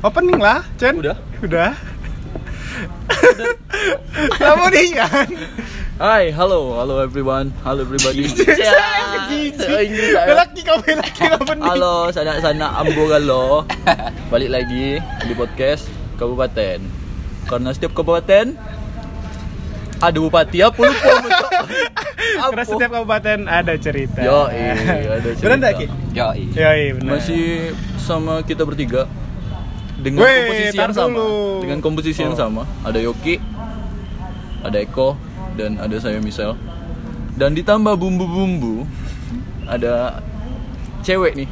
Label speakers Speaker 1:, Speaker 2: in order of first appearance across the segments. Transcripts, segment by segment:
Speaker 1: Opening lah, Chen.
Speaker 2: Udah.
Speaker 1: Udah. Kamu nih kan.
Speaker 2: Hai, halo, halo everyone, halo everybody. Inggris saya.
Speaker 1: Lelaki kau lelaki opening.
Speaker 2: Halo sanak-sanak Amboralo. Balik lagi di podcast kabupaten. Karena setiap kabupaten ada bupati apa lupa mencok.
Speaker 1: Karena setiap kabupaten ada cerita.
Speaker 2: Yo, iya, ada cerita.
Speaker 1: Benar enggak, Ki?
Speaker 3: Yoi.
Speaker 1: Yo, iya benar.
Speaker 2: Masih sama kita bertiga dengan
Speaker 1: Weh,
Speaker 2: komposisi
Speaker 1: tar
Speaker 2: yang sama.
Speaker 1: dulu.
Speaker 2: Dengan komposisi yang
Speaker 1: Oh.
Speaker 2: sama, ada Yoki, ada Eko dan ada saya Misel. Dan ditambah bumbu-bumbu ada cewek nih.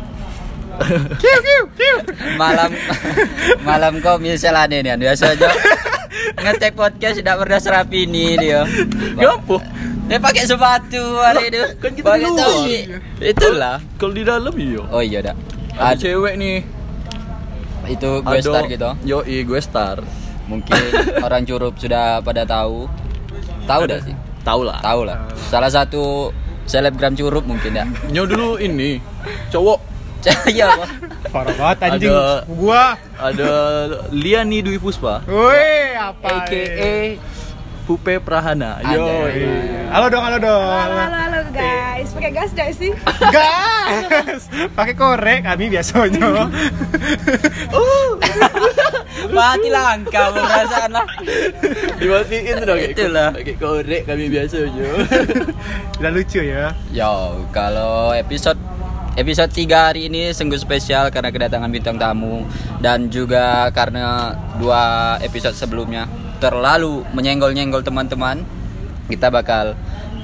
Speaker 1: kiu kiu kiu.
Speaker 3: Malam malam kau misalnya nih nih biasa aja. Ngecek podcast tidak pernah serapi ini dia.
Speaker 2: Gapo?
Speaker 3: Dia pakai sepatu hari itu.
Speaker 2: Ya kan kita
Speaker 3: pakai
Speaker 2: di luar.
Speaker 3: topi. Itulah.
Speaker 2: Kalau di dalam iya.
Speaker 3: Oh iya dak.
Speaker 2: Ada
Speaker 3: Ad-
Speaker 2: cewek nih.
Speaker 3: itu gue
Speaker 2: Ado-
Speaker 3: star gitu.
Speaker 2: Yoi, gue star.
Speaker 3: Mungkin orang curup sudah pada tahu. Tahu dah sih.
Speaker 2: Tahu lah.
Speaker 3: Tahu lah. Salah satu selebgram curup mungkin ya.
Speaker 2: Nyo dulu ini cowok
Speaker 3: Iya. Bang.
Speaker 1: Parah banget anjing.
Speaker 2: Ada-
Speaker 1: Gua.
Speaker 2: ada Liani Dwi Puspa,
Speaker 1: Woi, apa? eh?
Speaker 2: aka Pupe Prahana.
Speaker 3: Ada.
Speaker 2: Yoi.
Speaker 1: iya. Halo dong, halo dong.
Speaker 4: Halo, halo, halo guys. Pakai gas gak sih?
Speaker 1: Gas. Pakai korek kami biasanya.
Speaker 3: Mati langkah perasaan lah.
Speaker 2: Dimatiin tuh dong
Speaker 3: Itulah.
Speaker 2: Kayak korek kami biasa aja
Speaker 1: Tidak lucu ya.
Speaker 3: Yo, kalau episode episode 3 hari ini sungguh spesial karena kedatangan bintang tamu dan juga karena dua episode sebelumnya terlalu menyenggol-nyenggol teman-teman. Kita bakal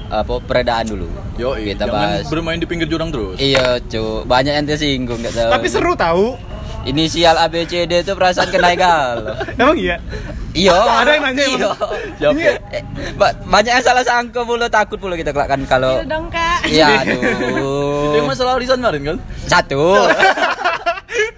Speaker 3: apa peredaan dulu.
Speaker 2: Yo,
Speaker 3: kita
Speaker 2: kita
Speaker 3: bahas.
Speaker 2: bermain di pinggir jurang terus
Speaker 3: Iya, cu. Banyak yang tersinggung nggak tahu.
Speaker 1: Tapi seru tahu.
Speaker 3: Inisial ABCD itu perasaan kena egal.
Speaker 1: Emang iya?
Speaker 3: Iya.
Speaker 1: Ada yang nanya emang?
Speaker 3: Iya.
Speaker 2: Siapa?
Speaker 3: Eh, ba- Banyak yang salah sangka mulu takut mulu kita kelak kan kalau
Speaker 4: Iya dong kak.
Speaker 3: Iya,
Speaker 2: Itu yang
Speaker 3: aduh.
Speaker 2: masalah arisan kemarin kan?
Speaker 3: Satu.
Speaker 2: Eh,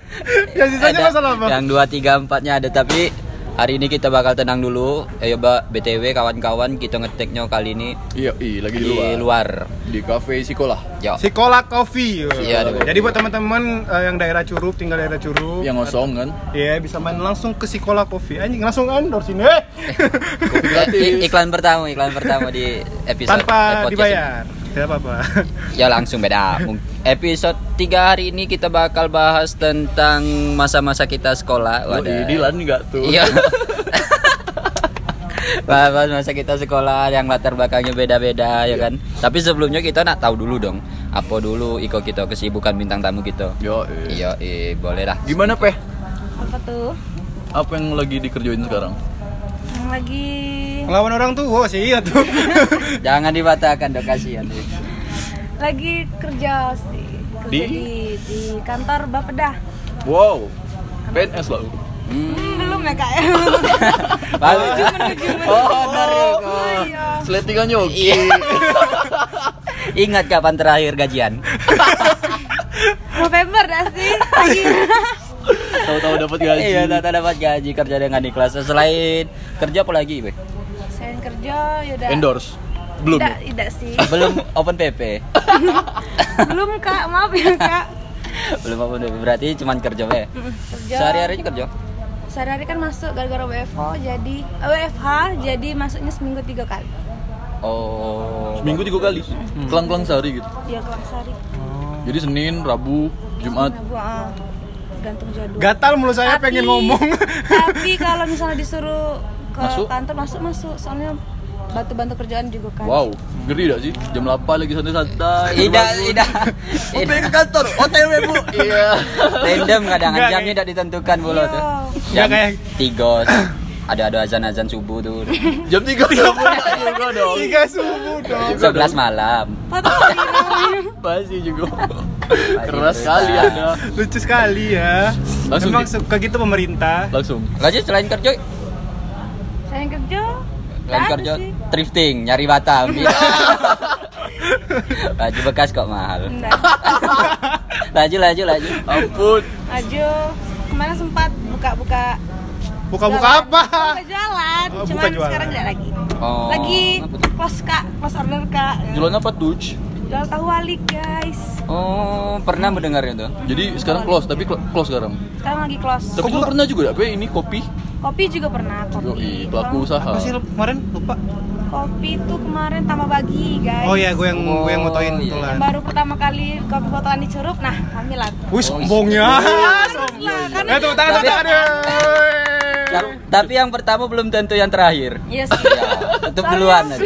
Speaker 1: Yang sisanya
Speaker 3: Ada-
Speaker 1: masalah apa?
Speaker 2: Ya,
Speaker 3: Yang dua tiga empatnya ada tapi hari ini kita bakal tenang dulu. Ayo mbak btw kawan-kawan kita ngeteknya kali ini
Speaker 2: Iya, iya lagi
Speaker 3: di luar.
Speaker 2: Di cafe sekolah
Speaker 3: Yo.
Speaker 1: Sikola Coffee.
Speaker 3: Iya, ada
Speaker 1: Jadi buat teman-teman eh, yang daerah Curup, tinggal daerah Curup,
Speaker 2: Yang kosong kan?
Speaker 1: ya bisa main langsung ke Sikola Coffee. Anjing langsung endorse ini. Eh.
Speaker 2: gratis.
Speaker 3: Ik- iklan pertama, iklan pertama di episode eh,
Speaker 1: Tanpa
Speaker 3: podcast
Speaker 1: dibayar. Tidak apa-apa.
Speaker 3: ini. Ya langsung beda. Mung- Episode 3 hari ini kita bakal bahas tentang masa-masa kita sekolah.
Speaker 2: Yoi, Dilan enggak tuh?
Speaker 3: Iya. Bahas masa kita sekolah yang latar belakangnya beda-beda
Speaker 2: Iya.
Speaker 3: ya kan. Tapi sebelumnya kita nak tahu dulu dong, apa dulu iko kita kesibukan bintang tamu kita.
Speaker 2: Yoi.
Speaker 3: Iya, eh, boleh lah.
Speaker 2: Gimana Peh?
Speaker 4: Apa tuh?
Speaker 2: Apa yang lagi dikerjain sekarang?
Speaker 4: Yang lagi
Speaker 1: Ngelawan orang tuh, wow sih iya tuh.
Speaker 3: Jangan dibatalkan dong kasihan. deh.
Speaker 4: lagi kerja sih. Kerja
Speaker 2: Di?
Speaker 4: di di kantor Bapeda.
Speaker 2: Wow PNS lah
Speaker 3: Hmm.
Speaker 4: Hmm, belum ya kak.
Speaker 3: Balik. Oh, tarik.
Speaker 4: Oh, iya.
Speaker 2: Seletingan Yogi
Speaker 3: Iya. Ingat kapan terakhir gajian?
Speaker 4: November dah sih. Lagi.
Speaker 2: Tahu-tahu dapat gaji
Speaker 3: Iya, tak dapat gaji kerja dengan ikhlas. Selain kerja apa lagi, Be?
Speaker 4: Saya yang kerja yaudah.
Speaker 2: Endorse? Belum
Speaker 4: Tidak,
Speaker 2: ya?
Speaker 4: tidak sih.
Speaker 3: Belum open PP.
Speaker 4: belum kak. Maaf ya kak.
Speaker 3: Belum open PP berarti cuman kerja, Be.
Speaker 4: Mm, Kerja.
Speaker 3: Sehari-hari kerja.
Speaker 4: Sehari-hari kan masuk gara-gara WFO jadi eh, WFH jadi masuknya seminggu tiga kali.
Speaker 3: Oh.
Speaker 2: Seminggu tiga kali
Speaker 3: Hmm.
Speaker 2: Kelang-kelang sehari gitu
Speaker 4: Ya kelas sehari.
Speaker 2: Jadi Senin, Rabu, Jumat
Speaker 4: Nah, gua, ah, gantung jadwal.
Speaker 1: Gatal mulu saya
Speaker 4: Tapi-
Speaker 1: pengen ngomong.
Speaker 4: tapi kalau misalnya disuruh ke
Speaker 2: Masuk?
Speaker 4: kantor masuk masuk soalnya bantu-bantu kerjaan juga kan.
Speaker 2: Wow, ngeri gak sih? Jam 8 lagi santai-santai
Speaker 3: Tidak,
Speaker 2: baru-
Speaker 3: tidak.
Speaker 2: pengen ke kantor, OTW bu Iya
Speaker 3: Random kadang
Speaker 1: Enggak,
Speaker 3: jamnya
Speaker 1: kayak-
Speaker 3: tidak ditentukan bola
Speaker 1: ya.
Speaker 3: tuh.
Speaker 4: Iya.
Speaker 3: Jam
Speaker 1: Enggak, kayak-
Speaker 3: tiga ada ada azan azan subuh tuh.
Speaker 2: Jam 3 juga dong
Speaker 1: Tiga subuh dong.
Speaker 2: Juga dong.
Speaker 3: 11 malam.
Speaker 4: Foto gini.
Speaker 2: Pasti juga Keras
Speaker 3: Gitu,
Speaker 2: sekali
Speaker 3: kita.
Speaker 2: anda
Speaker 1: Lucu sekali ya.
Speaker 2: Langsung
Speaker 1: Memang
Speaker 2: di-
Speaker 1: suka gitu pemerintah.
Speaker 2: Langsung
Speaker 3: Lanjut selain kerja,
Speaker 4: Saya yang kerja.
Speaker 3: selain
Speaker 4: nggak ada
Speaker 3: kerja
Speaker 4: sih.
Speaker 3: thrifting, nyari Batam. Iya. Baju bekas kok mahal.
Speaker 4: Nggak.
Speaker 3: Lanjut, lanjut, lanjut.
Speaker 2: Ampun
Speaker 4: Aja kemarin sempat buka-buka
Speaker 1: Buka-buka apa?
Speaker 4: buka jalan,
Speaker 1: Oh, buka
Speaker 4: cuman
Speaker 1: jualan.
Speaker 4: sekarang tidak lagi.
Speaker 3: Oh,
Speaker 4: lagi
Speaker 3: apa
Speaker 4: close kak, close order kak.
Speaker 2: Jualan apa tuh?
Speaker 4: Jual tahu wali guys.
Speaker 3: Oh, pernah mendengar itu?
Speaker 2: Jadi sekarang close, tapi cl- close sekarang.
Speaker 4: sekarang lagi close
Speaker 2: Tapi lu pernah juga ya? apa ini kopi?
Speaker 4: kopi juga pernah kopi
Speaker 2: Yoi, pelaku usaha.
Speaker 1: Apa sih lu kemarin lupa?
Speaker 4: kopi itu kemarin tambah pagi guys
Speaker 1: Oh iya, gue yang gue yang motoin
Speaker 3: Oh, iya.
Speaker 1: kebetulan.
Speaker 4: Yang baru pertama kali kopi botolan di Curug nah kami lah
Speaker 1: Wih, sombongnya.
Speaker 4: Eh, iya. Terus lah, karena
Speaker 1: Eh, tuh tangan tuh
Speaker 3: Tapi-
Speaker 1: tangan. eh.
Speaker 3: Ta- Nah, tapi yang pertama belum tentu yang terakhir.
Speaker 4: Iya sih.
Speaker 3: Ya, tutup duluan nanti.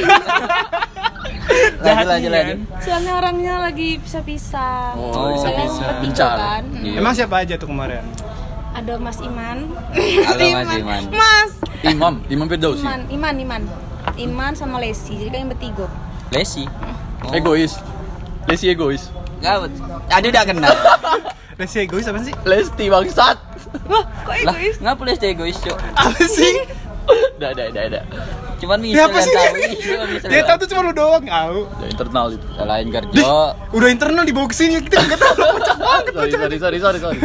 Speaker 3: lanjut lanjut lanjut.
Speaker 4: Soalnya orangnya lagi pisah-pisah.
Speaker 2: Oh,
Speaker 4: Saya
Speaker 2: pisah-pisah.
Speaker 4: sempet
Speaker 2: Mencar.
Speaker 4: juga kan.
Speaker 2: Iya.
Speaker 1: Emang siapa aja tuh kemarin?
Speaker 4: Ada Mas Iman.
Speaker 3: Halo, Mas Iman.
Speaker 4: Mas.
Speaker 2: Imam, Imam Firdaus sih.
Speaker 4: Iman, Iman, Iman. Iman sama Lesi. Jadi kalian bertiga.
Speaker 3: Lesi.
Speaker 2: Egois. Lesti egois.
Speaker 3: Gawat. Aduh udah kenal.
Speaker 1: Lesi egois apa sih?
Speaker 2: Lesti bangsat.
Speaker 4: Wah, kok
Speaker 3: lah,
Speaker 4: egois?
Speaker 3: ngapa Lesti egois, Cuk?
Speaker 1: Apa sih?
Speaker 2: Dah, dah, dah, dah.
Speaker 3: Cuman bisa
Speaker 1: Dia apa sih?
Speaker 3: tahu. Iya,
Speaker 1: Dia tahu tuh cuma lu doang, au.
Speaker 2: Dah internal itu.
Speaker 3: Selain
Speaker 1: Dih,
Speaker 3: kerja,
Speaker 1: udah internal di box ini kita nggak tahu. Ah,
Speaker 2: Sorry, sorry, sorry, sorry, sorry.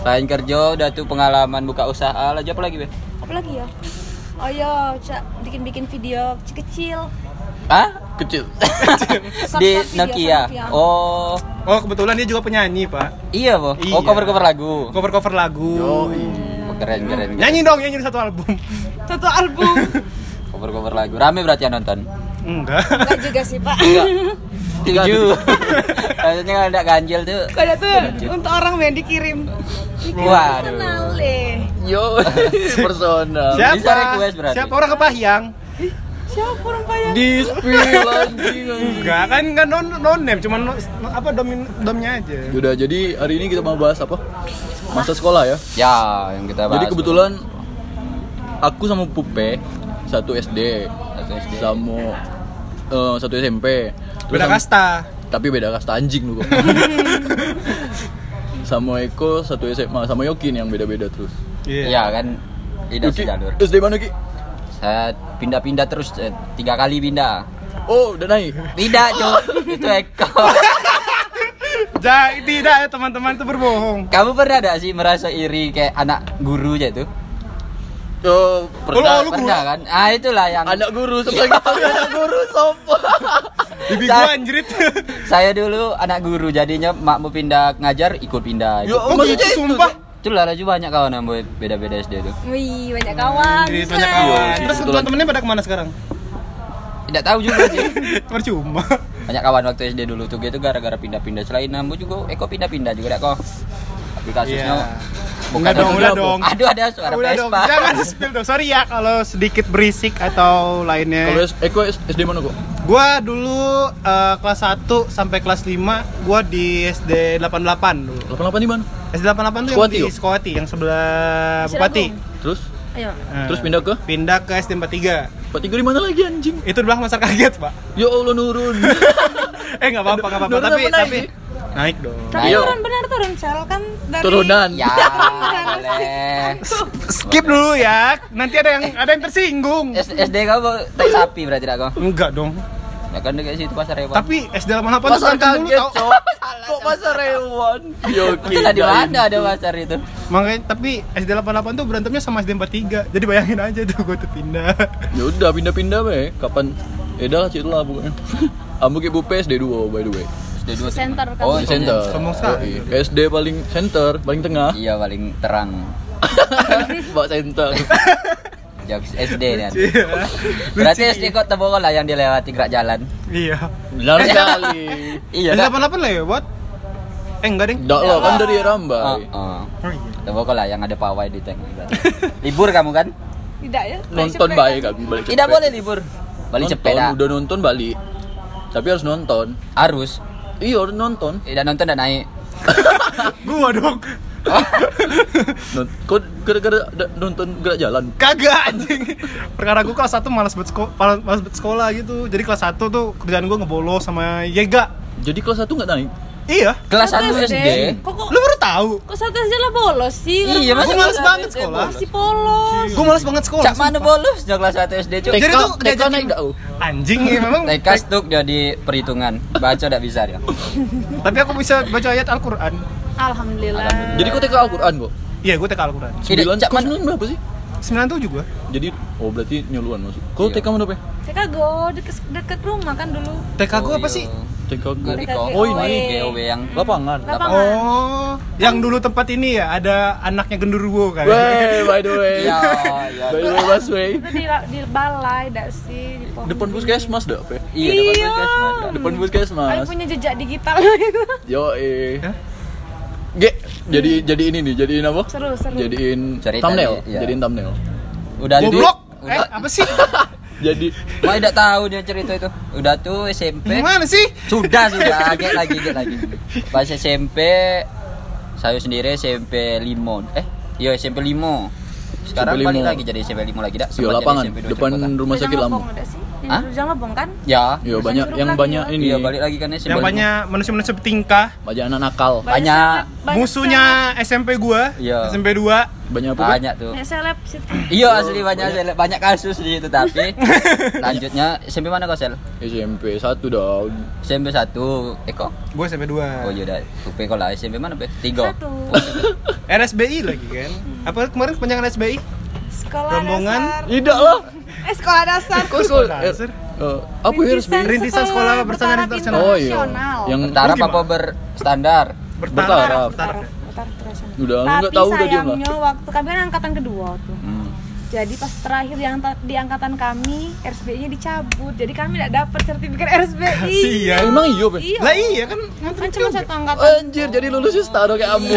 Speaker 3: selain kerja udah tuh pengalaman buka usaha lagi apa lagi, Be?
Speaker 4: Apa lagi ya? Oh iya, Cak, bikin-bikin video kecil-kecil.
Speaker 3: Hah?
Speaker 2: Kecil.
Speaker 4: Short-short
Speaker 3: Di
Speaker 4: video,
Speaker 3: Nokia.
Speaker 4: short video.
Speaker 3: Oh,
Speaker 1: Oh, kebetulan dia juga penyanyi, Pak.
Speaker 3: iya, Bo.
Speaker 1: Iya.
Speaker 3: Oh, cover-cover lagu.
Speaker 1: Cover-cover lagu.
Speaker 3: Oh, keren, keren. keren.
Speaker 1: Nyanyi dong, nyanyi satu album.
Speaker 4: Satu album.
Speaker 3: Cover-cover lagu. Rame berarti yang nonton.
Speaker 1: Enggak.
Speaker 4: Enggak juga sih, Pak.
Speaker 2: Tiga.
Speaker 3: Tujuh. Maksudnya kalau ada ganjil tuh.
Speaker 4: Kalau tuh untuk orang yang dikirim.
Speaker 3: Waduh.
Speaker 4: Kenal eh.
Speaker 2: Yo, personal.
Speaker 1: Siapa?
Speaker 3: Bisa request berarti.
Speaker 1: Siapa orang kepahyang?
Speaker 4: Siapa orang payah?
Speaker 2: Di spill anjing.
Speaker 1: Enggak, kan kan non non name, cuman no- apa domin domnya aja.
Speaker 2: Udah, jadi hari ini kita mau bahas apa? Masa sekolah ya.
Speaker 3: Ya, yang kita bahas.
Speaker 2: Jadi kebetulan aku sama Pupe satu SD,
Speaker 3: Satu SD.
Speaker 2: sama eh, satu SMP. Terus
Speaker 1: Beda
Speaker 2: sama-
Speaker 1: kasta.
Speaker 2: Tapi beda kasta anjing lu kok. sama Eko satu SMA, sama Yokin yang beda-beda terus.
Speaker 3: Iya kan. Tidak
Speaker 2: Yoki,
Speaker 3: sejalur.
Speaker 2: SD mana Ki?
Speaker 3: Saya pindah-pindah terus eh, tiga kali pindah.
Speaker 2: Oh, udah naik.
Speaker 3: Pindah, Cuk. Itu Eko.
Speaker 1: Ja, tidak ya teman-teman itu berbohong.
Speaker 3: Kamu pernah ada sih merasa iri kayak anak guru aja itu?
Speaker 2: Oh,
Speaker 1: Oh,
Speaker 3: Pernah,
Speaker 1: lu guru?
Speaker 3: pernah kan? Ah, itulah yang
Speaker 2: anak guru sampai gitu anak guru sopo.
Speaker 1: Bibi
Speaker 3: Sa-
Speaker 1: gua anjrit.
Speaker 3: saya dulu anak guru jadinya mak mau pindah ngajar ikut pindah.
Speaker 2: Yo,
Speaker 1: Oh,
Speaker 2: maksudnya
Speaker 1: gitu,
Speaker 2: itu,
Speaker 1: sumpah.
Speaker 2: Dek.
Speaker 3: Itulah laju banyak kawan yang boy- beda-beda SD itu.
Speaker 4: Wih, banyak kawan.
Speaker 1: Jadi banyak
Speaker 4: Shay.
Speaker 1: kawan. Iya, Terus
Speaker 2: Kebetulan.
Speaker 1: teman-temannya pada kemana sekarang?
Speaker 3: Tidak tahu juga sih.
Speaker 1: Percuma.
Speaker 3: Banyak kawan waktu SD dulu tuh gitu gara-gara pindah-pindah. Selain Nambu juga Eko pindah-pindah juga dak kok. Tapi kasusnya
Speaker 1: Iya.
Speaker 3: bukan
Speaker 1: Enggak dong,
Speaker 3: kasus
Speaker 1: udah
Speaker 3: aku.
Speaker 1: dong.
Speaker 3: Aduh ada suara
Speaker 1: Udah dong,
Speaker 3: Vespa.
Speaker 1: jangan spill dong. Sorry ya kalau sedikit berisik atau
Speaker 2: Kalau
Speaker 1: lainnya.
Speaker 2: S- Eko SD mana kok?
Speaker 1: Gua dulu eh, kelas 1 sampai kelas 5 gua di SD 88 dulu.
Speaker 2: 88 di mana?
Speaker 1: SD 88 tuh
Speaker 2: Sukawati,
Speaker 1: yang
Speaker 2: yuk.
Speaker 1: di Sukawati yang sebelah Bupati.
Speaker 2: Terus
Speaker 4: Ayo.
Speaker 1: Eh,
Speaker 2: Terus pindah ke?
Speaker 1: Pindah ke SD 43.
Speaker 2: Pak Tiga di mana lagi anjing?
Speaker 1: Itu belah masa kaget, Pak.
Speaker 2: Ya Allah nurun.
Speaker 1: Eh nggak apa-apa, nggak apa-apa.
Speaker 2: Nurun
Speaker 1: Tapi
Speaker 2: apa naik?
Speaker 1: tapi naik dong.
Speaker 4: Tapi
Speaker 3: Ayo.
Speaker 4: turun benar turun sel kan dari
Speaker 2: Turunan.
Speaker 3: Ya, boleh.
Speaker 1: Skip dulu ya. Nanti ada yang ada yang tersinggung.
Speaker 3: S- SD kamu tak sapi berarti dak kok.
Speaker 1: Enggak dong.
Speaker 3: Ya kan dekat situ pasar hewan.
Speaker 1: Tapi SD 88 tuh
Speaker 2: Pasar
Speaker 1: berantem
Speaker 2: kaget,
Speaker 1: tau.
Speaker 2: cok. Kok pasar hewan? Yoki.
Speaker 3: Kita di mana ada pasar itu?
Speaker 1: Makanya tapi SD 88 tuh berantemnya sama SD 43. Jadi bayangin aja tuh gue tuh pindah.
Speaker 2: Ya udah pindah-pindah be. Kapan? Ya udah lah cik lah pokoknya. Ambu ke Bupe SD 2 by the way.
Speaker 3: SD dua tuh.
Speaker 4: Center kan.
Speaker 3: Oh,
Speaker 2: Di center.
Speaker 1: Sombong sekali.
Speaker 2: Yoi. SD paling center, paling tengah.
Speaker 3: Iya paling terang.
Speaker 2: Bawa center.
Speaker 3: Jokes SD nih. An.
Speaker 1: Iya.
Speaker 3: Berarti SD kok tebokol lah yang dilewati gerak jalan.
Speaker 1: Iya.
Speaker 2: Benar sekali.
Speaker 3: Iya.
Speaker 1: SD 88
Speaker 3: dak.
Speaker 1: lewat. ya, Eh enggak ding.
Speaker 2: Enggak lah kan dari Rambai.
Speaker 3: Heeh. Uh,
Speaker 1: Oh, iya.
Speaker 3: lah yang ada pawai di tank. libur kamu kan?
Speaker 4: Tidak ya. Naik
Speaker 2: Nonton
Speaker 4: sepeda.
Speaker 2: baik kami balik
Speaker 3: Tidak
Speaker 2: cepet.
Speaker 3: boleh libur. Balik
Speaker 2: Nonton,
Speaker 3: cepet dah.
Speaker 2: Udah nonton balik. Tapi harus nonton.
Speaker 3: Harus.
Speaker 2: Iya, harus nonton.
Speaker 3: Tidak nonton dan naik.
Speaker 1: Ah, Gua dong.
Speaker 2: Nont- Kok gara-gara da- nonton gerak jalan?
Speaker 1: Kagak anjing. Perkara gue kelas 1 malas buat sekolah, malas buat sekolah gitu. Jadi kelas 1 tuh kerjaan gue ngebolos sama Yega.
Speaker 2: Jadi kelas 1 nggak naik?
Speaker 1: Iya.
Speaker 3: Kelas
Speaker 4: Satu
Speaker 3: 1 SD.
Speaker 4: Kok kok
Speaker 1: Lu baru tahu.
Speaker 4: kok satu SD lah bolos sih?
Speaker 3: Iya,
Speaker 1: Gua
Speaker 3: masa
Speaker 1: males
Speaker 3: kelas
Speaker 1: banget
Speaker 3: SD
Speaker 1: sekolah.
Speaker 3: bolos?
Speaker 4: Masih polos.
Speaker 1: Gue malas banget sekolah.
Speaker 3: Cak mana
Speaker 1: sumpah.
Speaker 3: bolos Jauh kelas 1 SD cuy.
Speaker 1: Jadi
Speaker 2: Teko-
Speaker 1: tuh
Speaker 2: teko
Speaker 1: diajakin-
Speaker 2: naik nggak, U?
Speaker 1: Anjing ya memang.
Speaker 3: TK stuk jadi perhitungan. Baca tidak bisa dia.
Speaker 1: Tapi aku bisa baca ayat Al-Qur'an.
Speaker 4: Alhamdulillah.
Speaker 2: Jadi kok TK Al-Quran kok?
Speaker 1: Iya, gue TK Al-Qur'an.
Speaker 3: Tidak,
Speaker 2: 9,
Speaker 3: Cak,
Speaker 2: kok
Speaker 3: mana-
Speaker 2: 9 berapa sih?
Speaker 1: 97 gue.
Speaker 2: Jadi, oh berarti nyuluan masuk Kok
Speaker 3: Iya.
Speaker 2: TK mana, Pe?
Speaker 4: TK go deket, deket rumah kan dulu.
Speaker 1: TK gue
Speaker 3: Oh,
Speaker 1: apa
Speaker 3: iya.
Speaker 1: sih?
Speaker 2: Tingkat
Speaker 4: Dekat
Speaker 3: GOW.
Speaker 2: Oh, ini.
Speaker 3: GOW yang
Speaker 2: lapangan.
Speaker 4: Lapangan.
Speaker 1: Oh, yang dulu tempat ini ya ada anaknya genderuwo kan.
Speaker 2: Wey, by the way.
Speaker 3: Ya, ya.
Speaker 2: By the way, Mas Wey.
Speaker 4: Itu di, di balai dak sih di Pohon
Speaker 2: Depan
Speaker 4: Budi.
Speaker 2: puskesmas dah, Pe.
Speaker 3: Iya, depan puskesmas.
Speaker 2: Depan
Speaker 4: Aku
Speaker 2: puskesmas.
Speaker 4: punya jejak digital itu.
Speaker 2: Yo, eh.
Speaker 1: Hah?
Speaker 2: Ge, jadi jadi ini nih, jadiin apa?
Speaker 4: Seru, seru.
Speaker 2: Jadiin
Speaker 3: Cerita
Speaker 2: thumbnail,
Speaker 3: nih, iya.
Speaker 2: jadiin thumbnail.
Speaker 3: Udah jadi-
Speaker 1: Goblok. Eh,
Speaker 3: Udah.
Speaker 1: apa sih?
Speaker 2: Jadi
Speaker 3: Wah, tidak tahu dia cerita itu. Udah tuh SMP.
Speaker 1: Gimana sih?
Speaker 3: Sudah, sudah. Agak lagi, agak lagi. Pas SMP saya sendiri SMP Limon. Eh, iya SMP Limo. Sekarang
Speaker 2: SMP
Speaker 3: balik
Speaker 2: Limo.
Speaker 3: lagi jadi SMP Limo lagi
Speaker 2: yo
Speaker 3: dak? Sempat jadi
Speaker 2: Iya, lapangan
Speaker 3: SMP dua
Speaker 2: depan
Speaker 3: Jakarta.
Speaker 2: rumah sakit
Speaker 4: Rujang
Speaker 2: lama.
Speaker 4: Lebong ada sih.
Speaker 3: Hah?
Speaker 4: Yang Rujang Lebong kan?
Speaker 3: Ya.
Speaker 2: Yo
Speaker 4: Terus
Speaker 2: iya, banyak
Speaker 4: yang
Speaker 2: yang
Speaker 4: suruh
Speaker 2: banyak
Speaker 4: lagi, ya?
Speaker 2: ini.
Speaker 3: Iya, balik lagi kan SMP.
Speaker 1: Yang
Speaker 3: Limo.
Speaker 1: banyak manusia-manusia bertingkah.
Speaker 2: Banyak anak nakal.
Speaker 3: Banyak.
Speaker 4: seleb- banyak
Speaker 1: Musuhnya SMP gua,
Speaker 3: Iya.
Speaker 1: SMP 2.
Speaker 2: Banyak apa? Pe?
Speaker 3: Banyak tuh.
Speaker 4: seleb- Banyak seleb situ.
Speaker 3: Iya asli banyak banyak, banyak kasus di itu tapi lanjutnya SMP mana kau sel?
Speaker 2: SMP 1 dong.
Speaker 3: SMP 1 Eko.
Speaker 1: Gua SMP 2.
Speaker 3: eh, Oh iya dah. Tupe kau lah SMP mana, Pe? 3.
Speaker 4: Satu.
Speaker 1: RSBI lagi kan. Apa kemarin kepanjangan SBI?
Speaker 4: Sekolah
Speaker 1: Rombongan.
Speaker 4: dasar.
Speaker 2: Tidak lah.
Speaker 4: Eh sekolah dasar.
Speaker 2: Kok sekolah?
Speaker 1: Sekolah
Speaker 2: Eh,
Speaker 1: dasar.
Speaker 2: eh, apa ya resmi?
Speaker 1: Rintisan Sekolah Bertaraf Internasional.
Speaker 2: Oh iya.
Speaker 4: Yang
Speaker 2: Yang
Speaker 3: Taraf
Speaker 1: Gimana?
Speaker 3: apa berstandar?
Speaker 1: Bertaraf.
Speaker 2: Bertaraf.
Speaker 1: Bertaraf. ya?
Speaker 2: udah
Speaker 4: Tapi
Speaker 2: enggak tahu udah dia
Speaker 4: sayangnya
Speaker 2: enggak.
Speaker 4: waktu kami kan angkatan kedua tuh.
Speaker 3: Hmm.
Speaker 4: Jadi pas terakhir di, angka- di angkatan kami RSBI-nya dicabut. Jadi kami tidak dapat sertifikat RSBI.
Speaker 1: Sial.
Speaker 2: Emang iya, Pe?
Speaker 4: Iya.
Speaker 1: Lah iya kan
Speaker 4: Kan cuma satu angkatan.
Speaker 2: Anjir, jadi ya, lulusnya setara kayak ambo.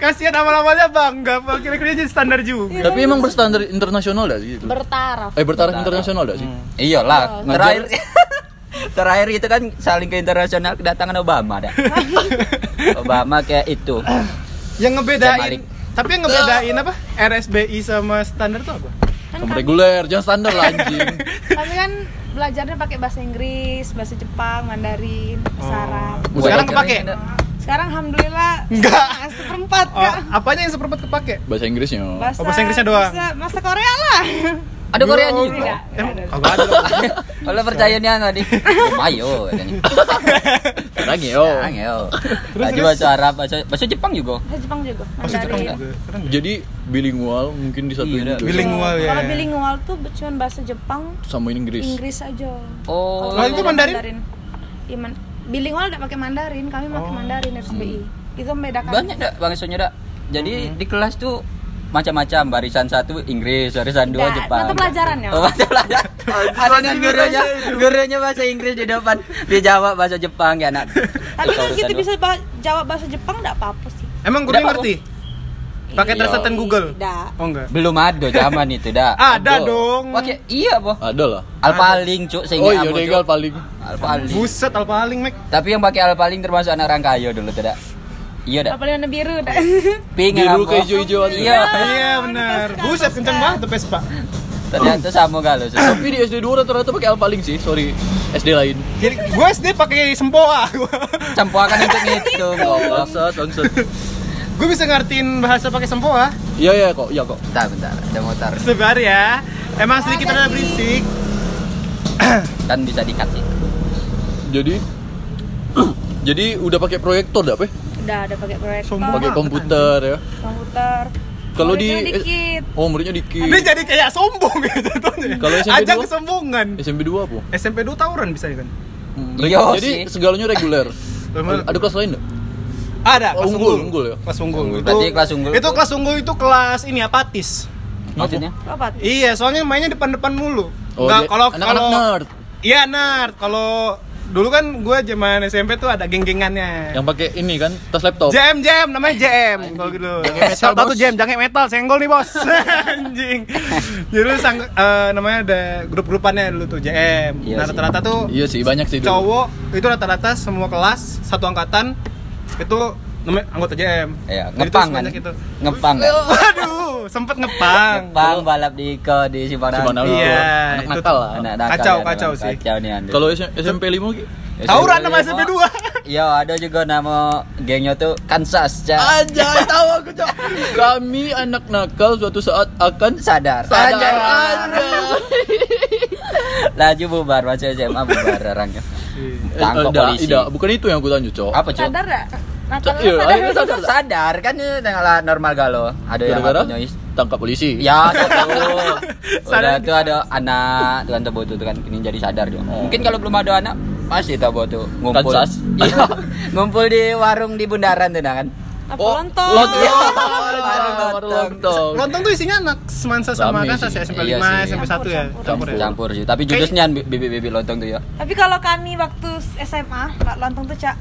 Speaker 1: kasihan awal-awalnya bangga, Pak. kira-kira jadi standar juga.
Speaker 2: Tapi emang berstandar internasional dah sih itu.
Speaker 4: Bertaraf.
Speaker 2: Eh bertaraf internasional dah sih.
Speaker 3: Hmm. Iyalah,
Speaker 2: Ngajar.
Speaker 3: terakhir terakhir itu kan saling ke internasional kedatangan Obama dah. Obama kayak itu.
Speaker 1: Yang ngebedain
Speaker 3: Malik.
Speaker 1: tapi yang ngebedain apa? RSBI sama standar tuh apa?
Speaker 4: Kan
Speaker 2: Kamu
Speaker 4: kami,
Speaker 2: reguler, jangan standar lah anjing.
Speaker 4: kami kan belajarnya pakai bahasa Inggris, bahasa Jepang, Mandarin, sarang.
Speaker 1: Oh, Sekarang kepake?
Speaker 4: Sekarang alhamdulillah
Speaker 1: Enggak.
Speaker 4: setengah- seperempat
Speaker 1: Oh,
Speaker 4: Kak.
Speaker 1: apanya yang seperempat kepake?
Speaker 2: Bahasa Inggrisnya.
Speaker 4: Bahasa,
Speaker 1: Oh, bahasa Inggrisnya doang.
Speaker 4: bahasa- bahasa Korea lah.
Speaker 3: Ada Koreanya
Speaker 1: Yo,
Speaker 3: juga.
Speaker 1: Emang kagak ada.
Speaker 3: Kalau percayanya tadi. Mayo katanya.
Speaker 2: Lagi yo.
Speaker 3: Angel.
Speaker 1: Terus,
Speaker 3: Tadi
Speaker 1: terus.
Speaker 3: bahasa Arab, bahasa bahasa Jepang juga.
Speaker 4: Bahasa Jepang juga,
Speaker 1: Maksud Oh, Jepang
Speaker 4: Mandarin.
Speaker 1: juga. Keren ya?
Speaker 2: Jadi bilingual mungkin di satu
Speaker 3: Iya,
Speaker 2: ini
Speaker 3: dah.
Speaker 2: tuh.
Speaker 1: Biling- Bilingual, ya.
Speaker 4: Kalau bilingual tuh cuma bahasa Jepang,
Speaker 2: sama ini Inggris.
Speaker 4: Inggris aja.
Speaker 3: Oh.
Speaker 1: Kalau itu Mandarin?
Speaker 4: Iya, man- bilingual enggak pakai Mandarin, kami pakai
Speaker 1: Oh.
Speaker 4: Mandarin RSBI. Itu membedakan.
Speaker 3: Banyak dak bangsonya dak. Jadi
Speaker 2: Hmm.
Speaker 3: di kelas tuh macam-macam barisan satu Inggris, barisan dua
Speaker 4: Tidak,
Speaker 3: Jepang.
Speaker 4: mata pelajaran ya?
Speaker 3: Oh, mata pelajaran. Ada kan gurunya, gurunya bahasa Inggris di depan, dia jawab bahasa Jepang ya anak.
Speaker 4: Tapi
Speaker 3: Itu
Speaker 4: kan kita
Speaker 3: urusan
Speaker 4: bisa bah- jawab bahasa Jepang enggak apa-apa sih.
Speaker 1: Emang gue
Speaker 3: Udah,
Speaker 1: ngerti. Pakai
Speaker 3: Iya.
Speaker 1: translatean Google.
Speaker 4: Tidak.
Speaker 1: Oh enggak.
Speaker 3: Belum ada zaman itu dah.
Speaker 1: Ada dong.
Speaker 3: Pakai iya, Boh.
Speaker 2: Ada lah.
Speaker 3: Alpaling, Cuk, sehingga
Speaker 2: Oh iya,
Speaker 3: aku, Cuk.
Speaker 2: legal paling.
Speaker 3: Alpaling.
Speaker 1: Buset al paling, Mek.
Speaker 3: Tapi yang pakai alpaling termasuk anak Rangkayo dulu tidak. Iya dah.
Speaker 4: Apalagi warna biru dah.
Speaker 3: Pink
Speaker 2: Biru
Speaker 3: apa?
Speaker 2: ke hijau-hijauan.
Speaker 3: Iya.
Speaker 1: Iya benar. Buset kenceng banget tuh Vespa.
Speaker 3: Ternyata sama galau. Susah.
Speaker 2: Tapi di SD 2 rata-rata pakai alpaling sih, sorry. SD lain.
Speaker 1: Jadi gue SD pakai sempoa gua.
Speaker 3: Campuakan untuk ngitung
Speaker 2: Oh,
Speaker 3: goblok.
Speaker 2: Bangsat, bangsat.
Speaker 1: Gue bisa ngertiin bahasa pakai sempoa.
Speaker 2: Iya iya kok, iya kok.
Speaker 3: Bentar, bentar. Ada motor.
Speaker 1: Sebar ya. Emang sedikit ada berisik.
Speaker 3: Kan bisa dikat sih.
Speaker 2: Jadi jadi udah pakai proyektor dah, Pe?
Speaker 4: Udah ada pakai proyektor,
Speaker 1: Sombong.
Speaker 2: Pakai
Speaker 1: Ah,
Speaker 2: komputer ya.
Speaker 4: komputer.
Speaker 2: Kalau di
Speaker 4: Muridnya dikit.
Speaker 2: Oh, muridnya dikit.
Speaker 1: Dia jadi kayak sombong ya contohnya.
Speaker 2: Kalau SMP
Speaker 1: Ajang
Speaker 2: dua?
Speaker 1: kesombongan.
Speaker 2: SMP 2 apa?
Speaker 1: SMP 2 tawuran bisa kan?
Speaker 2: Hmm,
Speaker 3: Iya
Speaker 2: regu-
Speaker 3: sih.
Speaker 2: jadi segalanya reguler.
Speaker 1: Memang-
Speaker 2: Ada kelas lain enggak?
Speaker 1: Ada, kelas
Speaker 2: Oh, unggul,
Speaker 1: unggul.
Speaker 2: unggul ya?
Speaker 1: Kelas unggul.
Speaker 3: Unggul.
Speaker 1: Itu-
Speaker 3: Berarti kelas unggul
Speaker 1: Itu
Speaker 3: tuh-
Speaker 1: kelas unggul itu kelas ini apatis.
Speaker 3: Maksudnya?
Speaker 4: Apa tuh?
Speaker 1: Iya, soalnya mainnya depan-depan mulu. Nggak,
Speaker 2: Oh, dia-
Speaker 1: kalau
Speaker 2: anak-anak
Speaker 1: kalau
Speaker 2: nerd
Speaker 1: Iya, nerd. Kalau dulu kan gue zaman SMP tuh ada geng-gengannya.
Speaker 2: yang pakai ini kan tas laptop.
Speaker 1: JM JM namanya JM kalau gitu. Salah satu JM jangan metal senggol nih bos. Anjing. Jadi lu sang eh, namanya ada grup-grupannya dulu tuh JM.
Speaker 3: Iya
Speaker 1: nah
Speaker 3: sih.
Speaker 1: rata-rata tuh
Speaker 2: Iya sih, banyak sih dulu.
Speaker 1: cowok itu rata-rata semua kelas satu angkatan itu namanya anggota JM.
Speaker 3: Iya,
Speaker 1: Jadi tuh
Speaker 3: ngepang kan.
Speaker 1: sebanyak itu.
Speaker 3: Ngepang kan.
Speaker 1: Waduh, sempet ngepang.
Speaker 3: Ngepang balap di ke di Sipanang.
Speaker 2: Sipanang.
Speaker 1: Iya,
Speaker 2: Anak
Speaker 1: itu
Speaker 2: nakal
Speaker 1: tuh.
Speaker 2: lah.
Speaker 3: Anak nakal
Speaker 1: Kacau,
Speaker 3: ya,
Speaker 1: kacau
Speaker 3: memang
Speaker 1: sih.
Speaker 3: Kacau nih Anda.
Speaker 2: Kalau S- SMP 5 gitu.
Speaker 3: Ya.
Speaker 1: Tauran sama SMP 2.
Speaker 3: Iya, ada juga nama gengnya tuh Kansas.
Speaker 1: Ah.
Speaker 3: Cak.
Speaker 2: Anjay, tahu aku, Cok. Kami anak nakal suatu saat akan
Speaker 3: Sadar.
Speaker 2: sadar
Speaker 3: Anjay.
Speaker 2: Anda.
Speaker 3: Laju bubar masih SMA bubar orangnya.
Speaker 1: Iya.
Speaker 3: Tangkap
Speaker 2: Tidak,
Speaker 3: polisi.
Speaker 2: Eh, tidak, bukan itu yang aku tanya, Cok.
Speaker 3: Apa cuy?
Speaker 4: Sadar enggak? Natal
Speaker 2: Sa- iya,
Speaker 4: sadar.
Speaker 2: akhirnya sadar.
Speaker 3: Sadar kan eh, tengah normal galo. Ada yang
Speaker 2: Gara-gara
Speaker 3: punya is-
Speaker 2: tangkap polisi.
Speaker 3: Ya, satu.
Speaker 1: Sadar
Speaker 3: Udah itu ada anak Tuhan tebu itu kan ini jadi sadar dia. Mungkin kalau belum ada anak masih tak bawa tuh ngumpul.
Speaker 2: Oh. Kansas.
Speaker 3: Iya, ngumpul di warung di Bundaran tuh nah kan.
Speaker 4: Apa
Speaker 2: Oh,
Speaker 4: lontong?
Speaker 2: lontong.
Speaker 3: Warung
Speaker 2: Warung
Speaker 3: lontong.
Speaker 2: lontong.
Speaker 1: Lontong tuh isinya anak semansa sama
Speaker 2: Rame
Speaker 1: kan
Speaker 2: sih.
Speaker 1: saya SMP
Speaker 3: Iya
Speaker 1: 5,
Speaker 3: Oh, sih.
Speaker 1: SMP 1 ya.
Speaker 4: Campur,
Speaker 1: Campur ya.
Speaker 3: Campur sih, tapi judusnya bibit-bibit lontong tuh ya.
Speaker 4: Tapi kalau kami waktu SMA, Kak Lontong tuh cak,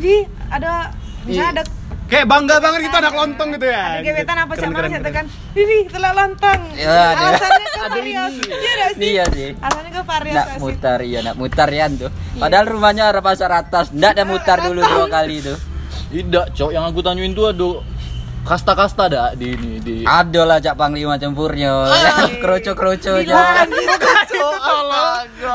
Speaker 4: di ada
Speaker 2: Iya.
Speaker 4: misalnya ada
Speaker 1: Kayak bangga banget kita anak lontong gitu ya.
Speaker 4: ada gebetan apa cak
Speaker 1: Keren,
Speaker 4: mana
Speaker 1: keren,
Speaker 4: saya
Speaker 1: keren.
Speaker 4: tekan, Bibi telah lontong.
Speaker 3: Ya, ada.
Speaker 4: Alasannya
Speaker 2: Iya,
Speaker 4: ke
Speaker 2: Ada ini.
Speaker 4: variasi. Iya nggak sih?
Speaker 3: Iya sih.
Speaker 4: Alasannya ke
Speaker 3: Ndak
Speaker 4: variasi.
Speaker 3: mutar iya, ndak mutarian tuh.
Speaker 1: Iya.
Speaker 3: Padahal rumahnya arah pasar atas, ndak ada mutar dulu dua kali tuh.
Speaker 2: Tidak, cok. Yang aku tanyain tuh ada kasta-kasta dah di ini di.
Speaker 3: Adolah cak panglima tempurnya, kroco-kroco
Speaker 4: Gila,
Speaker 3: aja.
Speaker 4: gila.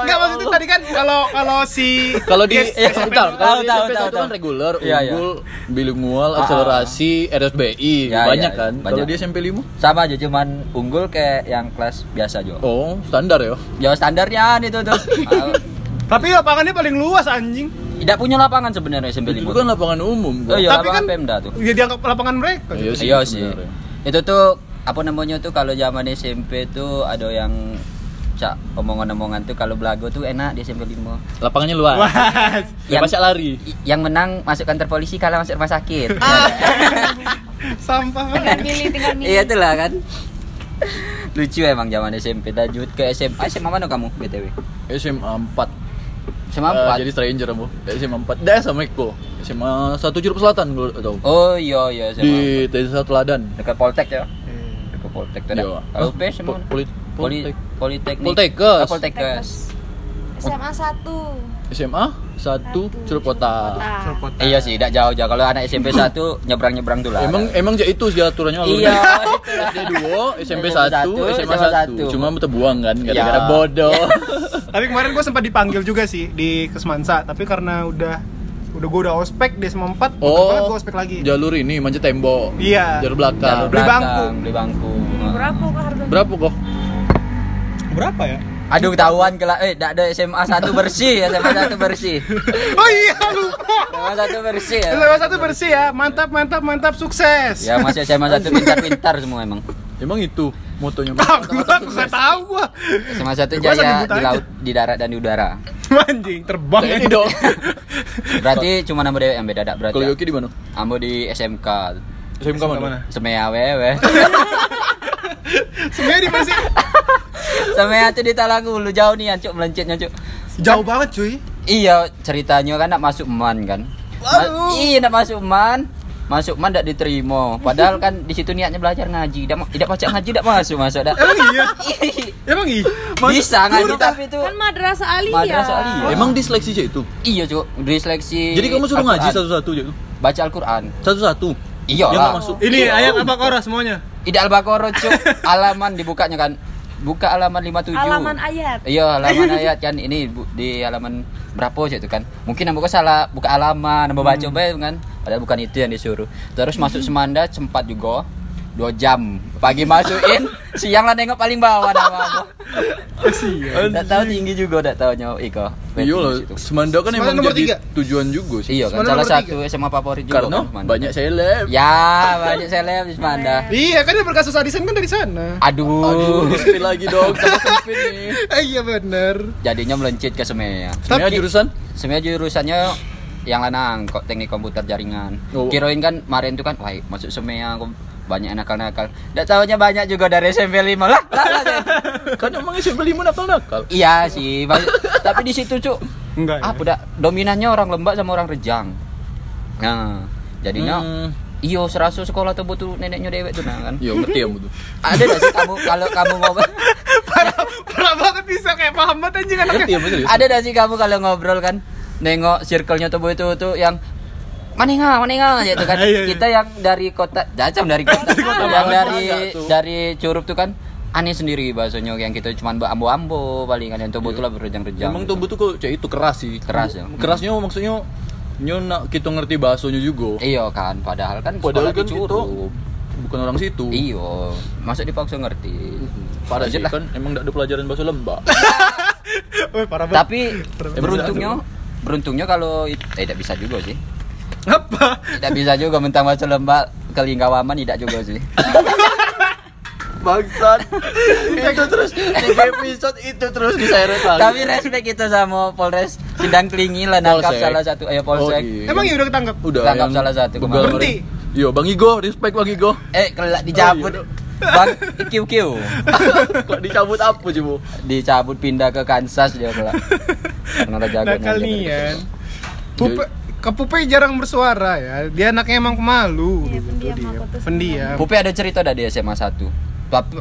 Speaker 1: Enggak Oh, maksudnya tadi kan kalau kalau si
Speaker 2: Kalau di
Speaker 1: Yes,
Speaker 3: ya,
Speaker 2: eh,
Speaker 1: SMP
Speaker 2: bentar, kalau di
Speaker 3: Tahu, tahu,
Speaker 2: SMP satu
Speaker 3: tahu,
Speaker 2: kan
Speaker 3: tahu.
Speaker 2: reguler,
Speaker 3: Iya, iya.
Speaker 2: unggul, bilingual,
Speaker 3: Ah,
Speaker 2: akselerasi, RSBI,
Speaker 3: Iya,
Speaker 2: banyak
Speaker 3: iya,
Speaker 2: kan.
Speaker 3: banyak.
Speaker 2: Kalau di SMP 5?
Speaker 3: Sama aja cuman unggul kayak yang kelas biasa aja.
Speaker 2: Oh, standar ya.
Speaker 3: Ya standarnya itu tuh. Ah,
Speaker 1: Tapi lapangannya paling luas anjing.
Speaker 3: Tidak punya lapangan sebenarnya SMP
Speaker 2: Itu
Speaker 3: 5.
Speaker 2: kan lapangan umum.
Speaker 3: Oh,
Speaker 2: kan?
Speaker 3: iya,
Speaker 1: Tapi
Speaker 3: lapangan
Speaker 1: kan-
Speaker 3: Pemda tuh.
Speaker 1: Ya dianggap lapangan mereka.
Speaker 2: Iya
Speaker 3: Iya sih.
Speaker 2: sebenarnya.
Speaker 3: Itu tuh apa namanya tuh kalau zaman SMP tuh ada yang cak omongan-omongan tuh kalau belago tuh enak di SMP 5.
Speaker 2: Lapangannya luas.
Speaker 1: Wah.
Speaker 2: Bebas ya lari.
Speaker 3: Yang menang masuk kantor polisi kalah masuk rumah sakit.
Speaker 1: Sampah
Speaker 4: Tinggal
Speaker 1: banget.
Speaker 4: milih, Ah, tinggal milih.
Speaker 3: Iya itulah kan. Lucu emang zaman SMP lanjut ke SMA. SMA mana kamu BTW?
Speaker 2: SMA 4.
Speaker 3: SMA
Speaker 2: Eh,
Speaker 3: empat.
Speaker 2: jadi stranger kamu. SMA 4. Dah sama Eko. SMA 1 Curup Selatan kalau tahu.
Speaker 3: Oh iya iya SMA.
Speaker 2: Di Desa Teladan.
Speaker 3: Dekat Poltek ya. Dekat Poltek tuh. dah.
Speaker 2: Iya.
Speaker 3: Kalau
Speaker 2: Hah?
Speaker 3: P SMA mana?
Speaker 2: Poli- Poltek.
Speaker 3: Politeknik.
Speaker 2: Poltekes.
Speaker 3: Ah, Poltekes.
Speaker 4: SMA 1.
Speaker 2: SMA 1 Curup Kota.
Speaker 4: Nah,
Speaker 1: Kota.
Speaker 3: Iya sih, tidak jauh-jauh. Kalau anak SMP 1 nyebrang-nyebrang dulu lah.
Speaker 2: Emang emang ya itu sih aturannya lalu.
Speaker 3: Iya.
Speaker 2: SD 2, SMP
Speaker 3: SMP
Speaker 2: 1,
Speaker 3: satu,
Speaker 2: SMA
Speaker 3: SMA
Speaker 2: 1. Cuma terbuang kan gara-gara
Speaker 3: Iya.
Speaker 2: bodoh.
Speaker 1: Tapi kemarin gue sempat dipanggil juga sih di Kesmansa, tapi karena udah udah gue udah ospek di SMA 4,
Speaker 3: Oh.
Speaker 1: banget gue ospek lagi.
Speaker 2: Oh, Jalur ini manjat tembok.
Speaker 1: Iya.
Speaker 2: Jalur belakang.
Speaker 3: Jalur
Speaker 1: Beli
Speaker 3: belakang,
Speaker 1: bangku.
Speaker 3: beli bangku.
Speaker 4: Berapa kok harganya?
Speaker 2: Berapa kok?
Speaker 1: Berapa ya?
Speaker 3: Aduh ketahuan kelak eh tidak ada SMA 1 bersih ya, SMA 1 bersih.
Speaker 1: Oh iya lupa.
Speaker 3: SMA 1 bersih ya.
Speaker 1: SMA satu bersih ya, mantap mantap mantap sukses.
Speaker 3: Ya masih SMA 1 pintar-pintar semua emang.
Speaker 2: Emang itu motonya.
Speaker 1: Aku aku nggak tahu gue.
Speaker 3: SMA 1
Speaker 1: Gua asal
Speaker 3: jaya
Speaker 1: nyebut
Speaker 3: di
Speaker 1: aja.
Speaker 3: laut, di darat dan di udara.
Speaker 1: Anjing terbang
Speaker 3: Iya,
Speaker 2: Ini dong.
Speaker 3: Berarti cuma nama dewe yang beda dak
Speaker 2: Kalau
Speaker 3: berarti. ya?
Speaker 2: Yoki di mana?
Speaker 3: Ambo di SMK.
Speaker 2: SMK
Speaker 1: mana?
Speaker 2: mana?
Speaker 3: Semea wewe.
Speaker 1: Sebenarnya di Persik
Speaker 3: Semea tuh di Talangulu jauh nih Cuk melencetnya Cuk.
Speaker 1: jauh banget cuy.
Speaker 3: Iya, ceritanya kan nak masuk man kan. Ma-
Speaker 1: Waduh.
Speaker 3: iya nak masuk man. Masuk man tidak diterima. Padahal kan di situ niatnya belajar ngaji. Tidak tidak baca ngaji tidak masuk masuk dah.
Speaker 1: Emang iya.
Speaker 2: Eh,
Speaker 1: Emang iya.
Speaker 3: Bisa ngaji
Speaker 1: Guru tak-
Speaker 3: tapi itu
Speaker 4: Kan madrasah aliyah. Oh,
Speaker 3: Madrasah aliyah.
Speaker 2: Emang disleksi aja itu.
Speaker 3: iya cuk disleksi.
Speaker 2: Jadi kamu suruh ngaji
Speaker 3: Al-Quran.
Speaker 2: satu-satu aja itu?
Speaker 3: baca Al-Quran.
Speaker 2: Satu-satu.
Speaker 3: Iya
Speaker 2: Dia
Speaker 3: lah.
Speaker 2: nggak masuk.
Speaker 1: Ini ayat apa kora semuanya?
Speaker 3: Tidak Al-Baqarah cuk. Alaman dibukanya kan. Buka halaman 57.
Speaker 4: Alaman ayat.
Speaker 3: Iya, halaman ayat kan ini bu- di halaman berapa sih itu kan. Mungkin nambah salah buka halaman, nambah baca bae kan. Padahal bukan itu yang disuruh. Terus masuk semanda sempat juga dua jam pagi masukin siang lah nengok paling bawah nama aku nggak tahu tinggi juga nggak tahu nyawa Iko
Speaker 2: Iya lah.
Speaker 3: Situ.
Speaker 2: Semanda kan
Speaker 1: Semanda
Speaker 2: emang
Speaker 1: nomor tiga.
Speaker 2: jadi tujuan juga sih.
Speaker 3: iya kan
Speaker 1: Semanda
Speaker 3: salah
Speaker 1: nomor
Speaker 3: satu SMA favorit juga
Speaker 2: Karena
Speaker 3: kan, Semanda.
Speaker 2: banyak seleb.
Speaker 3: ya banyak seleb di Semanda
Speaker 1: Iya kan dia berkasus adisan kan dari sana.
Speaker 3: aduh
Speaker 2: Sempit lagi dong. Sama sempit nih.
Speaker 1: Eh, Iya bener.
Speaker 3: jadinya melencet ke Semea
Speaker 2: Sebenarnya
Speaker 1: Tapi-
Speaker 2: jurusan?
Speaker 3: sebenarnya jurusannya yang lanang kok teknik komputer jaringan
Speaker 2: Oh.
Speaker 3: kirain kan kemarin tuh kan wah masuk semea kok banyak nakal-nakal Nggak tahunya banyak juga dari SMP 5 lah, lah, lah, Cek.
Speaker 2: Kan emang SMP lima nakal-nakal.
Speaker 3: iya sih banyak. tapi di situ cuk
Speaker 1: Enggak. ya?
Speaker 3: apa dah dominannya orang lembak sama orang rejang nah jadinya
Speaker 2: Hmm.
Speaker 3: iyo serasu sekolah tuh butuh neneknya dewek tuh nah kan
Speaker 2: Iya, ngerti ya itu.
Speaker 3: ada nggak sih kamu kalau kamu ngobrol
Speaker 1: parah parah banget bisa kayak paham banget anjing
Speaker 2: Ngerti
Speaker 1: anaknya.
Speaker 2: ya serius.
Speaker 3: ada nggak sih kamu kalau ngobrol kan nengok circle-nya tubuh itu tuh yang maninga maninga aja itu kan
Speaker 1: Iya, iya.
Speaker 3: kita yang dari kota jacam dari kota yang
Speaker 2: Bawah
Speaker 3: dari
Speaker 2: juga tuh.
Speaker 3: dari curup tuh kan aneh sendiri bahasanya yang kita cuman ambo-ambo palingan kan yang tubuh itu lah gitu.
Speaker 2: Iya.
Speaker 3: berjang-rejang
Speaker 2: Emang tubuh tuh kok cek itu keras sih.
Speaker 3: Keras ya.
Speaker 2: Kerasnya maksudnya nyona kita ngerti bahasanya juga.
Speaker 3: iya kan padahal kan
Speaker 2: Padahal
Speaker 3: sekolah
Speaker 2: kan
Speaker 3: di
Speaker 2: kita
Speaker 3: curup
Speaker 2: bukan orang situ.
Speaker 3: iyo masuk dipaksa ngerti
Speaker 2: Parah
Speaker 3: Lanjut
Speaker 2: sih
Speaker 3: Iya lah.
Speaker 2: kan emang enggak ada pelajaran bahasa lembah.
Speaker 1: Woi, parah banget.
Speaker 3: tapi beruntungnya beruntungnya kalau it- eh tidak bisa juga sih
Speaker 1: apa?
Speaker 3: tidak bisa juga mentang bahasa lembak kelingkawaman tidak juga sih
Speaker 2: bangsat itu terus tiga episode itu terus diseret lagi
Speaker 3: Tapi respect itu sama Polres Sindang Klingi lah nangkap
Speaker 2: Polsek.
Speaker 3: salah satu eh Polsek.
Speaker 2: iya.
Speaker 1: Emang ya udah ketangkep?
Speaker 2: udah
Speaker 3: Tangkap
Speaker 2: yang
Speaker 3: salah satu
Speaker 2: Google-
Speaker 1: kemarin. Berhenti.
Speaker 2: Yo, Bang Igo, respect Bang Igo.
Speaker 3: Eh kelak dicabut.
Speaker 2: Oh,
Speaker 3: Bang kiu kiu
Speaker 2: Kok dicabut apa sih, Bu?
Speaker 3: dicabut pindah ke Kansas dia kelak. Karena ada jagoannya
Speaker 1: Nah
Speaker 3: dia
Speaker 2: ya.
Speaker 1: kalian
Speaker 3: deket-deket.
Speaker 1: Pupe Ke Pupe jarang bersuara ya Dia anaknya emang pemalu
Speaker 4: Iya, pendiam
Speaker 1: Itu dia.
Speaker 4: aku tuh
Speaker 1: Pendiam
Speaker 3: Pupi ada cerita dah di SMA 1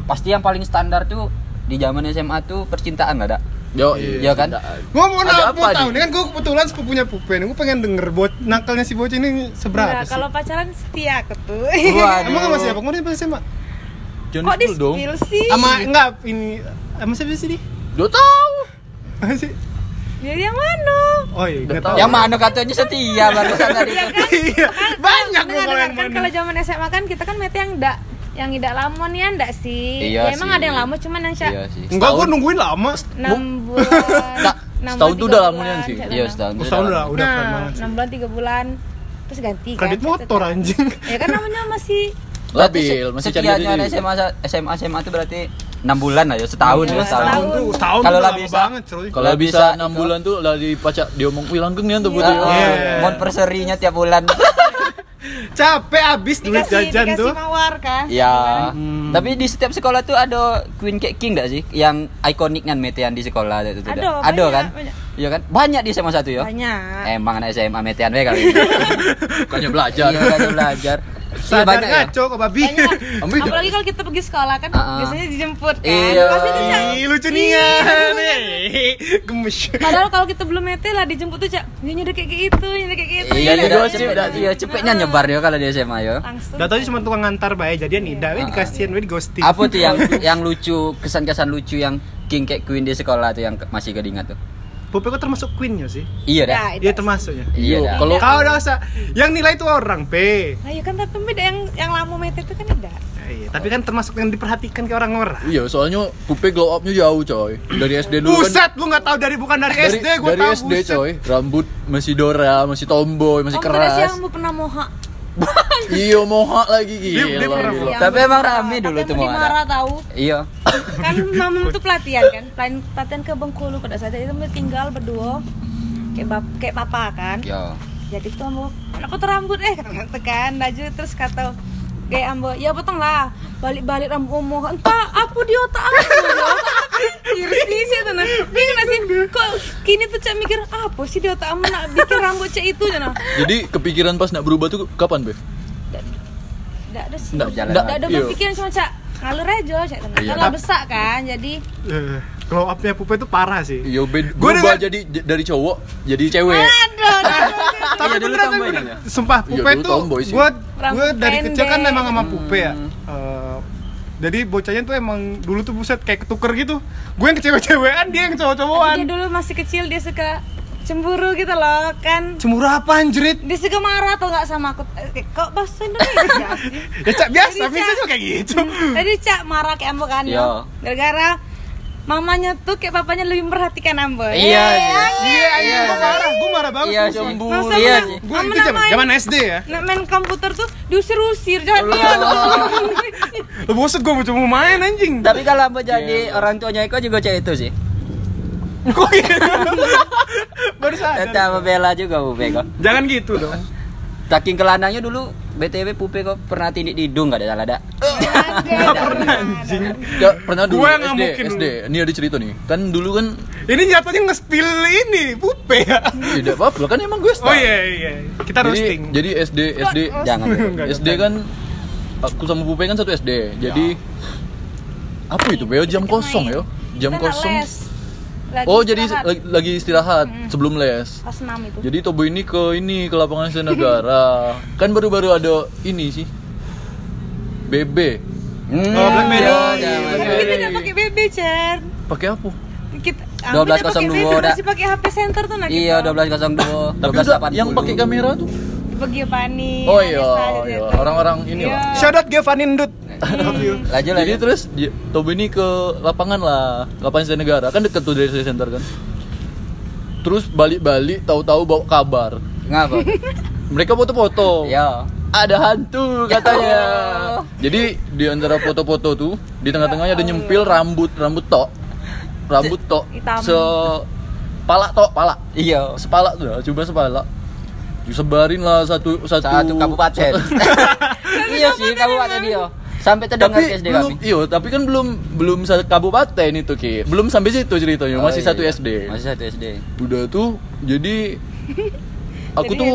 Speaker 3: Pasti yang paling standar tuh di zaman SMA tuh percintaan lah dak
Speaker 2: Yo,
Speaker 3: Iya kan?
Speaker 1: Gua mau
Speaker 2: Ada
Speaker 1: nak- mau
Speaker 2: apa
Speaker 1: tahu
Speaker 2: nih?
Speaker 1: nih kan gue kebetulan sepupunya Pupe nih Gue pengen denger buat nakalnya si bocah ini seberapa
Speaker 4: Nah,
Speaker 1: sih
Speaker 4: kalau pacaran setia aku tuh.
Speaker 2: Iya,
Speaker 3: Waduh.
Speaker 1: Emang sama siapa? Kemarin pas SMA?
Speaker 4: Kok di spill sih?
Speaker 1: Sama enggak ini Sama siapa sih di?
Speaker 2: Dua tahu.
Speaker 1: Apa sih?
Speaker 4: Jadi Ya, yang mana?
Speaker 1: Oh iya
Speaker 2: Udah
Speaker 1: nggak
Speaker 2: tahu.
Speaker 1: tahu
Speaker 3: Yang mana katanya setia barusan tadi
Speaker 4: Iya kan?
Speaker 1: Iya Banyak gua kalau
Speaker 4: Dengar dengar
Speaker 1: yang
Speaker 4: kan
Speaker 1: mana
Speaker 4: kalau zaman SMA kan kita kan mete yang ndak yang tidak lamon ya ndak sih?
Speaker 3: Iya
Speaker 4: ya, emang
Speaker 3: sih.
Speaker 4: ada yang lamo cuman yang
Speaker 3: Iya
Speaker 4: sya-
Speaker 3: sih
Speaker 1: Enggak gue nungguin lama
Speaker 4: 6 bulan.
Speaker 2: Nggak,
Speaker 4: enam
Speaker 2: setahun
Speaker 4: bulan,
Speaker 2: tuh
Speaker 4: tiga
Speaker 2: udah
Speaker 4: bulan,
Speaker 2: lamonnya sih.
Speaker 4: kayak
Speaker 3: Iya
Speaker 4: gitu.
Speaker 3: setahun
Speaker 1: Oh, setahun udah, udah keren
Speaker 4: Nah,
Speaker 1: banget sih.
Speaker 4: 6 bulan 3 bulan terus ganti kan,
Speaker 1: Kredit
Speaker 4: cet-cet.
Speaker 1: motor anjing
Speaker 4: Ya kan namanya masih
Speaker 2: Labil, masih cari
Speaker 3: Setianya
Speaker 2: diri.
Speaker 3: ada SMA sa- SMA SMA itu berarti 6 bulan lah ya setahun
Speaker 4: Iya,
Speaker 1: Setahun
Speaker 3: ya setahun
Speaker 1: tuh, setahun
Speaker 3: Kalau
Speaker 1: tuh
Speaker 3: lah
Speaker 1: lama
Speaker 3: bisa.
Speaker 1: banget cuy
Speaker 2: Kalau
Speaker 3: Kalau
Speaker 2: bisa
Speaker 3: bisa,
Speaker 2: 6
Speaker 3: Iko.
Speaker 2: bulan tuh lah dipacak dia omong "Wih, langgeng nih tuh
Speaker 4: Iya.
Speaker 2: butuh.
Speaker 1: Iya.
Speaker 3: Monversary-nya tiap bulan
Speaker 1: Capek abis duit
Speaker 4: dikasih
Speaker 1: jajan
Speaker 4: dikasih
Speaker 1: tuh
Speaker 4: mawar kan.
Speaker 3: Ya Tapi di setiap sekolah tuh ada Queen Cake King gak sih? Yang ikonik kan metean di sekolah itu tuh, dak?
Speaker 4: Ada, banyak,
Speaker 3: kan?
Speaker 4: banyak.
Speaker 3: Iya kan? Banyak di SMA 1 ya?
Speaker 4: Banyak.
Speaker 3: Emang anak SMA metean we kali
Speaker 2: Bukannya belajar.
Speaker 3: Iya, kan belajar. Iya,
Speaker 1: Sadar kan?
Speaker 3: banyak ya?
Speaker 1: ngaco kok babi
Speaker 4: Banyak.
Speaker 2: Ambil dah.
Speaker 4: Apalagi kalau kita pergi sekolah kan
Speaker 3: Ah, ah.
Speaker 4: biasanya dijemput kan.
Speaker 3: Iya.
Speaker 4: Pasti tuh Cak. Iya.
Speaker 1: Ih, lucu nih ya. Gemes.
Speaker 4: Padahal kalau kita belum mete lah dijemput tuh cak, dia nyuruh kayak gitu, nyuruh kayak gitu.
Speaker 3: Iya,
Speaker 2: Iya,
Speaker 3: iya,
Speaker 2: gosip
Speaker 3: cepet-
Speaker 2: dah.
Speaker 3: iya, cepetnya nyebar dia kalau di SMA yo.
Speaker 4: Langsung.
Speaker 1: Datanya cuma tukang ngantar bae, jadian
Speaker 4: Iya.
Speaker 1: Ida we dikasihin we digosting.
Speaker 3: Apa tuh yang yang lucu, kesan-kesan lucu yang King Cake Queen di sekolah tuh yang ke- masih kedingat tuh?
Speaker 1: Pupe kok termasuk queennya sih?
Speaker 3: Iya dah.
Speaker 4: Nah, itu.
Speaker 1: Dia termasuknya.
Speaker 3: Iya
Speaker 2: Yo,
Speaker 3: dah.
Speaker 2: kalau
Speaker 1: Kau udah usah yang nilai itu orang P.
Speaker 4: Nah, iya kan tapi beda yang yang lama mete itu kan tidak.
Speaker 1: Ya, iya, tapi kan termasuk yang diperhatikan ke orang-orang.
Speaker 2: Iya, soalnya Pupe glow up-nya jauh, coy. Dari SD dulu kan.
Speaker 1: Buset, lu nggak tahu dari bukan dari,
Speaker 2: Dari,
Speaker 1: SD, gua
Speaker 2: dari
Speaker 1: tahu.
Speaker 2: SD,
Speaker 1: buset.
Speaker 2: coy. Rambut masih Dora, masih tomboy, masih
Speaker 4: Om pernah sih yang
Speaker 2: keras.
Speaker 4: mau pernah moha.
Speaker 2: Iya, mohak lagi
Speaker 1: Dia- dia
Speaker 2: gila. Iya.
Speaker 1: pernah
Speaker 2: gila.
Speaker 1: mohak.
Speaker 3: Iya, Tapi emang rame dulu tuh
Speaker 4: mau
Speaker 3: Moha,
Speaker 4: marah tahu.
Speaker 3: Iya.
Speaker 4: Kan mamam tuh pelatihan kan, pelatihan, pelatihan ke Bengkulu pada saat itu mereka tinggal berdua kayak bap, kayak papa kan.
Speaker 3: Yo.
Speaker 4: Jadi tuh ambo, aku terambut eh kata kan, laju terus kata kayak ambo, ya potong lah, balik-balik rambut moha. Entah aku di otak aku. di otak aku. Kiri sih sih tuh nah. Bingung nggak sih kok kini tuh cak mikir apa sih di otak kamu nak bikin rambut cak itu ya nah.
Speaker 2: Jadi kepikiran pas nak berubah tuh kapan, Be?
Speaker 4: Nggak ada sih.
Speaker 2: Nggak
Speaker 4: Nggak
Speaker 3: jalan.
Speaker 4: ada
Speaker 2: Iya.
Speaker 4: berpikiran cuma cak ngalur aja cak tenang.
Speaker 2: Iya.
Speaker 4: Kalau besar kan jadi
Speaker 1: Eh, glow up-nya Pupe itu parah sih.
Speaker 2: Yo, Iya, Be,
Speaker 1: Gua
Speaker 2: berubah
Speaker 1: dengar-
Speaker 2: jadi j- dari cowok jadi cewek.
Speaker 4: aduh.
Speaker 1: tapi
Speaker 2: Iya,
Speaker 1: beneran tapi
Speaker 2: dulu tomboy
Speaker 1: beneran.
Speaker 2: kan ya?
Speaker 1: sumpah Pupe
Speaker 2: Iya, dulu
Speaker 1: tuh
Speaker 2: tomboy sih. Hmm.
Speaker 1: gue gue
Speaker 4: Rambut
Speaker 1: dari kecil kan
Speaker 4: pendek.
Speaker 1: emang sama Pupe ya Eh, jadi bocahnya tuh emang dulu tuh buset kayak ketuker gitu gue yang kecewe-cewean dia yang cowok-cowokan
Speaker 3: Iya,
Speaker 4: Dia dulu masih kecil dia suka cemburu gitu loh kan.
Speaker 1: cemburu apa anjrit
Speaker 4: Dia suka marah tau nggak sama aku. Eh, Kok bahasa Indonesia sih?
Speaker 1: ya cak biasa
Speaker 4: Jadi, Cak.
Speaker 1: bisa juga kayak gitu
Speaker 4: Tadi Cak marah kayak Ambo kan.
Speaker 3: Iya.
Speaker 4: no? Gara-gara mamanya tuh kayak papanya lebih memperhatikan Ambo.
Speaker 3: Iya. iya.
Speaker 1: iya iya gue marah gue marah banget
Speaker 3: Iya,
Speaker 1: sama
Speaker 3: cemburu.
Speaker 4: Masa
Speaker 3: Iya,
Speaker 4: menang-
Speaker 3: sih.
Speaker 1: gue
Speaker 4: Ambo
Speaker 1: itu zaman
Speaker 4: namain-
Speaker 1: zaman SD ya
Speaker 4: Nah, main komputer tuh diusir-usir jangan dia.
Speaker 1: Lu boset gue mau cuma main anjing
Speaker 3: Tapi kalau apa
Speaker 2: Iya,
Speaker 3: jadi orang tuanya Eko juga cewek itu sih.
Speaker 1: kok gitu baru
Speaker 3: Tete
Speaker 1: sadar
Speaker 3: Eh, sama Bella juga Pupe kok.
Speaker 1: jangan gitu dong
Speaker 3: Taking celananya dulu BTW Pupe kok pernah tindik di hidung gak ada salah dak?
Speaker 4: Enggak pernah anjing.
Speaker 2: Ya, pernah dulu
Speaker 1: Gua
Speaker 2: SD,
Speaker 1: nggak mungkin
Speaker 2: SD. Ini ada cerita nih. Kan dulu kan
Speaker 1: ini jatuhnya nge-spill ini Pupe ya
Speaker 2: tidak apa-apa kan emang gue
Speaker 1: oh
Speaker 2: star.
Speaker 1: iya iya kita
Speaker 2: Jadi,
Speaker 1: roasting
Speaker 2: jadi SD SD
Speaker 3: Jangan.
Speaker 1: Enggak,
Speaker 2: SD kan aku sama Pupe kan satu SD. Jadi apa itu Beo jam kosong ya? Jam
Speaker 4: Kita nak
Speaker 2: kosong.
Speaker 4: les. Lagi
Speaker 2: Oh jadi
Speaker 4: istirahat.
Speaker 2: lagi,
Speaker 4: Hmm.
Speaker 2: lagi istirahat sebelum les.
Speaker 4: kelas 6 itu.
Speaker 2: Jadi Tobo ini ke ini ke lapangan Senegara. kan baru-baru ada ini sih. BB.
Speaker 3: Hmm.
Speaker 1: Oh, Blackberry.
Speaker 3: iya, jangan.
Speaker 4: Tapi kita nggak pakai BB, Cer.
Speaker 2: Pakai apa?
Speaker 4: Kita
Speaker 3: 12.02
Speaker 4: 1202
Speaker 3: dah.
Speaker 4: masih pakai HP center tuh nah.
Speaker 3: Iya
Speaker 4: kita.
Speaker 3: 1202
Speaker 2: Tapi udah, yang pakai kamera tuh.
Speaker 4: Bagi Pani.
Speaker 2: Oh iya,
Speaker 4: Anissa,
Speaker 2: iya.
Speaker 4: gitu.
Speaker 2: orang-orang ini
Speaker 4: Iya.
Speaker 2: lah.
Speaker 1: Shout out Giovanni Ndut. Love you.
Speaker 3: Laju
Speaker 2: Jadi
Speaker 3: laju.
Speaker 2: terus dia, Tobi ini ke lapangan lah, lapangan Senegara kan deket tuh dari Sri Center kan. Terus balik-balik tahu-tahu bawa kabar.
Speaker 3: Ngapa?
Speaker 2: Mereka foto-foto.
Speaker 3: Iya.
Speaker 2: ada hantu katanya. Jadi di antara foto-foto tuh di tengah-tengahnya ada nyempil rambut rambut tok, rambut tok,
Speaker 4: Hitam.
Speaker 2: se palak tok palak,
Speaker 3: Iya.
Speaker 2: sepalak tuh, coba sepalak. Disebarin lah satu satu,
Speaker 3: Satu kabupaten. iya sih kabupaten iya. Sampai terdengar
Speaker 2: tapi
Speaker 3: ke SD
Speaker 2: belum,
Speaker 3: kami.
Speaker 2: iyo, tapi kan belum belum satu kabupaten itu ki, belum sampai situ ceritanya,
Speaker 3: Oh,
Speaker 2: masih
Speaker 3: iya.
Speaker 2: satu SD.
Speaker 3: Masih satu SD.
Speaker 2: Udah tuh, jadi aku
Speaker 4: Jadi
Speaker 2: tuh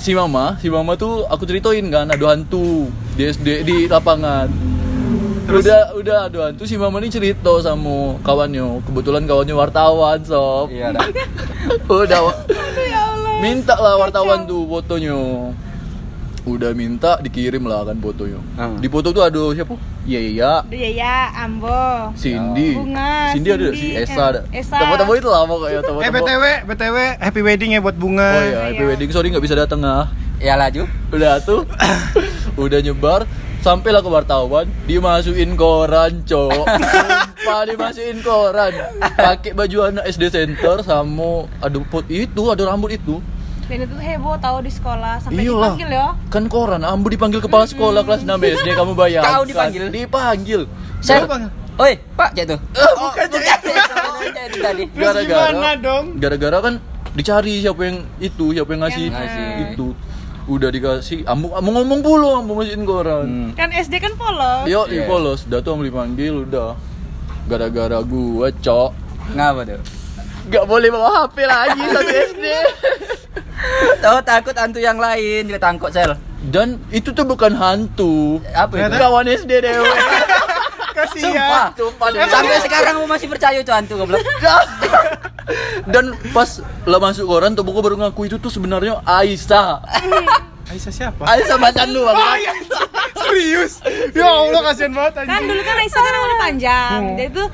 Speaker 2: si mama, si mama tuh aku ceritain kan ada hantu di SD di lapangan. Udah udah ada hantu si mama ini cerita sama kawannya. Kebetulan kawannya wartawan, sob.
Speaker 3: Iya dah.
Speaker 2: Udah wa-
Speaker 4: ya Allah
Speaker 2: minta lah wartawan tuh fotonya. Udah minta dikirim lah kan fotonya.
Speaker 3: Hmm.
Speaker 2: Di foto tuh ada siapa? Iya iya.
Speaker 4: Aduh, ya ya Ambo
Speaker 2: Cindy.
Speaker 4: Oh, Bunga,
Speaker 2: Cindy, ada
Speaker 4: Cindy,
Speaker 2: si
Speaker 4: eh,
Speaker 2: Esa ada.
Speaker 4: Esa.
Speaker 2: Temu-temu itu lah pokoknya temu
Speaker 1: Eh BTW, BTW happy wedding ya buat Bunga.
Speaker 2: Oh iya, happy
Speaker 4: Iya.
Speaker 2: wedding sorry nggak bisa datang ah.
Speaker 3: Ya laju.
Speaker 2: udah tuh udah nyebar sampailah ke wartawan dimasukin koran cok sumpah dimasukin koran pakai baju anak SD center sama ada pot itu ada rambut itu
Speaker 4: Dan itu tuh heboh tau di sekolah Sampai
Speaker 2: Iyalah.
Speaker 4: dipanggil ya
Speaker 2: kan koran ambu dipanggil kepala sekolah kelas 6 SD kamu bayangkan
Speaker 3: Kau dipanggil?
Speaker 2: dipanggil
Speaker 1: Apa,
Speaker 3: Saya.
Speaker 1: Bang?
Speaker 3: Oi, Pak jatuh. Oh,
Speaker 2: Eh, bukan
Speaker 3: Bukan saya itu tadi.
Speaker 1: Terus gimana dong?
Speaker 2: gara-gara kan dicari siapa yang itu siapa yang ngasih
Speaker 4: Yang ngasih.
Speaker 2: itu udah dikasih ambu ambu ngomong dulu ambu masukin koran
Speaker 3: Hmm.
Speaker 4: Kan SD kan polos
Speaker 2: Yo, di
Speaker 3: Iya.
Speaker 2: polos, dah tuh beli panggil udah. Gara-gara gua, cok.
Speaker 3: Ngapa tuh?
Speaker 2: Gak boleh bawa HP lagi satu SD.
Speaker 3: Tahu takut hantu yang lain di tangkut sel.
Speaker 2: Dan itu tuh bukan hantu.
Speaker 3: Apa itu?
Speaker 1: Ternyata-
Speaker 2: Kawan SD dewe.
Speaker 3: Sumpah,
Speaker 1: Kasihan.
Speaker 3: sumpah demi- Sampai sekarang gua masih percaya itu hantu goblok.
Speaker 2: Dan pas lah masuk koran, tuh gua baru ngaku itu tuh sebenarnya Aisyah.
Speaker 1: Aisyah siapa?
Speaker 2: Aisyah macan lu, Bang.
Speaker 1: Ah, ya, serius. Ya Allah kasihan banget
Speaker 4: Kan
Speaker 1: anjing.
Speaker 4: dulu kan Aisyah kan rambutnya panjang
Speaker 3: Hmm.
Speaker 4: Jadi tuh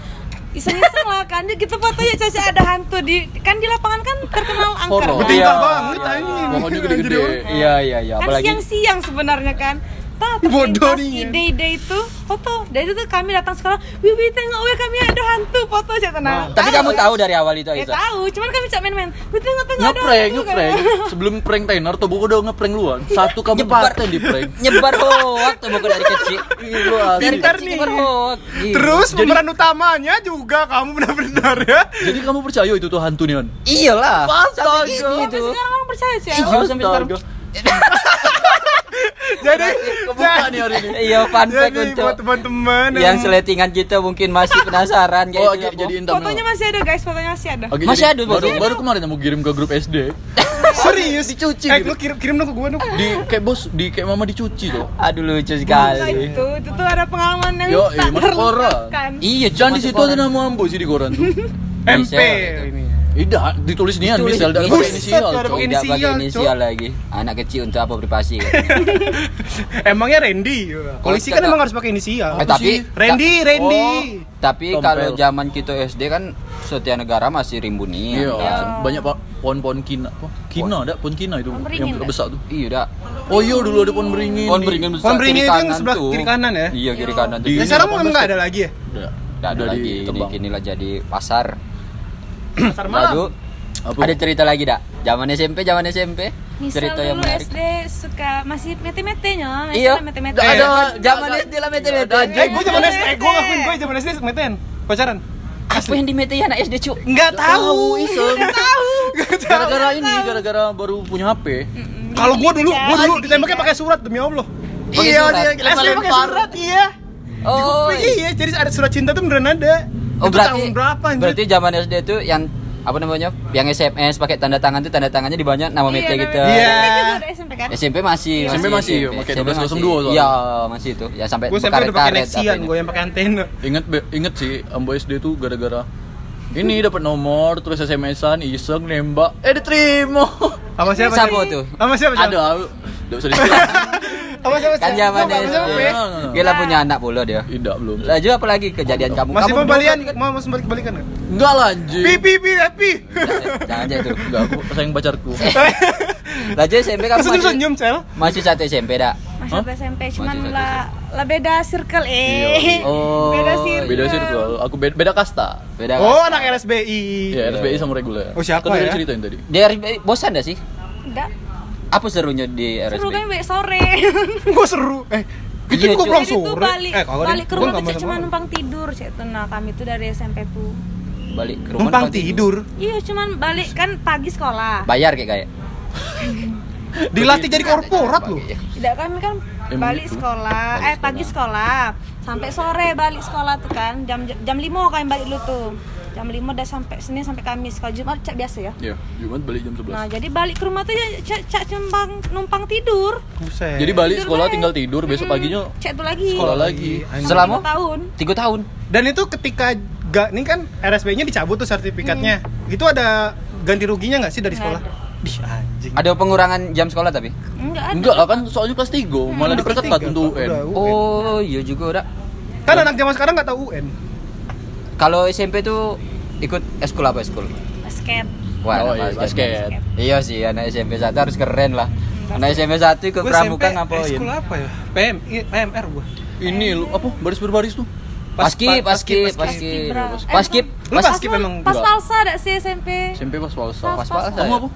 Speaker 4: iseng-iseng lah kan Dia Kita foto ya Caca ada hantu di Kan di lapangan kan terkenal angker
Speaker 2: Horor.
Speaker 4: kan?
Speaker 1: Betinta
Speaker 3: Iya,
Speaker 1: banget
Speaker 3: iya.
Speaker 1: anjing.
Speaker 2: Pohonnya gede-gede.
Speaker 1: Jadi orang-
Speaker 3: Iya, iya, iya.
Speaker 4: kan
Speaker 3: Apalagi ya.
Speaker 4: siang-siang sebenarnya kan tapi
Speaker 1: Bodoh
Speaker 4: pas
Speaker 1: nih.
Speaker 4: ide-ide itu foto dari itu tuh kami datang sekolah wiwi tengok wih kami ada hantu foto aja tenang
Speaker 3: Hmm. tapi kamu tahu dari awal itu
Speaker 4: ya
Speaker 3: Aisyah.
Speaker 4: tahu cuman kami cak main-main wih tengok tengok ada
Speaker 2: Ngeprank,
Speaker 4: hantu," kan.
Speaker 2: ngeprank. Sebelum prank Tainer, tuh gua udah ngeprank luan. Satu
Speaker 3: Nyebar
Speaker 2: kabupaten di prank. Iya,
Speaker 3: Nyebar hoax tuh buku dari kecil. Dari
Speaker 1: Pintar
Speaker 3: kecil
Speaker 1: nih.
Speaker 3: nyebar Iya. hoax. Gila.
Speaker 1: Terus pemeran utamanya juga kamu benar-benar ya.
Speaker 2: Jadi kamu percaya itu tuh hantu nih, An?
Speaker 3: Iyalah.
Speaker 2: Astaga.
Speaker 3: Sampai gitu
Speaker 4: sampai
Speaker 3: itu.
Speaker 4: sekarang orang percaya sih
Speaker 3: Iya, sampai sekarang.
Speaker 2: Astaga.
Speaker 1: Jadi
Speaker 2: Kebuka nih hari ini.
Speaker 3: Iya, fun fact
Speaker 1: Jadi
Speaker 3: untuk
Speaker 1: buat teman-teman
Speaker 3: yang seletingan kita mungkin masih penasaran kayak gitu.
Speaker 2: Oh,
Speaker 3: itu,
Speaker 2: oke,
Speaker 3: Bang.
Speaker 2: jadi thumbnail.
Speaker 4: fotonya masih ada guys fotonya masih ada
Speaker 2: Oke,
Speaker 3: Masih
Speaker 2: jadi
Speaker 3: ada
Speaker 2: baru,
Speaker 3: fotonya?
Speaker 2: baru kemarin mau kirim ke grup SD
Speaker 1: serius
Speaker 2: dicuci
Speaker 1: Eh,
Speaker 2: gitu.
Speaker 1: lu kirim kirim dong ke gua dong.
Speaker 2: di kayak bos di kayak mama dicuci tuh.
Speaker 3: Aduh lucu
Speaker 4: Nah,
Speaker 3: sekali.
Speaker 4: itu itu tuh ada pengalaman yang
Speaker 2: Yo,
Speaker 4: tak
Speaker 2: iya, masuk
Speaker 4: terlupakan
Speaker 3: Iya,
Speaker 2: Dan di
Speaker 3: cuma
Speaker 2: situ ada
Speaker 3: sekolah.
Speaker 2: nama Ambo sih di koran tuh.
Speaker 1: MP
Speaker 3: Inisial.
Speaker 1: ini.
Speaker 2: Tidak, ditulis Nian
Speaker 3: Ditulis.
Speaker 2: misal dan
Speaker 3: Buset,
Speaker 2: pakai Kan inisial.
Speaker 1: ada
Speaker 2: Cok.
Speaker 1: pakai
Speaker 3: Tidak pakai
Speaker 1: Inisial,
Speaker 3: inisial lagi. Anak kecil untuk apa privasi? kan? katanya.
Speaker 1: Emangnya Randy. Polisi kan
Speaker 3: kata-
Speaker 1: emang harus pakai inisial.
Speaker 3: Eh, tapi
Speaker 1: Randy, Randy.
Speaker 3: Tapi
Speaker 2: Tompel.
Speaker 3: kalau zaman kita SD kan setiap negara masih rimbuni.
Speaker 2: Iya,
Speaker 3: Kan?
Speaker 2: banyak pak pohon-pohon kina, apa? kina ada pohon kina itu
Speaker 4: Pohon beringin
Speaker 2: yang
Speaker 4: nggak?
Speaker 2: besar tuh.
Speaker 3: Iya, dak.
Speaker 2: Oh iya dulu ada pohon beringin.
Speaker 3: Pohon
Speaker 2: di-
Speaker 3: beringin besar
Speaker 1: Pohon beringin
Speaker 3: kiri
Speaker 1: itu yang
Speaker 3: kanan
Speaker 1: sebelah
Speaker 3: tuh.
Speaker 1: kiri kanan ya?
Speaker 3: Iya, kiri kanan. tuh.
Speaker 1: Ya
Speaker 2: Di- Ini
Speaker 1: sekarang emang
Speaker 2: 18
Speaker 1: nggak ada lagi ya?
Speaker 2: Udah,
Speaker 3: Nggak ada
Speaker 2: udah
Speaker 3: lagi. Ini
Speaker 2: ditebang.
Speaker 3: kini lah jadi pasar.
Speaker 1: Pasar
Speaker 3: Lalu
Speaker 1: malam.
Speaker 2: Apa?
Speaker 3: ada cerita lagi dak? Zaman SMP, zaman SMP.
Speaker 4: Misal
Speaker 3: cerita yang
Speaker 4: dulu
Speaker 3: menarik.
Speaker 4: SD suka masih mete-metenya, masih
Speaker 3: Iya.
Speaker 4: ada mete-mete.
Speaker 3: Nggak Ada
Speaker 2: Eh,
Speaker 3: zaman
Speaker 2: nggak-
Speaker 3: SD lah mete-mete.
Speaker 2: nggak ada.
Speaker 1: Eh, gua zaman SD, eh, gua ngakuin gua zaman SD meten. Pacaran.
Speaker 3: Apa yang dimete anak SD, Cuk?
Speaker 1: Enggak
Speaker 2: Tahu,
Speaker 1: tahu.
Speaker 2: iseng.
Speaker 1: Tahu.
Speaker 2: Gara-gara ini, gara-gara baru punya HP.
Speaker 1: Kalau gua dulu, gua dulu
Speaker 4: Dikejar.
Speaker 1: ditembaknya pakai surat demi Allah.
Speaker 3: Pakai surat?
Speaker 1: SD pakai
Speaker 2: Lempar-lempar.
Speaker 1: surat, iya.
Speaker 3: Oh.
Speaker 1: Iya, jadi ada surat cinta tuh beneran ada.
Speaker 3: Oh,
Speaker 1: Itu
Speaker 3: berarti
Speaker 1: tahun berapa anjir?
Speaker 3: Berarti zaman SD itu yang apa namanya? Yang SMS pakai tanda tangan tuh tanda tangannya dibanyak nama
Speaker 4: Iya,
Speaker 3: mete gitu.
Speaker 1: Iya.
Speaker 4: namanya juga ada SMP kan?
Speaker 3: SMP masih,
Speaker 2: SMP masih, pakai 1202 soalnya.
Speaker 3: Iya, masih itu. Ya sampai
Speaker 1: Gua sampai udah pakai
Speaker 3: berkaret-karet
Speaker 1: Nexian,
Speaker 3: apanya.
Speaker 1: gua yang pakai antena.
Speaker 2: Ingat be- ingat sih Ambo SD tuh gara-gara ini dapat nomor terus SMS-an iseng nembak eh diterima.
Speaker 1: Sama siapa?
Speaker 3: Siapa
Speaker 1: Cik?
Speaker 3: tuh?
Speaker 1: Sama siapa? Cik?
Speaker 2: Ada enggak bisa disebutin.
Speaker 1: Sama siapa?
Speaker 3: Kan
Speaker 1: Cik?
Speaker 3: zaman
Speaker 1: Sama
Speaker 3: SD.
Speaker 1: siapa, ya. Pe?
Speaker 2: Iya.
Speaker 3: Gila punya anak pula dia.
Speaker 2: Tidak belum.
Speaker 3: Laju apa lagi kejadian kamu?
Speaker 1: Masih
Speaker 3: kamu
Speaker 1: mau balian,
Speaker 3: dulu kan-
Speaker 1: mau masih balik balikan nggak?
Speaker 2: Enggak lah
Speaker 4: Iya.
Speaker 2: anjing.
Speaker 1: Pi pi pi pi.
Speaker 3: kan? Jangan aja itu.
Speaker 2: Enggak aku sayang pacarku.
Speaker 3: Laju SMP kamu
Speaker 1: Senyum
Speaker 3: masih
Speaker 1: senyum sel.
Speaker 3: masih satu SMP dak.
Speaker 4: Masih
Speaker 2: Hah?
Speaker 4: satu SMP, cuman
Speaker 3: Masih satu
Speaker 4: lah lah beda circle eh.
Speaker 2: Iya.
Speaker 3: Oh,
Speaker 4: beda circle.
Speaker 2: Beda circle, aku beda, beda kasta.
Speaker 3: Beda.
Speaker 1: Oh
Speaker 3: kan?
Speaker 1: anak RSBI.
Speaker 4: Iya,
Speaker 2: Ya, RSBI sama reguler.
Speaker 1: Oh, siapa
Speaker 2: kan udah
Speaker 1: ya?
Speaker 2: ceritain tadi.
Speaker 3: Dia RB bosan dah sih?
Speaker 4: Enggak.
Speaker 3: apa serunya di
Speaker 4: seru kan
Speaker 3: RSB
Speaker 4: baik sore
Speaker 1: Gua seru. Eh, itu
Speaker 3: Iya,
Speaker 1: gua
Speaker 3: cuy.
Speaker 1: pulang
Speaker 4: jadi tuh
Speaker 1: sore.
Speaker 4: balik
Speaker 1: Eh, kagak deh.
Speaker 4: balik ke
Speaker 1: Gua
Speaker 4: rumah
Speaker 1: nggak
Speaker 4: tuh cek
Speaker 1: mau
Speaker 4: cuma
Speaker 1: sama-
Speaker 4: numpang tidur cek tuh nah kami tuh dari SMP pu
Speaker 3: balik ke rumah
Speaker 1: Numpang
Speaker 3: nanti.
Speaker 1: tidur.
Speaker 4: iya cuman balik kan pagi sekolah
Speaker 3: bayar kayak kayak
Speaker 1: Dilatih jadi korporat lu.
Speaker 4: tidak kami kan
Speaker 2: Emang
Speaker 4: balik
Speaker 2: gitu?
Speaker 4: sekolah eh pagi sekolah sampai sore balik sekolah tuh kan jam jam lima kami balik dulu tuh jam lima udah sampai senin sampai kamis kalau jumat cek biasa ya
Speaker 2: Iya, Jumat balik jam 11.
Speaker 4: nah jadi balik ke rumah tuh ya cek cek numpang numpang tidur
Speaker 1: Buset.
Speaker 2: Jadi balik
Speaker 4: Tidur
Speaker 2: sekolah
Speaker 4: balik.
Speaker 2: tinggal tidur, besok
Speaker 4: Mm-mm.
Speaker 2: paginya
Speaker 4: cek tuh lagi
Speaker 2: sekolah lagi.
Speaker 1: Iya, Anjing.
Speaker 3: selama
Speaker 4: Tiga tahun.
Speaker 3: tiga tahun
Speaker 1: Dan itu ketika ga, ini kan RSB-nya dicabut tuh sertifikatnya. Itu ada ganti ruginya nggak sih dari
Speaker 4: Iya. Nggak
Speaker 1: sekolah?
Speaker 4: ada.
Speaker 1: Dih anjing.
Speaker 3: ada pengurangan jam sekolah tapi
Speaker 4: enggak ada
Speaker 2: Enggak lah kan soalnya kelas 3 malah diperketat
Speaker 1: Hmm, Tiga,
Speaker 2: untuk
Speaker 1: udah
Speaker 2: UN.
Speaker 1: UN.
Speaker 3: oh iya juga udah
Speaker 1: Kan anak zaman sekarang nggak tahu UN.
Speaker 3: kalau SMP tuh ikut eskul apa eskul
Speaker 4: basket
Speaker 3: Wah,
Speaker 2: Oh,
Speaker 3: anak
Speaker 2: iya, basket.
Speaker 3: Iya sih, anak SMP 1 harus keren lah. Anak SMP 1 ikut pramuka ngapain?
Speaker 5: Sekolah apa ya? PM, i- PMR gua.
Speaker 2: Ini lu apa baris berbaris tuh?
Speaker 3: Paskib,
Speaker 5: pas-
Speaker 3: paskib,
Speaker 4: Paskibra.
Speaker 3: paskib.
Speaker 4: Eh, bukan.
Speaker 3: Paskib,
Speaker 1: Lu
Speaker 3: pas-
Speaker 1: paskib emang
Speaker 4: pas
Speaker 2: enggak.
Speaker 4: salsa ada sih SMP
Speaker 2: SMP pas
Speaker 4: Pas-
Speaker 2: palsa.
Speaker 4: pas-
Speaker 3: pas-
Speaker 2: Kamu apa?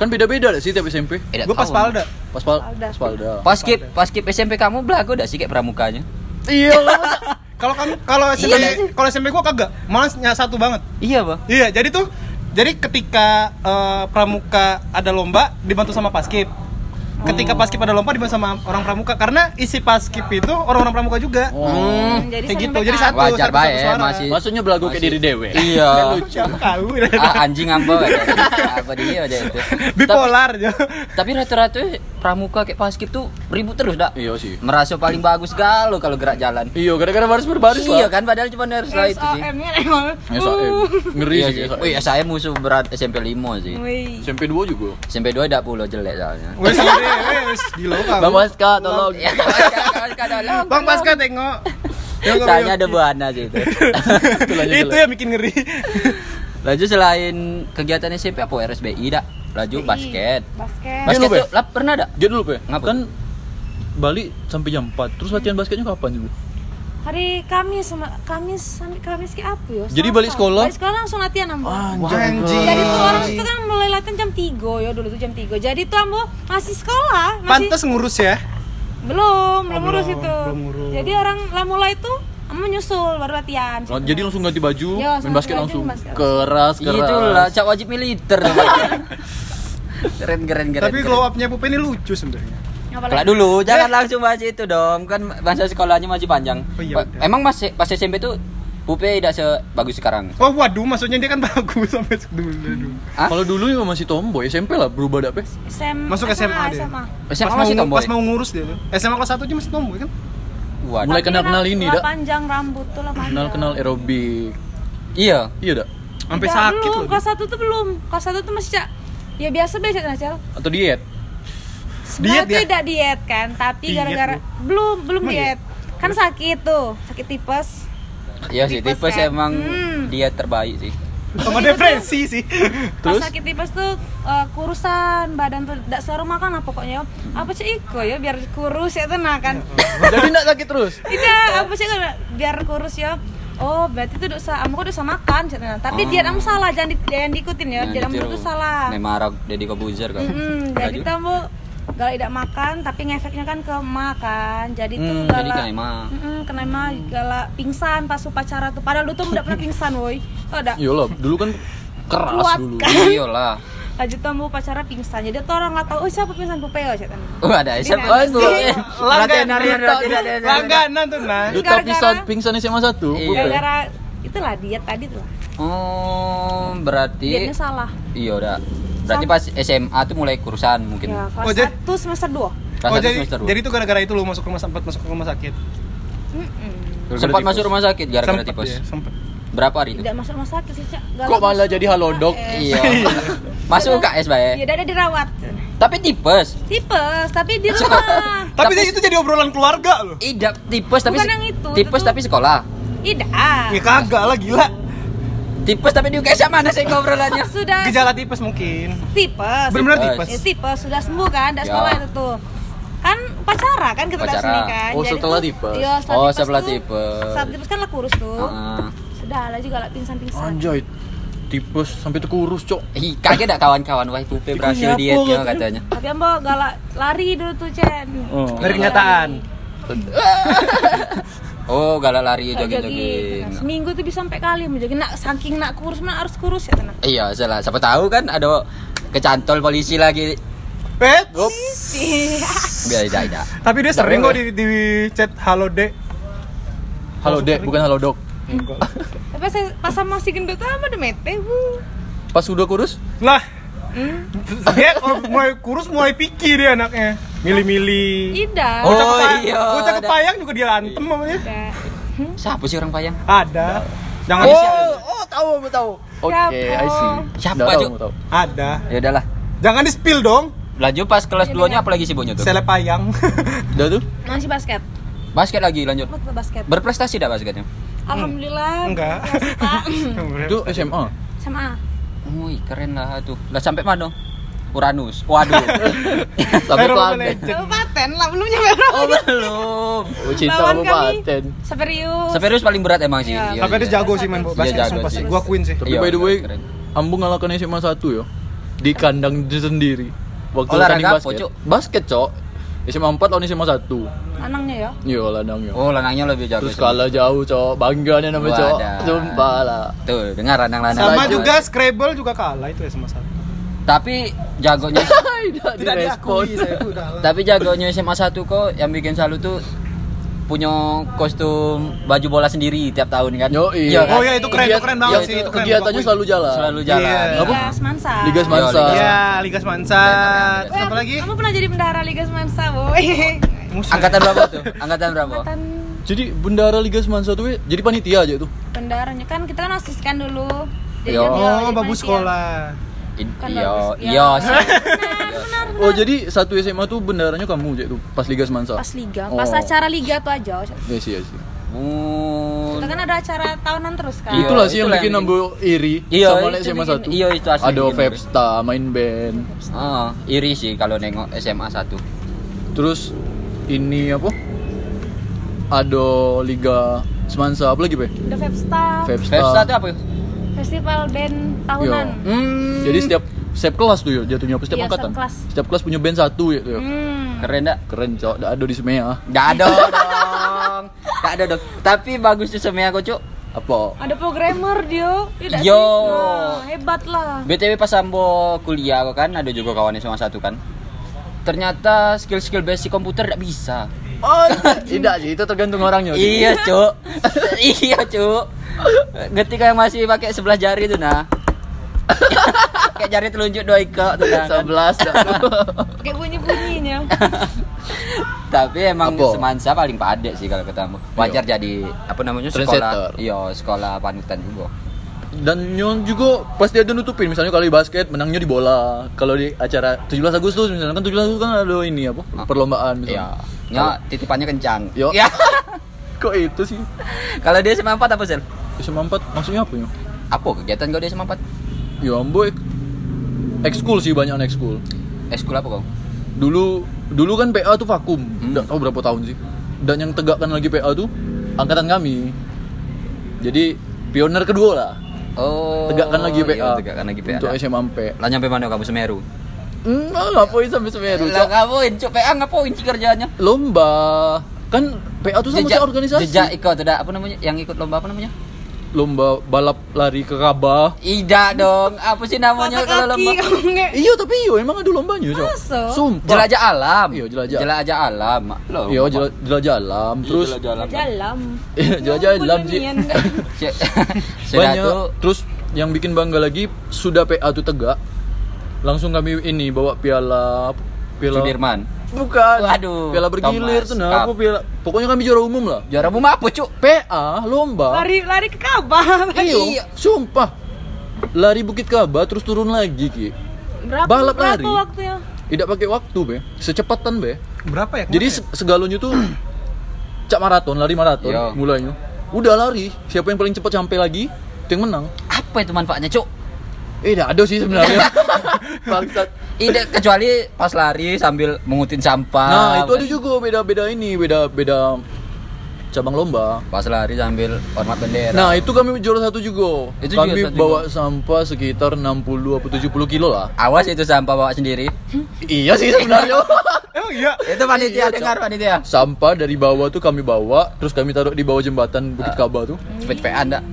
Speaker 2: Kan beda-beda dah sih tiap SMP.
Speaker 3: Eh, dah
Speaker 1: Gue pas
Speaker 3: tahu.
Speaker 1: palda.
Speaker 2: Pas pal
Speaker 4: Paspalda.
Speaker 2: pas palda.
Speaker 3: Paskib, paskib SMP kamu belagu dah sih kayak pramukanya.
Speaker 2: Iya lah.
Speaker 1: Kalau kamu kalau SMP kalau SMP gua kagak, malah ny- satu banget.
Speaker 3: Iya, Bang.
Speaker 1: Iya, jadi tuh jadi ketika eh, pramuka ada lomba dibantu sama paskib. Ketika
Speaker 3: Oh.
Speaker 1: paskib ada lomba dibantu sama orang pramuka karena isi paskib itu orang-orang pramuka juga.
Speaker 3: Hmm,
Speaker 2: Oh.
Speaker 4: Mm,
Speaker 1: Kayak
Speaker 4: jadi saling
Speaker 1: gitu, jadi
Speaker 4: backup.
Speaker 1: satu
Speaker 3: Wajar
Speaker 1: satu- satu
Speaker 3: bae,
Speaker 1: suara.
Speaker 3: masih.
Speaker 2: Maksudnya belagu kayak diri dewe.
Speaker 3: Iya.
Speaker 2: Kan lucu.
Speaker 1: Siapa tahu.
Speaker 3: Ah, anjing apa? ya? Apa dia aja itu.
Speaker 1: Bipolar. ya. Jo.
Speaker 3: Tapi rata-rata pramuka kayak paskib tuh ribut terus dak.
Speaker 2: Iya sih.
Speaker 3: Merasa paling bagus galau kalau gerak jalan.
Speaker 2: Iya, gara-gara baris berbaris
Speaker 3: Iya
Speaker 2: lah.
Speaker 3: kan padahal cuma harus lah itu sih.
Speaker 4: SOM-nya nengol.
Speaker 2: SAM.
Speaker 4: Uh.
Speaker 2: Ngeri
Speaker 3: Iya
Speaker 2: sih.
Speaker 3: sih.
Speaker 2: SAM.
Speaker 3: Wih, saya musuh berat SMP 5 sih.
Speaker 4: Wih.
Speaker 2: SMP 2 juga.
Speaker 3: SMP 2 dak pulau jelek soalnya.
Speaker 1: Wes gede, wes gila kamu.
Speaker 2: Bang Waska tolong.
Speaker 3: Ya, kawan-kawan, kawan-kawan.
Speaker 1: Bang Pasca tengok. Tengok,
Speaker 3: Tanya
Speaker 1: tengok.
Speaker 3: ada buana sih itu.
Speaker 2: lanjut,
Speaker 1: itu yang bikin ngeri.
Speaker 3: Laju selain kegiatan SMP apa RSBI dak? Laju
Speaker 2: Eh.
Speaker 3: basket.
Speaker 4: Iya, basket
Speaker 2: Dia lu,
Speaker 3: Basket
Speaker 2: Be?
Speaker 3: tuh lah, pernah dak?
Speaker 2: Dia dulu, Pe.
Speaker 3: Ngapa?
Speaker 2: Kan balik sampai jam 4. Terus latihan basketnya kapan juga?
Speaker 4: hari Kamis sama Kamis sampai Kamis ke apa ya?
Speaker 2: Jadi
Speaker 4: Selasa.
Speaker 2: balik sekolah? Ah,
Speaker 4: Balik sekolah langsung latihan ambo.
Speaker 1: Anjing.
Speaker 4: Jadi tuh orang itu kan mulai latihan jam 3 ya dulu tuh jam 3. Jadi tuh ambo masih sekolah, masih
Speaker 1: Pantes ngurus ya.
Speaker 4: belum, belum ngurus
Speaker 1: belum,
Speaker 4: itu.
Speaker 1: belum ngurus.
Speaker 4: Jadi orang lah mulai tuh ambo nyusul baru latihan.
Speaker 2: Oh, jadi langsung ganti baju,
Speaker 4: Iya, langsung
Speaker 2: main
Speaker 4: ganti
Speaker 2: basket
Speaker 4: baju,
Speaker 2: langsung.
Speaker 4: basket langsung.
Speaker 2: Keras, keras.
Speaker 3: Itulah cak wajib militer. keren keren keren.
Speaker 1: Tapi
Speaker 3: keren.
Speaker 1: glow up-nya Pupin ini lucu sebenarnya.
Speaker 4: Apa
Speaker 3: Kelak
Speaker 4: lagi?
Speaker 3: dulu, jangan langsung bahas itu dong. Kan masa sekolahnya masih panjang.
Speaker 1: Oh, iya,
Speaker 3: Pa-
Speaker 1: udah.
Speaker 3: Emang mas pas SMP tuh Pupe tidak sebagus sekarang.
Speaker 1: Oh waduh, maksudnya dia kan bagus sampai dulu. dulu.
Speaker 3: Hah?
Speaker 2: Kalau dulu ya masih tomboy, SMP lah berubah dak, Pe.
Speaker 4: SM,
Speaker 1: Masuk SMA dia.
Speaker 4: SMA.
Speaker 3: SMA
Speaker 1: pas
Speaker 3: masih
Speaker 1: mau,
Speaker 3: tomboy.
Speaker 1: Pas mau ngurus dia tuh. SMA kelas 1 aja masih tomboy kan?
Speaker 3: Waduh.
Speaker 2: Mulai kenal-kenal
Speaker 4: Tapi
Speaker 2: ini,
Speaker 4: Iya, lah
Speaker 2: Dak.
Speaker 4: Panjang rambut tuh lah panjang.
Speaker 2: Kenal-kenal aerobik.
Speaker 3: Iya.
Speaker 2: Iya dak?
Speaker 1: Sampai
Speaker 4: Tidak,
Speaker 1: sakit
Speaker 4: belum.
Speaker 1: loh.
Speaker 4: Kelas 1 tuh belum. Kelas 1 tuh masih cak ya biasa biasa nah, Cel.
Speaker 2: Atau diet?
Speaker 4: Sebenarnya
Speaker 1: Diet ya?
Speaker 4: tidak diet kan, tapi
Speaker 1: Diet
Speaker 4: gara-gara belum belum
Speaker 1: Emang
Speaker 4: diet. Kan sakit tuh, sakit tipes.
Speaker 3: Iya sih,
Speaker 4: Tipes
Speaker 3: tipes
Speaker 4: kan?
Speaker 3: emang
Speaker 4: Hmm.
Speaker 3: dia terbaik sih.
Speaker 1: Sama depresi sih.
Speaker 2: Terus?
Speaker 4: Pas sakit tipes tuh eh, kurusan badan tuh tidak selalu makan lah pokoknya. Apa sih iko ya biar kurus ya tuh nah kan.
Speaker 2: Jadi ndak sakit terus.
Speaker 4: Tidak, apa sih biar kurus ya. Oh, berarti tuh dosa, kamu kok dosa makan, cak, nah. tapi diet kamu salah, jangan, di, jangan diikutin ya,
Speaker 3: Nah,
Speaker 4: diet kamu
Speaker 3: ditiru.
Speaker 4: tuh salah.
Speaker 3: Memang Arab Deddy Kobuzer kan.
Speaker 4: Mm-mm, jadi
Speaker 3: Baju.
Speaker 4: tuh Bu, kalau tidak makan tapi ngefeknya kan ke makan. Jadi tuh
Speaker 3: Hmm, jadi
Speaker 4: galak.
Speaker 3: kena emah.
Speaker 4: Mm-mm, kena emah, galak pingsan pas upacara tuh. Padahal lu tuh udah pernah pingsan, woi. Oh, udah.
Speaker 2: Iyalah, dulu kan keras
Speaker 4: Kuat.
Speaker 2: dulu.
Speaker 3: kan? Iyalah.
Speaker 4: Lanjut tuh Bu, upacara pingsan. Jadi tuh orang nggak tahu, oh siapa pingsan Pupe ya, setan.
Speaker 3: Oh, ada SMP.
Speaker 4: Langganan.
Speaker 3: Latihan harian, latihan harian.
Speaker 1: Langganan tuh nah.
Speaker 2: Lu
Speaker 4: Gara-gara-
Speaker 2: tapi saat pingsan SMA 1,
Speaker 3: Iya.
Speaker 4: Gara-gara itulah diet tadi tuh.
Speaker 3: Oh, berarti
Speaker 4: Dietnya salah.
Speaker 3: iya udah. Berarti pas SMA tuh mulai kurusan mungkin.
Speaker 4: Ya,
Speaker 1: Oh, jadi-
Speaker 4: kelas 1 semester 2.
Speaker 3: Kelas
Speaker 1: Oh
Speaker 3: satu
Speaker 1: jadi
Speaker 3: semester dua.
Speaker 1: jadi itu gara-gara itu lu masuk rumah sempat masuk ke rumah sakit.
Speaker 3: sempat masuk rumah sakit
Speaker 1: Sempet
Speaker 3: gara-gara tipes.
Speaker 1: ya, sempet.
Speaker 3: Berapa hari itu?
Speaker 4: Tidak masuk rumah sakit sih, Cak. Galak
Speaker 2: Kok malah
Speaker 4: masuk
Speaker 2: jadi halodok?
Speaker 4: KS.
Speaker 3: Iya. masuk UKS
Speaker 4: Ya,
Speaker 3: bae.
Speaker 4: udah ada dirawat.
Speaker 3: Tapi tipes.
Speaker 4: Tipes, tapi di rumah.
Speaker 1: Tapi,
Speaker 3: Tapi-
Speaker 1: itu jadi obrolan keluarga loh.
Speaker 3: Iya, tipes tapi
Speaker 4: Bukan yang itu,
Speaker 3: tipes
Speaker 4: itu
Speaker 3: tapi
Speaker 4: tuh.
Speaker 3: sekolah.
Speaker 4: Tidak.
Speaker 1: Ya kagak lah gila.
Speaker 3: Tipes tapi di UKS sama mana sih ngobrolannya?
Speaker 4: Ya Sudah
Speaker 1: Gejala tipes mungkin.
Speaker 4: tipes.
Speaker 1: Benar-benar
Speaker 3: Tipes.
Speaker 1: tipes.
Speaker 4: Ya, tipes sudah sembuh kan, tidak
Speaker 3: Ya.
Speaker 4: sekolah itu tuh. Kan pacara kan kita
Speaker 3: Pacara.
Speaker 4: dari sini kan.
Speaker 2: Oh, setelah tipes.
Speaker 4: Iya, setelah
Speaker 3: Oh,
Speaker 4: tipes
Speaker 3: setelah
Speaker 4: tuh-
Speaker 3: tipes. Ah.
Speaker 4: Setelah tipes kan lah kurus tuh.
Speaker 3: Heeh.
Speaker 4: Sudah lah juga lah pingsan-pingsan.
Speaker 2: Anjay. tipes sampai tuh kurus cok
Speaker 3: Ih, kaget dah kawan-kawan wah Pupe
Speaker 2: nyapu
Speaker 3: berhasil
Speaker 4: gitu?
Speaker 3: dietnya
Speaker 2: katanya.
Speaker 3: katanya.
Speaker 4: Tapi ambo galak lari dulu tuh Chen.
Speaker 2: Oh.
Speaker 1: Dari kenyataan.
Speaker 3: Oh, galak lari
Speaker 4: Lari. Jogging.
Speaker 3: jogging-jogging.
Speaker 4: Seminggu tuh bisa sampai kali menjoging. Nak saking nak kurus mana harus kurus ya tenang.
Speaker 3: Iya, salah. Siapa tahu kan ada kecantol polisi lagi.
Speaker 1: Eh,
Speaker 3: Biar tidak, tidak.
Speaker 1: tapi dia sering kok di, di chat halo dek.
Speaker 2: halo dek bukan halo dok
Speaker 4: Tapi pas, pas sama si gendut tuh ambo udah mete. wuh.
Speaker 2: pas udah kurus
Speaker 1: Lah.
Speaker 3: Hmm?
Speaker 1: Dia kalau mulai kurus mulai pikir dia anaknya. Milih-milih.
Speaker 4: Ida.
Speaker 3: Oh,
Speaker 1: Bocah kepa-
Speaker 3: iya,
Speaker 1: Bocah
Speaker 3: ada.
Speaker 1: kepayang juga dia antem sama dia.
Speaker 4: Ida. Hmm?
Speaker 3: Siapa sih orang payang?
Speaker 1: Ada. Jangan
Speaker 3: Oh,
Speaker 1: oh tahu tahu.
Speaker 2: oke I see
Speaker 3: Siapa,
Speaker 2: Nggak tahu,
Speaker 3: Cuk?
Speaker 2: nggak tahu.
Speaker 1: Ada.
Speaker 3: Ya udahlah.
Speaker 1: Jangan di spill dong.
Speaker 3: Lanjut pas
Speaker 4: Ya
Speaker 3: kelas 2-nya apalagi sibuknya tuh?
Speaker 1: Seleb payang.
Speaker 2: udah tuh
Speaker 4: Masih basket.
Speaker 3: Basket lagi lanjut.
Speaker 4: Betul basket.
Speaker 3: Berprestasi dah basketnya.
Speaker 4: Alhamdulillah.
Speaker 1: Enggak.
Speaker 4: berhasil, Pak.
Speaker 2: itu SMA
Speaker 4: Sama.
Speaker 3: Wih, keren lah tuh. Lah sampai mana? Uranus. Waduh.
Speaker 2: sampai
Speaker 1: Aerobic
Speaker 2: planet
Speaker 1: legend.
Speaker 4: Kabupaten lah belum nyampe Rob.
Speaker 3: oh, belum.
Speaker 2: oh, cinta
Speaker 4: Lawan kami.
Speaker 2: kabupaten
Speaker 4: Serius.
Speaker 3: Severus paling berat emang sih.
Speaker 4: Iya.
Speaker 3: Iya,
Speaker 1: Tapi dia
Speaker 3: iya.
Speaker 1: jago sih main
Speaker 4: Iya,
Speaker 1: basket
Speaker 3: jago
Speaker 1: sumpah
Speaker 3: sih.
Speaker 1: sih. Gua akuin sih.
Speaker 2: tapi
Speaker 3: Iya,
Speaker 2: by the
Speaker 3: keren,
Speaker 2: way
Speaker 3: keren.
Speaker 2: Ambu ngalahkan SMA 1 ya di kandang dia sendiri waktu
Speaker 3: Olahraga
Speaker 2: tanding
Speaker 3: apa,
Speaker 2: basket
Speaker 3: Cuk?
Speaker 2: basket cok SMA 4 lawan SMA 1
Speaker 4: Anangnya ya.
Speaker 2: Iya ladang yo.
Speaker 3: Oh, lanangnya lebih jago.
Speaker 2: Terus
Speaker 3: sih.
Speaker 2: kalah jauh cok, bangganya namanya cok.
Speaker 3: Wadah.
Speaker 2: Sumpah lah.
Speaker 3: Tuh, dengar lanang-lanang.
Speaker 1: Sama
Speaker 3: Lanang.
Speaker 1: juga Scrabble juga kalah itu ya sama satu.
Speaker 3: Tapi jagonya
Speaker 2: Tidak,
Speaker 1: Tidak
Speaker 2: direspon.
Speaker 1: diakui saya itu udah
Speaker 3: tapi jagonya SMA 1 kok yang bikin salut tuh punya kostum baju bola sendiri tiap tahun kan.
Speaker 2: Yo,
Speaker 3: Iya
Speaker 2: iya.
Speaker 3: kan?
Speaker 1: Oh iya itu keren,
Speaker 2: Iya,
Speaker 1: itu keren banget
Speaker 2: iya,
Speaker 1: sih itu keren.
Speaker 2: Kegiatannya
Speaker 1: Gua akuin.
Speaker 2: selalu jalan.
Speaker 3: Selalu jalan.
Speaker 1: Iya.
Speaker 2: Apa?
Speaker 4: Liga Semansa.
Speaker 2: Liga Semansa.
Speaker 3: Iya,
Speaker 1: Iya, Liga Semansa. Terus
Speaker 4: Weh,
Speaker 1: apa lagi?
Speaker 4: Kamu pernah jadi bendahara Liga Semansa, boy. Kan
Speaker 1: Musuh.
Speaker 3: Angkatan berapa tuh? Angkatan berapa?
Speaker 4: Angkatan
Speaker 2: Jadi bendara Liga Semansa tuh ya, jadi panitia aja itu.
Speaker 4: bendaharanya kan kita kan osis kan dulu.
Speaker 3: Yo.
Speaker 4: kan dia
Speaker 1: Oh,
Speaker 4: jadi
Speaker 1: bagus
Speaker 4: panitia.
Speaker 1: sekolah.
Speaker 3: I-
Speaker 4: Kan
Speaker 3: Iya,
Speaker 4: bagus, iya.
Speaker 3: iya. sih.
Speaker 2: Oh, jadi satu SMA tuh bendaranya kamu aja itu pas Liga Semansa.
Speaker 4: Pas liga, pas
Speaker 2: Oh.
Speaker 4: acara liga tuh aja.
Speaker 2: Iya sih, iya sih.
Speaker 1: Nah,
Speaker 3: Oh.
Speaker 4: Kita kan ada acara tahunan terus kan.
Speaker 3: Iya.
Speaker 2: Itulah sih yang
Speaker 3: itulah
Speaker 2: bikin
Speaker 3: yang
Speaker 2: Ambo iri
Speaker 3: Iya,
Speaker 2: sama
Speaker 3: itu
Speaker 2: anak SMA
Speaker 3: bikin-
Speaker 2: 1.
Speaker 3: iya, itu asli
Speaker 2: Ada
Speaker 3: bikin iri.
Speaker 2: Vepsta, main band.
Speaker 3: Ah, iri sih kalau nengok SMA 1.
Speaker 2: Terus ini apa? Ada Liga Semansa apa lagi, Pe?
Speaker 4: The Festa,
Speaker 3: Vepsta tuh apa?
Speaker 4: festival band tahunan.
Speaker 2: Yo.
Speaker 1: Hmm.
Speaker 2: Jadi setiap setiap kelas tuh ya jatuhnya apa setiap
Speaker 4: Iya,
Speaker 2: angkatan.
Speaker 4: setiap kelas.
Speaker 2: Setiap kelas punya band satu ya tuh. ya.
Speaker 4: Hmm.
Speaker 3: Keren enggak?
Speaker 2: Keren cok, Nggak ada di semea.
Speaker 3: Enggak ada dong. Enggak ada dong. Tapi bagus tuh semia kok, Cuk.
Speaker 2: Apa?
Speaker 4: Ada programmer dia. Iya nggak
Speaker 3: Yo.
Speaker 4: sih? Nah, hebat lah.
Speaker 3: BTW pas Sambo kuliah kok kan ada juga kawannya sama satu kan. Ternyata skill-skill basic komputer enggak bisa.
Speaker 2: Oh, tidak sih, itu tergantung orangnya.
Speaker 3: Iya, Cuk. iya, Cuk. Ketika yang masih pakai sebelah jari tuh nah. Kayak jari telunjuk dua iko tuh nah. kan.
Speaker 2: 11 dah.
Speaker 4: Kayak bunyi-bunyinya.
Speaker 3: Tapi emang
Speaker 2: Apa? Iya.
Speaker 3: semansa paling padek sih kalau ketemu. Wajar jadi apa namanya
Speaker 2: Trendsetter.
Speaker 3: sekolah. Iya, sekolah panutan juga.
Speaker 2: Dan Nyon juga pasti ada nutupin misalnya kalau di basket menangnya di bola. Kalau di acara 17 Agustus misalnya kan 17 Agustus kan ada ini apa? Perlombaan
Speaker 3: Iya.
Speaker 2: misalnya.
Speaker 3: Ya, titipannya kencang.
Speaker 2: Yo.
Speaker 3: Ya.
Speaker 2: Kok itu sih?
Speaker 3: Kalau dia SMA 4 apa, Sel?
Speaker 2: SMA 4 maksudnya apa ya?
Speaker 3: Apa kegiatan kau dia SMA 4?
Speaker 2: Ya ambo ek- ekskul sih banyak ekskul. Eh,
Speaker 3: Eskul apa kau?
Speaker 2: dulu dulu kan PA tuh vakum
Speaker 3: Hmm.
Speaker 2: nggak tahu berapa tahun sih dan yang tegakkan lagi PA tuh angkatan kami jadi pioner kedua lah
Speaker 3: Oh.
Speaker 2: tegakkan lagi PA
Speaker 3: iya, tegakkan lagi PA.
Speaker 2: untuk SMA 4
Speaker 3: Lah nyampe mana kamu Semeru?
Speaker 2: hmm, ah, ngapain sampai Semeru Cok?
Speaker 3: Lah ngapain? Cuk PA ngapain sih kerjanya?
Speaker 2: lomba kan PA tuh sama
Speaker 3: Jejak-
Speaker 2: saya organisasi
Speaker 3: Jejak ikut tidak apa namanya? Yang ikut lomba apa namanya?
Speaker 2: lomba balap lari ke Kabah
Speaker 3: Ida dong. Apa sih namanya
Speaker 4: Patah
Speaker 3: kalau
Speaker 4: kaki
Speaker 3: lomba?
Speaker 4: kamu nggak.
Speaker 2: iya tapi iya emang ada lombanya Cok.
Speaker 4: Masa?
Speaker 2: sumpah
Speaker 3: Jelajah alam.
Speaker 2: Iya, jelajah.
Speaker 3: Jelajah alam. Loh.
Speaker 2: iya jela- jelajah alam terus
Speaker 3: Jelajah alam.
Speaker 4: Jalan.
Speaker 2: Iya, jelajah alam sih
Speaker 4: Bunyi-bunyian, nggak?
Speaker 3: Cek- Sudah
Speaker 2: banyak
Speaker 3: tuh
Speaker 2: terus yang bikin bangga lagi sudah PA tuh tegak langsung kami ini bawa piala piala
Speaker 3: Sudirman.
Speaker 2: bukan
Speaker 3: Waduh,
Speaker 2: piala bergilir
Speaker 3: Thomas
Speaker 2: tuh nah
Speaker 3: Cup.
Speaker 2: apa piala pokoknya kami juara umum lah
Speaker 3: Juara umum apa, Cuk?
Speaker 2: PA lomba
Speaker 4: Lari lari ke Kabah.
Speaker 2: iyo sumpah lari bukit kabah terus turun lagi ki
Speaker 4: Berapa,
Speaker 2: Balap
Speaker 4: berapa ya?
Speaker 2: lari.
Speaker 4: waktunya?
Speaker 2: tidak pakai waktu be secepatan be
Speaker 1: Berapa ya?
Speaker 2: jadi se- segalonnya tuh cak maraton lari maraton
Speaker 3: Iya.
Speaker 2: mulainya udah lari siapa yang paling cepat sampai lagi itu yang menang
Speaker 3: Apa itu manfaatnya, Cuk?
Speaker 2: eh tidak ada sih sebenarnya bangsat
Speaker 3: Ide kecuali pas lari sambil mengutin sampah.
Speaker 2: Nah, itu ada juga beda-beda ini, beda-beda cabang lomba.
Speaker 3: Pas lari sambil hormat bendera.
Speaker 2: Nah, itu kami juara satu juga.
Speaker 3: Itu
Speaker 2: kami
Speaker 3: juara satu
Speaker 2: bawa sampah sekitar 60 atau 70 kilo lah.
Speaker 3: Awas itu sampah bawa sendiri.
Speaker 2: Iya sih sebenarnya.
Speaker 1: Emang iya?
Speaker 3: Itu panitia dengar panitia.
Speaker 2: sampah dari bawah tuh kami bawa, terus kami taruh di bawah jembatan Bukit Kaba tuh.
Speaker 3: Cepet-cepetan dak.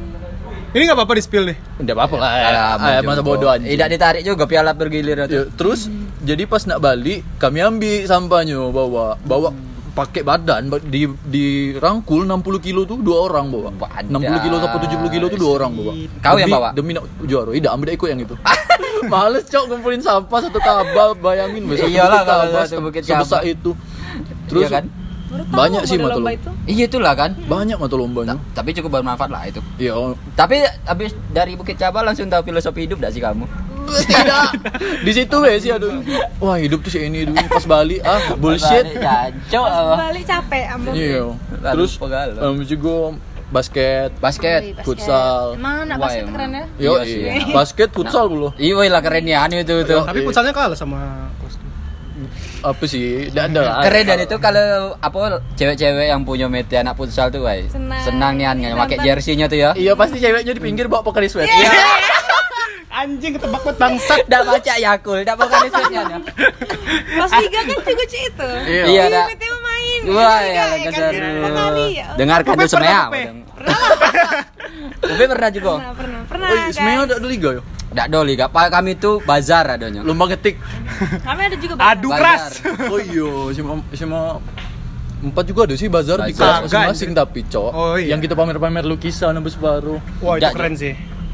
Speaker 1: Ini nggak apa-apa di spill nih.
Speaker 2: Enggak apa-apa lah.
Speaker 3: Alah,
Speaker 2: Eh,
Speaker 3: mau
Speaker 2: masa
Speaker 3: jempol.
Speaker 2: bodoh anjing.
Speaker 3: Tidak ditarik juga piala bergilir
Speaker 2: Ya,
Speaker 3: itu.
Speaker 2: terus jadi pas nak balik kami ambil sampahnya bawa bawa pakai badan ba- di dirangkul 60 kilo tuh dua orang bawa.
Speaker 3: Badan.
Speaker 2: 60 kilo sampai 70 kilo tuh dua orang bawa.
Speaker 3: Hmm, Kau yang
Speaker 2: Demi-
Speaker 3: bawa?
Speaker 2: Demi nak juara. Tidak, ambil ikut yang itu. Males cok ngumpulin sampah satu kabel bayangin besok
Speaker 3: Iyalah, kalau satu Bukit Kaba.
Speaker 2: sebesar itu. Terus
Speaker 3: Iya kan?
Speaker 4: Baru tahu
Speaker 2: banyak
Speaker 4: aku
Speaker 2: sih
Speaker 4: ada
Speaker 2: mata
Speaker 4: lomba
Speaker 2: lomba.
Speaker 4: itu.
Speaker 3: Iya itulah kan.
Speaker 2: Banyak mata lombanya.
Speaker 3: Ta- Tapi cukup bermanfaat lah itu.
Speaker 2: Iya.
Speaker 3: Tapi habis dari Bukit Caba langsung tahu filosofi hidup gak sih kamu?
Speaker 2: Tidak. Di situ weh sih aduh. Wah, hidup tuh si ini dulu pas balik ah bullshit.
Speaker 3: ya. Jancok
Speaker 4: Pas balik capek ambo.
Speaker 2: Iya.
Speaker 3: Lalu
Speaker 2: Terus
Speaker 3: pegal.
Speaker 2: em juga basket.
Speaker 3: Basket.
Speaker 4: Basket.
Speaker 2: futsal.
Speaker 4: Emang anak
Speaker 3: Wah,
Speaker 4: basket
Speaker 3: emang.
Speaker 4: keren ya?
Speaker 2: Yo,
Speaker 3: Iya sih.
Speaker 2: iya. basket futsal dulu.
Speaker 3: Iya woi lah keren ya anu itu tuh.
Speaker 1: Tapi futsalnya kalah sama
Speaker 2: Apa sih? Tidak ada lah.
Speaker 3: Keren dan itu kalau apa cewek-cewek yang punya meti anak futsal tuh woi.
Speaker 4: Senang.
Speaker 3: Senang nih
Speaker 4: Ini
Speaker 3: yang pakai
Speaker 4: nonton.
Speaker 3: jersinya tuh ya.
Speaker 2: Iya, pasti ceweknya di pinggir bawa pokari sweat.
Speaker 4: Iya.
Speaker 1: anjing ketebak banget bangsat.
Speaker 3: Dak baca Yakul, dak bakal jersinya.
Speaker 4: Pas tiga kan juga cek itu.
Speaker 2: Iya.
Speaker 3: Iya,
Speaker 4: Iya,
Speaker 3: dak.
Speaker 4: PT main.
Speaker 3: Wah,
Speaker 4: Iya,
Speaker 3: ya
Speaker 4: kan,
Speaker 3: keseru.
Speaker 4: berapa kali ya?
Speaker 3: Dengarkan
Speaker 1: Upi
Speaker 3: tuh semea.
Speaker 1: pernah, Upi.
Speaker 3: Upi pernah juga.
Speaker 4: Pernah, pernah, pernah.
Speaker 2: Oh, sebenarnya
Speaker 4: kan?
Speaker 2: ada ada liga ya.
Speaker 3: Dak doli, gak pa- kami tuh bazar adanya.
Speaker 2: Lomba ngetik.
Speaker 4: Kami ada juga.
Speaker 1: Adu
Speaker 3: Bazar.
Speaker 1: keras.
Speaker 2: Oh iya, SMA SMA empat juga ada sih bazar di kelas
Speaker 3: Bazar.
Speaker 2: masing-masing tapi cok
Speaker 1: Oh, iya.
Speaker 2: yang kita pamer-pamer lukisan apa separuh
Speaker 1: Wah, itu
Speaker 3: Nggak,
Speaker 1: keren sih.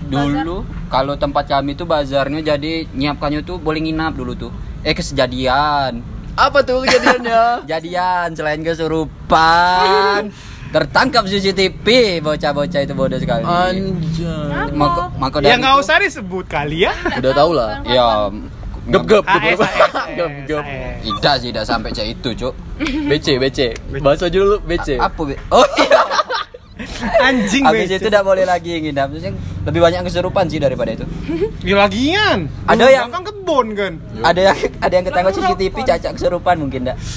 Speaker 3: Dulu kalau tempat kami tuh bazarnya jadi nyiapkannya tuh boleh nginap dulu tuh. Eh kesejadian.
Speaker 2: apa tuh kejadiannya
Speaker 3: Jadian selain kesurupan. Tertangkap CCTV bocah-bocah itu bodoh sekali.
Speaker 2: anjay
Speaker 3: Mako, mako
Speaker 1: Ya
Speaker 3: dari
Speaker 1: nggak
Speaker 3: itu-
Speaker 1: usah disebut kali ya.
Speaker 2: udah tau lah
Speaker 4: kan?
Speaker 2: Iya.
Speaker 3: Ya,
Speaker 2: gep-gep
Speaker 3: Ah, eh,
Speaker 1: AS, AS,
Speaker 2: gep gep
Speaker 1: AS.
Speaker 3: Tidak sih, tidak sampai cek itu, Cuk.
Speaker 2: BC BC bahasa aja dulu BC
Speaker 3: Apa? Be? Oh iya.
Speaker 1: Anjing
Speaker 3: Habis
Speaker 1: becek.
Speaker 3: itu tidak boleh lagi nginap. Terus yang lebih banyak kesurupan sih daripada itu.
Speaker 1: Ya lagian.
Speaker 3: Ada
Speaker 1: Lu
Speaker 3: yang-
Speaker 1: belakang kebon kan.
Speaker 3: Ada yang ada yang ketangkap CCTV cacat kesurupan mungkin enggak.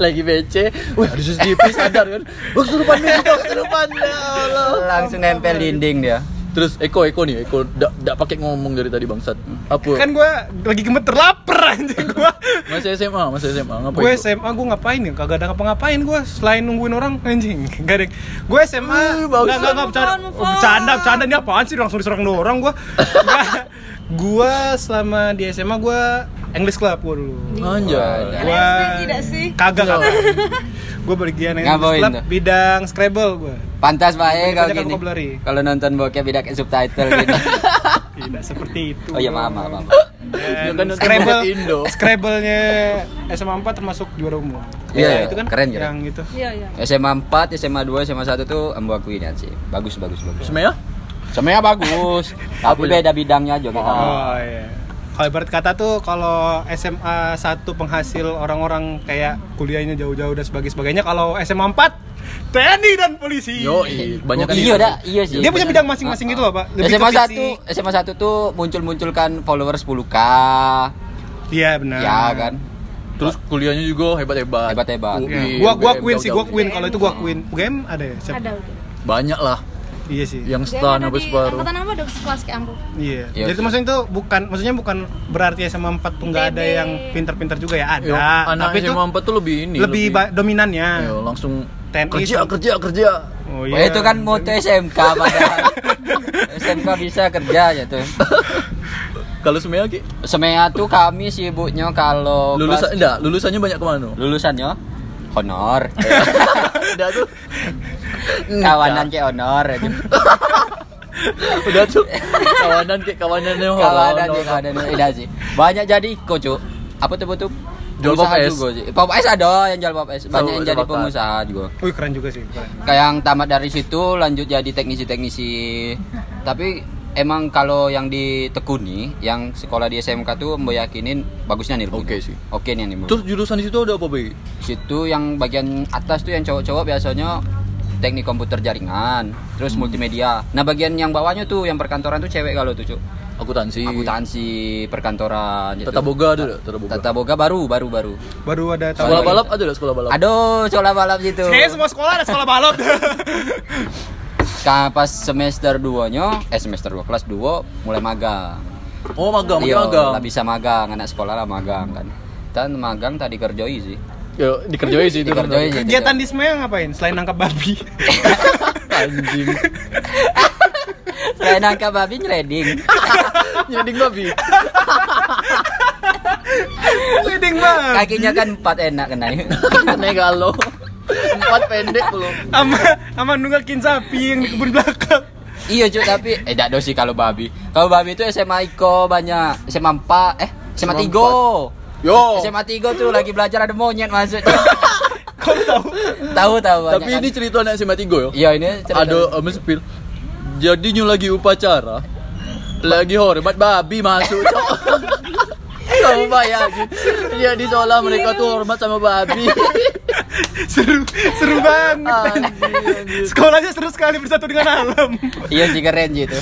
Speaker 2: lagi BC wih harus CCTV sadar kan wah kesurupan nih kita kesurupan ya Allah
Speaker 3: Langsung nempel dinding dia.
Speaker 2: terus Eko Eko nih Eko dak dak pakai ngomong dari tadi bangsat
Speaker 1: Kan
Speaker 2: apa
Speaker 1: gua lagi gemeter lapar anjing gua.
Speaker 2: masih SMA masih SMA ngapain
Speaker 1: Gue
Speaker 2: Eko?
Speaker 1: SMA gue ngapain ya? Kagak ada ngapa-ngapain gue selain nungguin orang anjing. Gak ada. Gue SMA
Speaker 2: Wih, bagus.
Speaker 1: enggak enggak bercanda.
Speaker 4: Move on, move
Speaker 1: Oh,
Speaker 4: on.
Speaker 1: Bercanda, bercanda ini apaan sih langsung diserang orang gue. gue selama di SMA gue English Club gue dulu.
Speaker 2: anjay
Speaker 4: Ada
Speaker 1: Wah.
Speaker 4: SD tidak sih?
Speaker 1: Kagak kagak. gue bagian English
Speaker 3: Ngapain
Speaker 1: Club
Speaker 3: tuh?
Speaker 1: bidang Scrabble gue.
Speaker 3: Pantas baik kalau
Speaker 1: Kebanyakan
Speaker 3: gini.
Speaker 1: vocabulary.
Speaker 3: Kalau nonton bokep tidak kayak subtitle gitu.
Speaker 1: Tidak seperti itu.
Speaker 3: Oh iya, maaf, maaf. maaf.
Speaker 1: Dan
Speaker 2: Ya kan, nonton
Speaker 1: Scrabble,
Speaker 2: buat Indo.
Speaker 1: Scrabble-nya SMA 4 termasuk juara umum.
Speaker 3: Iya,
Speaker 1: Ya,
Speaker 3: iya. Keren, keren.
Speaker 1: Yang itu.
Speaker 4: Iya, iya.
Speaker 3: SMA 4, SMA 2, SMA 1 tuh embo akuin ya sih. Bagus, bagus, bagus.
Speaker 2: SMA
Speaker 3: Semuanya bagus, tapi beda bidangnya aja kita.
Speaker 1: Oh iya. Kalau ibarat kata tuh kalau SMA satu penghasil orang-orang kayak kuliahnya jauh-jauh dan sebagainya sebagainya kalau SMA 4 TNI dan polisi.
Speaker 2: yo banyak kan
Speaker 3: iya dah, iya sih.
Speaker 1: Dia punya bidang masing-masing gitu loh, Pak. Lebih ke
Speaker 3: SMA satu,
Speaker 1: fisik.
Speaker 3: SMA satu tuh muncul-munculkan followers 10k,
Speaker 1: Iya benar.
Speaker 3: ya kan.
Speaker 2: terus kuliahnya juga hebat-hebat
Speaker 3: Hebat-hebat.
Speaker 1: Iya.
Speaker 2: UI,
Speaker 1: Gua gua
Speaker 2: UGM,
Speaker 1: akuin sih, gua
Speaker 2: jauh-jauh.
Speaker 1: akuin kalau itu gua akuin. Game ada ya? Siap.
Speaker 4: Ada udah.
Speaker 2: banyak lah
Speaker 1: Iya sih.
Speaker 2: yang
Speaker 4: Dia
Speaker 2: stan
Speaker 4: ada
Speaker 2: apa
Speaker 4: di
Speaker 2: separuh
Speaker 4: Angkatan apa dok sekelas kayak ambo?
Speaker 1: Iya.
Speaker 3: Iya,
Speaker 1: Jadi
Speaker 3: sih.
Speaker 1: maksudnya itu bukan maksudnya bukan berarti SMA 4 tuh nggak ada
Speaker 4: ITB.
Speaker 1: yang pintar-pintar juga ya, ada.
Speaker 2: Yo, Iya, anak
Speaker 1: Tapi itu
Speaker 2: SMA 4 tuh lebih ini
Speaker 1: lebih, ba- dominannya.
Speaker 2: Yo, langsung
Speaker 1: TNI
Speaker 2: kerja
Speaker 1: sama-
Speaker 2: kerja kerja
Speaker 1: Oh
Speaker 3: Wah, itu kan moto SMK padahal. SMK bisa kerja ya tuh.
Speaker 2: kalau semuanya Ki?
Speaker 3: Semea tuh kami sibuknya
Speaker 1: Oh,
Speaker 3: kalau
Speaker 2: lulusan
Speaker 3: kelas-
Speaker 2: enggak lulusannya banyak kemana
Speaker 3: lulusannya honor.
Speaker 2: udah tuh Hmm,
Speaker 3: Kawanan ke honor. ya. aja.
Speaker 2: udah tuh kawanan kayak kawanan yang
Speaker 3: Kawanan ke kawanan beda sih. Banyak jadi kok, Cuk. Apa tuh betul?
Speaker 2: Jual
Speaker 3: Pengusaha
Speaker 2: pop es.
Speaker 3: juga sih. Pop es ada yang jual pop es. Banyak
Speaker 2: Sama
Speaker 3: yang jadi
Speaker 2: bakar.
Speaker 3: pengusaha juga.
Speaker 1: Wih, keren juga sih, keren.
Speaker 3: Kayak yang tamat dari situ lanjut jadi teknisi-teknisi. Tapi emang kalau yang ditekuni, yang sekolah di SMK tuh meyakinin bagusnya nih.
Speaker 2: Oke sih.
Speaker 3: Oke nih nih.
Speaker 2: terus jurusan di situ ada apa bi
Speaker 3: situ yang bagian atas tuh yang cowok-cowok biasanya
Speaker 2: Hmm.
Speaker 3: teknik komputer jaringan, terus multimedia. Nah, bagian yang bawahnya tuh yang perkantoran tuh cewek kalau tuh, Cuk.
Speaker 2: akuntansi
Speaker 3: akuntansi perkantoran gitu.
Speaker 2: tata boga ada nggak? tata boga
Speaker 3: Tata Boga baru baru baru
Speaker 1: Baru ada tahun.
Speaker 2: sekolah balap ada nggak sekolah balap
Speaker 3: aduh sekolah balap gitu
Speaker 1: Kayaknya semua sekolah ada sekolah balap.
Speaker 3: Ka- pas semester 2 nya eh semester 2 kelas 2 mulai magang
Speaker 2: oh magang magang
Speaker 3: Iya,
Speaker 2: magang
Speaker 3: nggak bisa magang anak sekolah lah magang kan dan magang tadi kerjoi sih
Speaker 2: ya dikerjain sih itu
Speaker 3: Dikerjain sih.
Speaker 1: Kegiatan di SMA ngapain? Selain nangkap babi.
Speaker 2: anjing
Speaker 3: selain angka babi nyreding
Speaker 2: nyeding babi
Speaker 1: Leading banget.
Speaker 3: kakinya kan empat enak kenanya
Speaker 2: aneh galau empat pendek belum
Speaker 1: Sama sama nunggakin sapi yang di kebun belakang.
Speaker 3: iya cuy tapi eh dak dosi kalau babi kalau babi itu SMA Iko banyak SMA 4 eh SMA 3
Speaker 2: yo
Speaker 3: SMA 3 tuh lagi belajar ada monyet masuk
Speaker 1: Kau tahu?
Speaker 3: tahu tahu banyak
Speaker 2: tapi
Speaker 3: kan.
Speaker 2: ini cerita anak SMA 3 yo
Speaker 3: iya ini cerita-
Speaker 2: ada eh, mesepil jadinya lagi upacara lagi hormat babi masuk cok kamu bayangin jadi seolah mereka tuh hormat sama babi
Speaker 1: Seru seru banget. Sekolahnya seru sekali bersatu dengan alam.
Speaker 3: iya sih keren sih itu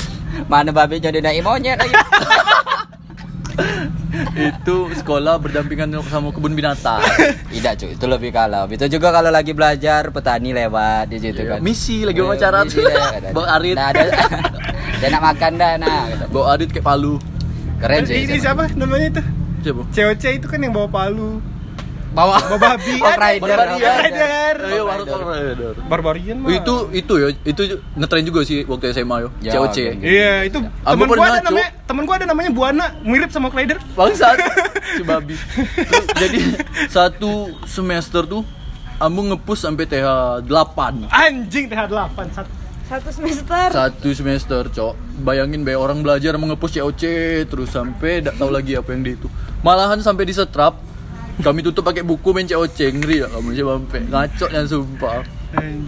Speaker 3: mana babi jadi naik monyet lagi
Speaker 2: itu sekolah berdampingan sama kebun binatang
Speaker 3: tidak cuy itu lebih kalau itu juga kalau lagi belajar petani lewat di situ kan
Speaker 2: Iya, misi lagi upacara
Speaker 3: Misi
Speaker 2: tuh
Speaker 3: lewat.
Speaker 2: bawa arit
Speaker 3: Nah, ada dia nak makan dah nah gitu.
Speaker 2: bawa arit kayak palu
Speaker 3: keren sih
Speaker 1: Ini siapa namanya itu?
Speaker 2: coba
Speaker 1: COC itu kan yang bawa palu.
Speaker 3: bawa
Speaker 1: Bawa babi.
Speaker 3: Bawa rider
Speaker 2: Bawa rider.
Speaker 3: bawa rider.
Speaker 2: ayo warung Corridor.
Speaker 1: Barbarian mah.
Speaker 2: itu itu ya itu ngetren juga sih waktu SMA yo
Speaker 3: Ya,
Speaker 2: COC
Speaker 3: oke.
Speaker 1: Iya, itu
Speaker 2: Aku
Speaker 1: temen gua
Speaker 2: pernah,
Speaker 1: ada
Speaker 2: Cuk.
Speaker 1: namanya, temen gua ada namanya Buana, mirip sama Clyder.
Speaker 2: bangsat si babi Tuh, jadi satu semester tuh ambu ngepus sampai TH 8
Speaker 1: Anjing TH8 sat.
Speaker 4: Satu semester.
Speaker 2: satu semester cok bayangin be orang belajar mau ngepus COC terus sampai tidak tahu lagi apa yang di itu malahan sampai di setrap kami tutup pakai buku main COC ngeri ya kamu sih sampai ngaco dan sumpah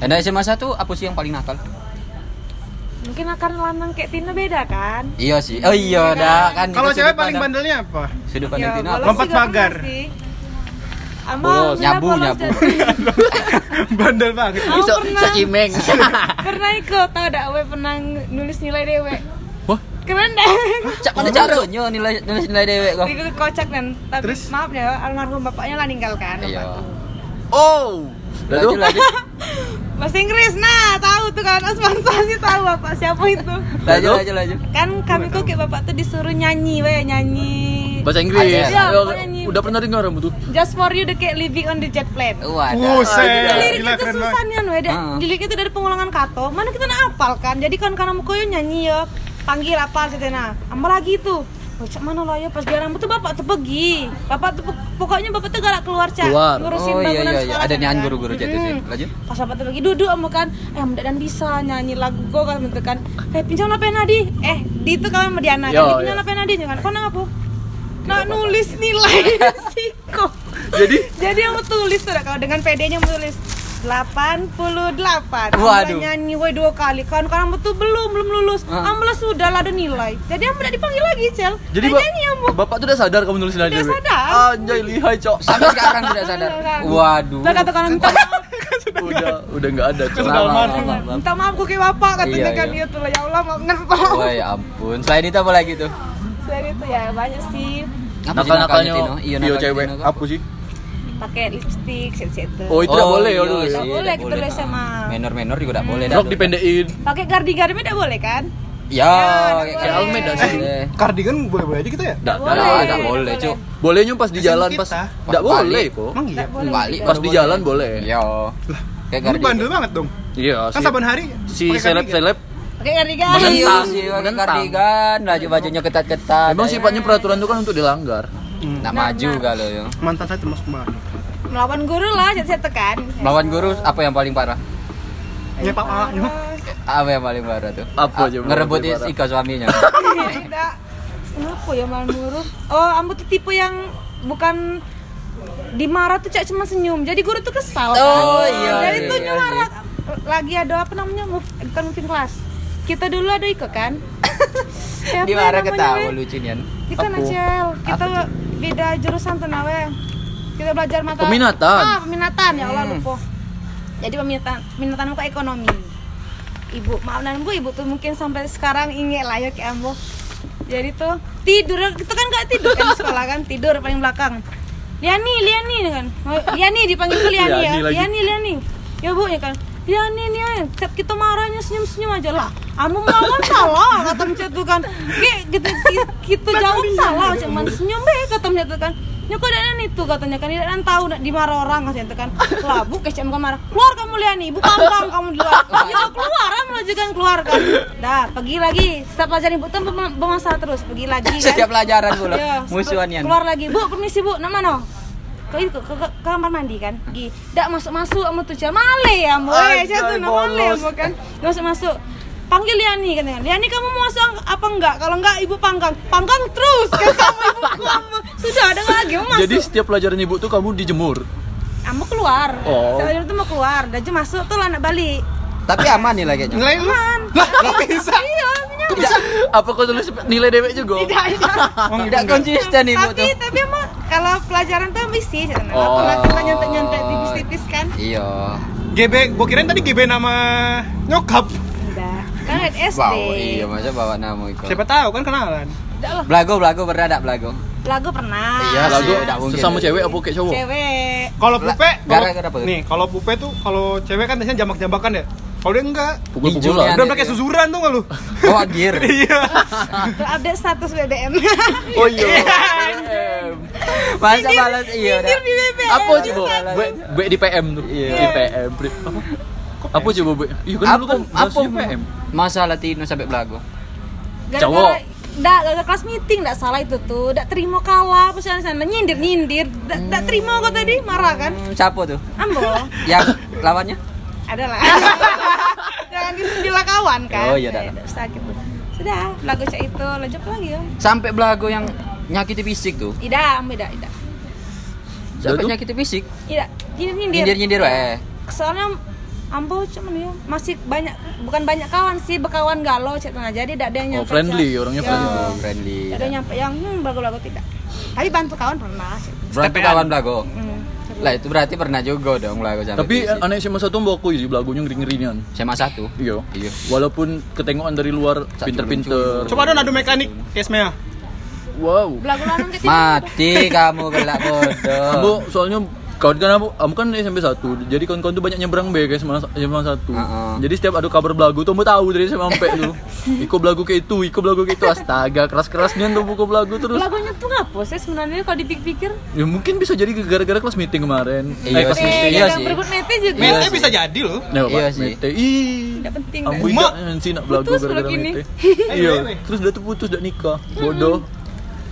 Speaker 3: Nah, SMA 1 apa sih yang paling nakal?
Speaker 4: Mungkin akan lanang kayak Tina beda kan?
Speaker 3: Iya sih. Oh iya, dah kan.
Speaker 1: Kalau
Speaker 3: itu
Speaker 1: cewek
Speaker 3: sudut
Speaker 1: paling
Speaker 3: pandang-
Speaker 1: bandelnya apa?
Speaker 3: Sudut pandang
Speaker 4: Ya,
Speaker 3: Tina.
Speaker 4: bolos
Speaker 1: Lompat
Speaker 4: juga pernah
Speaker 1: pagar.
Speaker 4: sih.
Speaker 3: Bolos,
Speaker 4: Amal
Speaker 3: nyabu, nyabu.
Speaker 1: Bandel banget.
Speaker 4: Aku pernah.
Speaker 2: cimeng
Speaker 4: pernah ikut tau dak we pernah ng- nulis nilai dewe.
Speaker 2: Wah.
Speaker 4: Keren deh.
Speaker 3: Cak mana caranya nilai nilai nilai dewek kau?
Speaker 4: Itu kocak kan. Tapi
Speaker 1: Terus?
Speaker 4: maaf ya, almarhum bapaknya lah ninggal kan.
Speaker 3: Iya.
Speaker 2: oh
Speaker 3: Lanjut
Speaker 2: lalu
Speaker 3: lanjut.
Speaker 4: Bahasa Inggris. Nah, tahu tuh kan sponsor sih tahu bapak siapa itu.
Speaker 3: Lanjut lanjut lanjut.
Speaker 4: Kan kami tuh kayak bapak tuh disuruh nyanyi we, nyanyi.
Speaker 2: bahasa Inggris
Speaker 4: Iya,
Speaker 2: Ayo,
Speaker 4: pokoknya nyanyi.
Speaker 2: udah pernah dengar kamu tuh
Speaker 4: Just for you the kayak living on the jet plane.
Speaker 3: Wadah.
Speaker 1: Buset,
Speaker 4: lirik
Speaker 1: Iya, gila
Speaker 4: itu
Speaker 1: keren
Speaker 4: susah
Speaker 1: banget.
Speaker 4: nih kan, Weda.
Speaker 3: Ah.
Speaker 4: Lirik itu dari pengulangan kato. Mana kita nak apal kan. Jadi kan karena muka yo nyanyi yo panggil apa cetena. Apa lagi itu? Oh, cak mana lah ya pas dia rambut tuh bapak tuh pergi. Bapak tuh pokoknya bapak tuh gak keluar cak.
Speaker 2: Keluar.
Speaker 4: Ngurusin
Speaker 3: Oh iya iya
Speaker 4: bangunan
Speaker 3: iya.
Speaker 4: sekolah.
Speaker 3: Ada
Speaker 4: kan,
Speaker 3: nian
Speaker 4: kan.
Speaker 3: guru-guru jatuh sih.
Speaker 4: Mm-mm.
Speaker 3: Lanjut.
Speaker 4: Pas bapak tuh pergi duduk sama kan. Eh mudah dan bisa nyanyi lagu gue kan bentuk kan. Eh pinjam lah pena di. Eh di itu kan sama Diana
Speaker 2: Yo,
Speaker 4: kan. Pinjam
Speaker 2: yo.
Speaker 4: lah pena di jangan. Kau nak apa? Nak nulis nilai siko.
Speaker 2: jadi
Speaker 4: Jadi yang tulis tuh dah, kalau dengan PD-nya mau tulis
Speaker 3: Waduh.
Speaker 4: 88 Ambil nyanyi woi dua kali kan Karena betul belum belum lulus
Speaker 3: Ah.
Speaker 4: Ambil sudah lah ada nilai Jadi Ambil tidak dipanggil lagi Cel
Speaker 2: Jadi
Speaker 4: Nah,
Speaker 2: ba-
Speaker 4: nyanyi Ambil
Speaker 2: bapak tuh udah sadar kamu nulis nilai
Speaker 4: Udah
Speaker 2: dewe?
Speaker 4: sadar.
Speaker 2: Anjay lihai cok.
Speaker 3: Sampai sekarang tidak sadar. Waduh.
Speaker 4: Lah kata kan minta maaf
Speaker 2: udah udah nggak ada cok.
Speaker 1: Sudah
Speaker 3: Lama,
Speaker 1: almarhum.
Speaker 3: lama, lama.
Speaker 4: Minta maaf kok kayak bapak katanya
Speaker 3: Iya,
Speaker 4: kan
Speaker 3: iya.
Speaker 4: Iya tuh lah ya Allah mau ngerti
Speaker 3: Wah ya ampun. Selain itu apa lagi tuh?
Speaker 4: Selain itu ya banyak sih
Speaker 3: Apa sih
Speaker 2: Nakal-nakalnya
Speaker 3: Tino? Iya
Speaker 2: bio
Speaker 3: nakal
Speaker 2: cewek.
Speaker 3: Tino.
Speaker 2: Apa sih?
Speaker 4: pakai lipstick set-set tuh.
Speaker 2: Oh itu nggak boleh ya
Speaker 3: iya
Speaker 2: dulu.
Speaker 3: sih,
Speaker 4: Nggak boleh, Ya,
Speaker 3: nggak
Speaker 4: kita udah SMA.
Speaker 3: Menor-menor juga nggak boleh. dah Ya,
Speaker 2: Rok
Speaker 3: dulu.
Speaker 2: dipendein.
Speaker 4: Pakai gardi-gardi tidak boleh kan?
Speaker 3: Ya,
Speaker 4: nggak
Speaker 3: kayak
Speaker 4: boleh.
Speaker 3: Almed dah sih.
Speaker 1: Eh, kardigan boleh-boleh aja kita ya?
Speaker 2: Nggak
Speaker 3: Nah,
Speaker 4: Boleh.
Speaker 2: boleh.
Speaker 3: nggak boleh,
Speaker 4: Nggak
Speaker 3: Cuk.
Speaker 2: Bolehnya pas di
Speaker 1: Masih
Speaker 2: jalan
Speaker 1: kita.
Speaker 2: pas.
Speaker 1: Pas
Speaker 2: Nggak boleh
Speaker 3: balik.
Speaker 2: kok.
Speaker 1: Emang iya.
Speaker 4: Boleh.
Speaker 3: Balik
Speaker 2: Pas di jalan boleh.
Speaker 3: Iya. Kayak
Speaker 1: Lu bandel banget dong.
Speaker 2: Iya.
Speaker 1: Kan
Speaker 2: si-
Speaker 1: saban hari
Speaker 2: Si
Speaker 1: pakai
Speaker 2: seleb
Speaker 1: kardigan.
Speaker 2: seleb.
Speaker 4: Pakai gardi-gardi
Speaker 2: Menentang.
Speaker 3: Iya sih, pakai
Speaker 2: Menentang.
Speaker 3: kardigan, baju-bajunya ketat-ketat.
Speaker 2: Emang
Speaker 3: Ayo.
Speaker 2: sifatnya peraturan itu kan untuk dilanggar.
Speaker 3: Nah, maju kalau ya.
Speaker 1: Hmm. Mantan saya termasuk banget.
Speaker 4: Melawan guru lah set-set tuh kan
Speaker 3: Melawan guru apa yang paling parah?
Speaker 1: Ya Pak Mak.
Speaker 3: Apa yang paling parah tuh?
Speaker 2: Apa
Speaker 3: Ah,
Speaker 2: aja yang
Speaker 3: Ngerebut
Speaker 2: paling parah?
Speaker 3: Ika suaminya.
Speaker 4: Tidak. Kenapa Iya. ya malah nurut? Oh, ambo tuh tipe yang bukan dimarah tuh cak cuma senyum. Jadi guru tuh kesal. kan?
Speaker 3: Oh, iya,
Speaker 4: Jadi
Speaker 3: iya,
Speaker 4: tuh
Speaker 3: iya,
Speaker 4: nyuara lagi ada apa namanya? Move, bukan moving class. Kita dulu ada Iko kan? Siapa
Speaker 3: Di marah
Speaker 4: namanya,
Speaker 3: ketawa
Speaker 4: we?
Speaker 3: lucu Nian.
Speaker 4: Di kan
Speaker 2: Aku.
Speaker 4: Acel. Kita beda jurusan tuh nawe. Kita belajar mata
Speaker 2: Peminatan.
Speaker 4: Ah, peminatan ya Allah
Speaker 3: Hmm.
Speaker 4: lupa. Jadi peminatan peminatan muka ekonomi. Ibu, maaf nan bu, ibu tuh mungkin sampai sekarang inget lah ya kayak ambo. jadi tuh tidur kita kan nggak tidur kan di sekolah kan tidur paling belakang Liani Liani kan Oh, Liani dipanggil tuh Liani ya
Speaker 2: Liani lagi.
Speaker 4: Liani Liani ya bu ya kan Liani Liani Cat kita marahnya senyum senyum aja lah kamu melawan salah kata Cat tuh kan Ki, kita ki- kita jawab salah cuman senyum be kata Cat tuh kan Ya kok dan itu katanya kan dan tahu nak dimarah orang katanya tuh kan. Lah bu kecem bukan marah. Keluar kamu Liani, ibu kampang kamu di luar. Ya keluar kamu lanjutkan keluar kan. Dah, pergi lagi. Setiap pelajaran ibu tuh pema- bermasalah terus, pergi lagi kan.
Speaker 3: Setiap pelajaran bu loh,
Speaker 4: Iya,
Speaker 3: musuhan Yan.
Speaker 4: Keluar lagi, bu permisi bu, nama no. Ke, ke, ke, ke kamar mandi kan, pergi. Dak masuk masuk, kamu tuh cah male ya, bu. Eh,
Speaker 3: Anjay,
Speaker 4: cah tuh nama male
Speaker 3: bolos.
Speaker 4: kamu kan. Masuk masuk. Panggil Liani kan, Liani kamu mau masuk apa enggak? Kalau enggak ibu panggang, panggang terus kan kamu ibu kamu. Sudah ada nggak lagi mau masuk.
Speaker 2: Jadi setiap pelajaran ibu tuh kamu dijemur.
Speaker 4: kamu keluar.
Speaker 2: Oh.
Speaker 4: Saya itu mau keluar, Daju masuk tuh lah nak balik.
Speaker 3: Tapi aman nih lah kayaknya.
Speaker 1: Nilai lu? Lah, kok bisa?
Speaker 4: Iya, punya.
Speaker 2: Apa kau tulis nilai dewek juga?
Speaker 4: Tidak, tidak.
Speaker 3: Tidak
Speaker 1: kan,
Speaker 3: konsisten ibu
Speaker 4: tapi
Speaker 3: tuh.
Speaker 4: tapi emang kalau pelajaran tuh ambis sih karena
Speaker 2: Oh.
Speaker 4: kalau kita nyontek nyontek tipis-tipis kan
Speaker 3: Iya.
Speaker 1: GB, gua kirain tadi GB nama nyokap.
Speaker 4: udah kan dari SD
Speaker 3: Wow, iya masa bawa nama itu.
Speaker 1: Siapa tahu kan kenalan.
Speaker 4: Udah lah.
Speaker 3: Belago, belago pernah ada belago.
Speaker 4: lagu pernah
Speaker 3: Iya,
Speaker 2: Lagu
Speaker 3: Iya, tidak mungkin.
Speaker 2: sesama cewek apa kayak cowok?
Speaker 4: cewek
Speaker 1: Kalau
Speaker 3: Lah,
Speaker 1: pupe, kalau-
Speaker 3: gara-gara apa?
Speaker 1: nih kalau pupe tuh kalau cewek kan biasanya jambak-jambakan ya. Kalau dia enggak,
Speaker 2: Pukul-pukulan.
Speaker 3: Aneh,
Speaker 1: udah pakai
Speaker 3: iya.
Speaker 1: susuran tuh nggak lu?
Speaker 3: Oh, agir.
Speaker 1: Iya.
Speaker 4: Tuh update status BBM
Speaker 2: Oh iya.
Speaker 3: Masa balas iya.
Speaker 4: Nyindir di
Speaker 3: dah.
Speaker 4: BBM
Speaker 2: Apa
Speaker 3: Iya,
Speaker 2: coba?
Speaker 3: iya.
Speaker 2: Bek bek di PM tuh.
Speaker 3: Iya.
Speaker 2: Di PM. Pri- Apa? Apa coba bek? Iya kan dulu
Speaker 3: Apa
Speaker 2: kan
Speaker 3: apa
Speaker 2: bahasnya PM.
Speaker 3: masa Latino sampai belago?
Speaker 2: Cowok.
Speaker 4: Nggak, nggak kelas meeting, nggak salah itu tuh Nggak terima kalah, pesan sana nyindir-nyindir Nggak nggak terima kok tadi, marah kan
Speaker 3: Hmm, Siapa tuh?
Speaker 4: Ambo,
Speaker 3: Yang lawannya?
Speaker 4: adalah Jangan disembila kawan kan
Speaker 3: Oh, iya, dah.
Speaker 4: Nggak usah gitu Sudah, lagu cek itu, lanjut apa lagi ya
Speaker 3: Sampai belago yang nyakiti fisik tuh.
Speaker 4: Tidak, ambil tidak, tidak
Speaker 3: Sampai
Speaker 2: Lalu?
Speaker 3: nyakiti fisik.
Speaker 4: Tidak, nyindir-nyindir
Speaker 3: Nyindir-nyindir eh. weh.
Speaker 4: soalnya Ambo cuman ya masih banyak bukan banyak kawan sih berkawan galau cetana jadi tidak ada yang
Speaker 2: Oh,
Speaker 4: nyampe
Speaker 2: friendly,
Speaker 4: cak-
Speaker 2: orangnya
Speaker 4: Ya,
Speaker 2: friendly.
Speaker 3: Oh,
Speaker 4: tidak
Speaker 3: friendly.
Speaker 4: ada yang nyampe yang hmm, bagus-bagus tidak tapi bantu kawan pernah cak.
Speaker 3: Berarti kawan belago.
Speaker 4: hmm.
Speaker 3: Lah itu berarti pernah juga dong belago sampai.
Speaker 2: Tapi
Speaker 3: fisik.
Speaker 2: anak SMA satu mbokku sih lagunya ngeri-ngerian.
Speaker 3: SMA satu.
Speaker 2: Iya.
Speaker 3: Iya.
Speaker 2: Walaupun ketengokan dari luar
Speaker 3: Satu
Speaker 2: pinter-pinter.
Speaker 1: Coba dong adu mekanik Kesmea.
Speaker 2: Wow.
Speaker 4: belagu lanang gitu
Speaker 3: Mati kamu gelak bodoh.
Speaker 2: Ambo soalnya kawan kan aku, kamu kan SMP 1 jadi kawan-kawan tuh banyak nyebrang be guys sama sama satu.
Speaker 3: Heeh.
Speaker 2: Jadi setiap ada kabar belagu tuh mau tahu dari SMA sampai tuh. Iko belagu kayak itu, iko belagu kayak itu. Astaga, keras-kerasnya tuh buku belagu terus.
Speaker 4: belagunya tuh ngapa sih sebenarnya kalau dipikir-pikir
Speaker 2: Ya mungkin bisa jadi gara-gara kelas meeting kemarin.
Speaker 3: Iya
Speaker 2: kelas
Speaker 3: sih.
Speaker 4: eh
Speaker 3: iya
Speaker 4: jangan
Speaker 3: sih.
Speaker 4: berebut nete juga
Speaker 3: Iya
Speaker 1: Mete
Speaker 3: sih.
Speaker 1: bisa jadi loh.
Speaker 2: Nah,
Speaker 3: Iya
Speaker 2: iya
Speaker 3: sih.
Speaker 2: sih. Ih.
Speaker 4: Tidak penting,
Speaker 2: Ambo
Speaker 1: dah.
Speaker 2: ijak nanti nak belagu
Speaker 4: Putus
Speaker 2: gara-gara
Speaker 4: lagi nih.
Speaker 2: meeting.
Speaker 1: Eh,
Speaker 2: Iya.
Speaker 1: weh.
Speaker 2: Terus udah tuh putus udah nikah. Bodoh.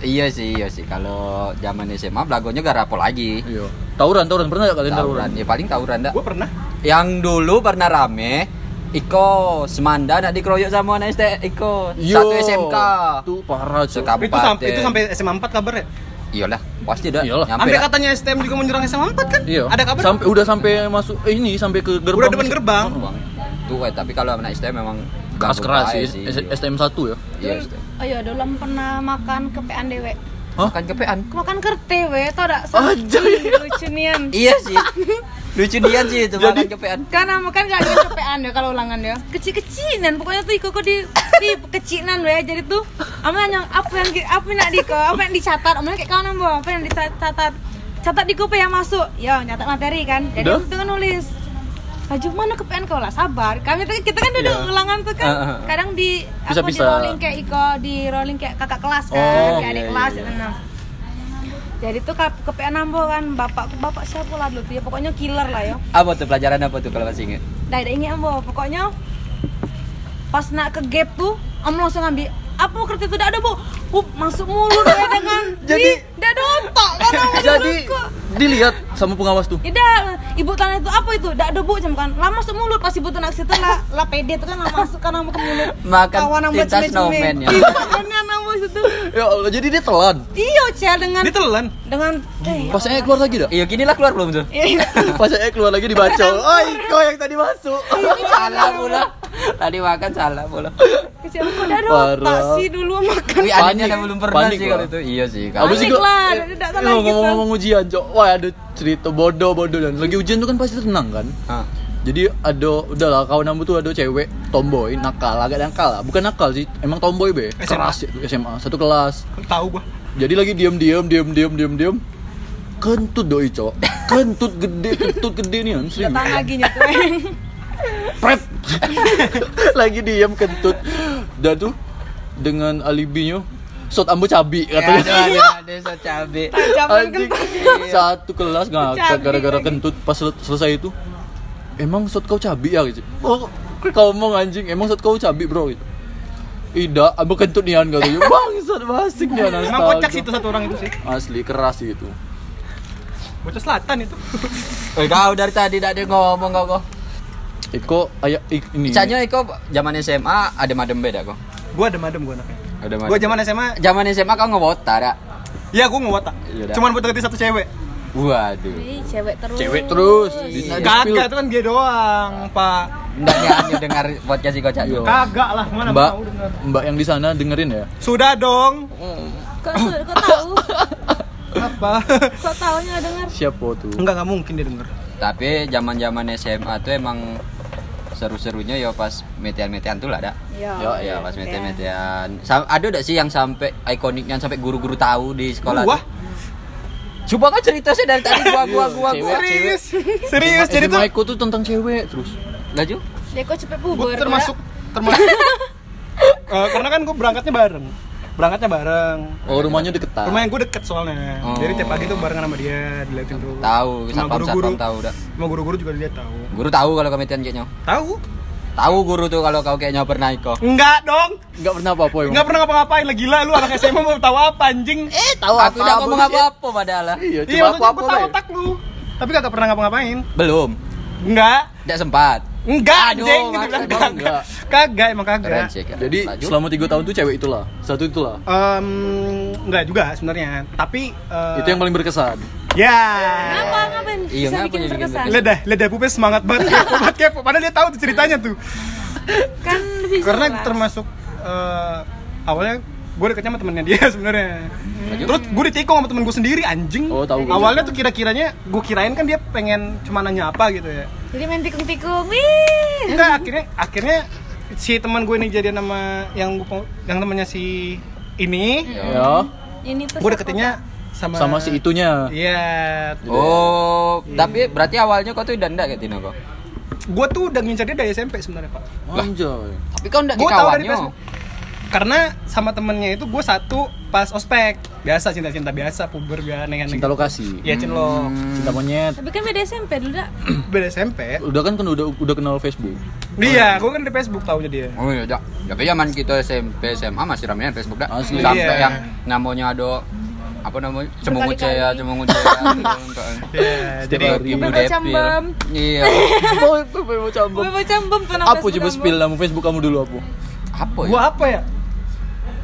Speaker 3: Iya sih, iya sih. Kalau zaman SMA belagonya gak rapo lagi.
Speaker 2: Iya. Tawuran, tawuran pernah gak kalian tawuran?
Speaker 3: Tawuran. Ya paling tawuran dah.
Speaker 1: Gue pernah.
Speaker 3: Yang dulu pernah rame Iko Semanda nak dikeroyok sama anak ST Iko
Speaker 2: Yo.
Speaker 3: satu SMK.
Speaker 2: Iya. Tuh parah cuy.
Speaker 1: Itu
Speaker 3: Sekabupaten.
Speaker 1: sampai itu sampai SMA 4 kabar ya.
Speaker 3: Iyalah, pasti dah.
Speaker 2: Iyalah.
Speaker 3: Nyampe
Speaker 1: Sampai
Speaker 3: dah.
Speaker 1: katanya STM juga menyerang SMA 4 kan?
Speaker 2: Iya.
Speaker 1: Ada kabar?
Speaker 2: Sampai udah sampai masuk eh, ini sampai ke gerbang.
Speaker 1: Udah depan gerbang.
Speaker 3: Bang. Tuh, eh, tapi kalau anak ST memang
Speaker 2: Oh, Keras keras sih. S-
Speaker 3: ST.
Speaker 2: STM 1 ya.
Speaker 3: Iya,
Speaker 4: Terus,
Speaker 3: ST.
Speaker 4: ayo Oh, dalam pernah makan kepean dewe
Speaker 2: Hah?
Speaker 3: Makan kepean.
Speaker 4: makan kerti we tau dak
Speaker 2: Ajay.
Speaker 4: lucu nian
Speaker 3: Iya sih. Lucu dian sih itu makan kepean.
Speaker 4: kan ama kan gak ada kepean ya kalau ulangan ya kecil-kecilan pokoknya tuh Iko kok di di kecilan ya jadi tuh ama yang apa yang di- apa yang nak Diko apa yang dicatat ama kayak kawan ambo apa yang dicatat catat di kupe yang masuk ya nyatat materi kan jadi
Speaker 2: Udah?
Speaker 4: itu kan nulis Laju mana kepean kau lah sabar kami tuh kita kan duduk
Speaker 2: Iya.
Speaker 4: ulangan tuh
Speaker 3: Ah, ah,
Speaker 4: kan
Speaker 3: ah.
Speaker 4: kadang di apa di
Speaker 2: Bisa-bisa.
Speaker 4: rolling kayak Iko di rolling kayak kakak kelas kan
Speaker 2: Oh,
Speaker 4: kayak adik
Speaker 3: iya,
Speaker 4: kelas
Speaker 3: iya,
Speaker 4: gitu, nah. jadi tuh ke, ke PN Ambo kan bapak bapak siapa lah dulu tuh ya pokoknya killer lah ya
Speaker 3: Apa tuh pelajaran apa tuh kalau masih ingat?
Speaker 4: Dah dah ingat ambo. Pokoknya pas nak ke gap tu, am langsung ambil apa kereta tu dah ada bu. Hup, masuk mulut saya dengan
Speaker 2: Jadi-
Speaker 4: Ih, dah ada otak kan awak
Speaker 2: Jadi
Speaker 4: kok.
Speaker 2: dilihat sama pengawas tuh.
Speaker 4: Ya dah, ibu tanya itu apa itu? Dah ada bu macam kan. Lah masuk mulut pas ibu tu nak situ lah, lah pede tu kan lah masuk kan ambo ke mulut.
Speaker 3: Makan
Speaker 4: ambo
Speaker 3: tinta
Speaker 4: cumi-cumi.
Speaker 3: snowman ya.
Speaker 4: Tinta snowman ambo Iya, situ.
Speaker 2: Ya Allah, jadi dia telan.
Speaker 4: Iya, cel dengan
Speaker 1: Ditelan.
Speaker 4: dengan eh,
Speaker 2: Pas saya keluar lagi dah.
Speaker 3: Iya, gini lah keluar belum tuh.
Speaker 4: eh,
Speaker 2: Pas saya keluar lagi dibaca. Oh, Iko yang tadi masuk.
Speaker 3: salah pula. Tadi makan salah pula.
Speaker 4: kecil kok dah ada otak
Speaker 2: Parah.
Speaker 4: sih dulu makan.
Speaker 3: Tapi adanya
Speaker 2: Panik.
Speaker 3: dah belum pernah
Speaker 2: Panik
Speaker 3: sih
Speaker 2: lah.
Speaker 3: kalau itu. Iya sih. Kalau
Speaker 2: Apa sih
Speaker 4: Panik
Speaker 2: kok?
Speaker 4: lah, tidak
Speaker 2: eh,
Speaker 4: tahu
Speaker 1: gitu.
Speaker 4: lagi
Speaker 2: Ngomong-ngomong ujian, Cok. Wah, ada cerita bodoh-bodoh dan lagi ujian tuh kan pasti tenang kan?
Speaker 3: Ah.
Speaker 2: jadi ada udahlah kawan kamu tuh ada cewek tomboy nakal agak nakal lah bukan nakal sih emang tomboy be
Speaker 1: SMA.
Speaker 2: keras itu SMA satu kelas
Speaker 1: Tahu gua.
Speaker 2: jadi lagi diem diem diem diem diem diem kentut doi cok kentut gede kentut gede nih kan serius
Speaker 4: Datang lagi nyetuin
Speaker 2: Pret. lagi diem kentut dan tuh dengan alibinya shot ambo cabi
Speaker 1: Ya,
Speaker 3: Ya,
Speaker 2: katanya
Speaker 3: desa cabe.
Speaker 4: Tajaman
Speaker 2: Anjing.
Speaker 4: kentut
Speaker 2: Satu kelas ngakak
Speaker 4: Cabi
Speaker 2: gara-gara
Speaker 4: lagi.
Speaker 2: kentut pas sel- selesai itu. Emang shot kau cabi ya gitu. Oh, kau ngomong anjing, emang shot kau cabi, Bro gitu. Ida, abu kentut nian katanya. Bangsat basik nian.
Speaker 1: Emang
Speaker 2: astaga.
Speaker 1: kocak sih itu satu orang itu sih.
Speaker 2: Asli keras sih itu.
Speaker 1: Bocah selatan itu.
Speaker 3: Eh, kau dari tadi tidak ada ngomong kau kau.
Speaker 2: Iko ayak ik- ini.
Speaker 3: Canya Iko eh, zaman SMA ada madem beda kau.
Speaker 1: Gua adem-adem gua anaknya.
Speaker 3: Ada
Speaker 1: Gua zaman SMA,
Speaker 3: zaman SMA kau ngewota dak.
Speaker 1: ya gua ngewatak.
Speaker 3: Iya, dah.
Speaker 1: Cuman buat deketin satu cewek.
Speaker 3: Waduh.
Speaker 4: Ih, cewek terus
Speaker 2: Cewek terus. Di-
Speaker 3: Iya.
Speaker 1: Kagak itu kan dia doang, Pak.
Speaker 3: Ndaknya hanya dengar podcast Iko Canya.
Speaker 2: Iya.
Speaker 1: Kagak lah, mana
Speaker 2: Mbak,
Speaker 1: mau dengar.
Speaker 2: Mbak yang di sana dengerin ya.
Speaker 1: Sudah dong.
Speaker 4: Kok su- kok tahu?
Speaker 1: Apa?
Speaker 4: Kok tahunya dengar?
Speaker 2: Siapa tuh?
Speaker 1: Enggak enggak mungkin dia denger.
Speaker 3: Tapi zaman zaman SMA tuh emang seru-serunya ya pas metean-metean tuh lah dak.
Speaker 2: Ya,
Speaker 3: Oh iya pas metean-metean. Sa- ada dak sih yang sampai ikoniknya sampai guru-guru tahu di sekolah.
Speaker 1: Wah,
Speaker 3: tuh? Coba kau cerita sih dari tadi gua gua gua gua.
Speaker 2: Cewek.
Speaker 1: serius. Serius jadi tuh
Speaker 2: Maiku Eh, tuh tentang cewek terus.
Speaker 3: Laju.
Speaker 4: Dia kok cepet
Speaker 1: gue
Speaker 4: puber
Speaker 1: termasuk termasuk Eh, karena kan gue berangkatnya bareng berangkatnya bareng
Speaker 2: Oh, rumahnya
Speaker 3: Ah.
Speaker 2: deketan.
Speaker 1: rumah yang gue deket soalnya
Speaker 3: Oh.
Speaker 1: jadi tiap pagi tuh barengan sama dia diliatin tuh sama
Speaker 3: Tahu, satpam
Speaker 1: guru-guru
Speaker 3: satpam tahu dak.
Speaker 1: sama guru-guru juga dia tahu
Speaker 3: Guru tahu kalau kau metean kayaknya.
Speaker 1: tahu
Speaker 3: Tahu guru tuh kalau kau kayaknya pernah Iko.
Speaker 1: enggak dong
Speaker 2: Enggak pernah apa-apa emang.
Speaker 1: enggak pernah ngapa-ngapain lah gila lu anak SMA mau tahu apa anjing
Speaker 3: Eh,
Speaker 2: Oh,
Speaker 3: tahu
Speaker 2: apa,
Speaker 3: aku udah ngomong
Speaker 2: bullshit.
Speaker 3: apa-apa padahal. lah.
Speaker 2: Iya,
Speaker 1: iya
Speaker 2: cuma
Speaker 1: maksudnya
Speaker 2: apa-apa.
Speaker 1: gue tahu
Speaker 3: ya?
Speaker 2: Be.
Speaker 1: otak lu tapi kagak pernah ngapa-ngapain
Speaker 3: Belum.
Speaker 1: enggak
Speaker 3: Tidak sempat.
Speaker 1: enggak
Speaker 3: Aduh,
Speaker 1: anjing gitu
Speaker 3: maksud
Speaker 1: bilang
Speaker 3: gua
Speaker 1: kagak
Speaker 2: enggak.
Speaker 1: kagak emang
Speaker 3: Keren
Speaker 1: kagak
Speaker 3: sih. keren.
Speaker 2: Jadi
Speaker 3: Laju.
Speaker 2: selama tiga tahun tuh cewek itulah, satu itulah.
Speaker 1: Em, enggak juga sebenarnya tapi eh,
Speaker 2: Itu yang paling berkesan.
Speaker 1: ya
Speaker 4: Kenapa ngapain?
Speaker 3: Iya,
Speaker 4: Bisa
Speaker 3: ngapa
Speaker 4: bikin
Speaker 3: jadi bikin
Speaker 4: berkesan
Speaker 1: Ledah, ledah pupil semangat banget kepo banget kepo. Padahal dia tahu tuh ceritanya tuh.
Speaker 4: Kan bisa
Speaker 1: Karena
Speaker 4: lah.
Speaker 1: termasuk eh, awalnya gue deketnya sama temennya dia sebenarnya. Terus gue ditikung sama temen gue sendiri anjing.
Speaker 2: Hmm. Oh, tahu gua.
Speaker 1: Awalnya tuh kira-kiranya gue kirain kan dia pengen cuma nanya apa gitu ya.
Speaker 4: Jadi main tikung-tikung Wih
Speaker 1: Enggak, akhirnya akhirnya si teman gue ini jadian sama yang gua- yang temannya si ini.
Speaker 2: Ya.
Speaker 4: Ini tuh
Speaker 1: Gue deketinnya sama
Speaker 2: Sama si itunya.
Speaker 1: Iya.
Speaker 3: Oh, tapi berarti awalnya kau tuh udah ndak kayak Tino kau.
Speaker 1: Gue tuh udah ngincar dia dari SMP sebenarnya, Pak.
Speaker 2: Anjay.
Speaker 3: Tapi kau ndak
Speaker 1: Gua tahu dari
Speaker 3: kawannya.
Speaker 1: Facebook. Karena sama temennya itu gue satu pas ospek biasa cinta-cinta biasa puber biasa nengen
Speaker 2: Cinta lokasi.
Speaker 1: ya cin lo
Speaker 3: Hmm.
Speaker 2: Cinta monyet.
Speaker 4: Tapi kan beda SMP dulu dah
Speaker 1: beda SMP
Speaker 2: Udah kan kan udah udah kenal Facebook.
Speaker 1: dia gue kan di Facebook taunya dia
Speaker 3: Oh iya, Jak. Tapi zaman kita SMP, SMA masih ramainya Facebook dah.
Speaker 2: Asli.
Speaker 3: Sampai
Speaker 1: Iya.
Speaker 3: yang namanya ada apa namanya? Cemungut ya,
Speaker 4: Berkali-kali.
Speaker 3: cemungut ya.
Speaker 1: Iya, jadi
Speaker 2: Setiap hari.
Speaker 4: Bebek cambam.
Speaker 3: Iya.
Speaker 2: Oh, itu mau
Speaker 4: Gue
Speaker 2: cambuk.
Speaker 4: macam bom pernah
Speaker 2: Apa
Speaker 4: Facebook
Speaker 2: coba
Speaker 4: kamu.
Speaker 2: spill nama Facebook kamu dulu apa?
Speaker 3: Apa ya?
Speaker 1: gue apa ya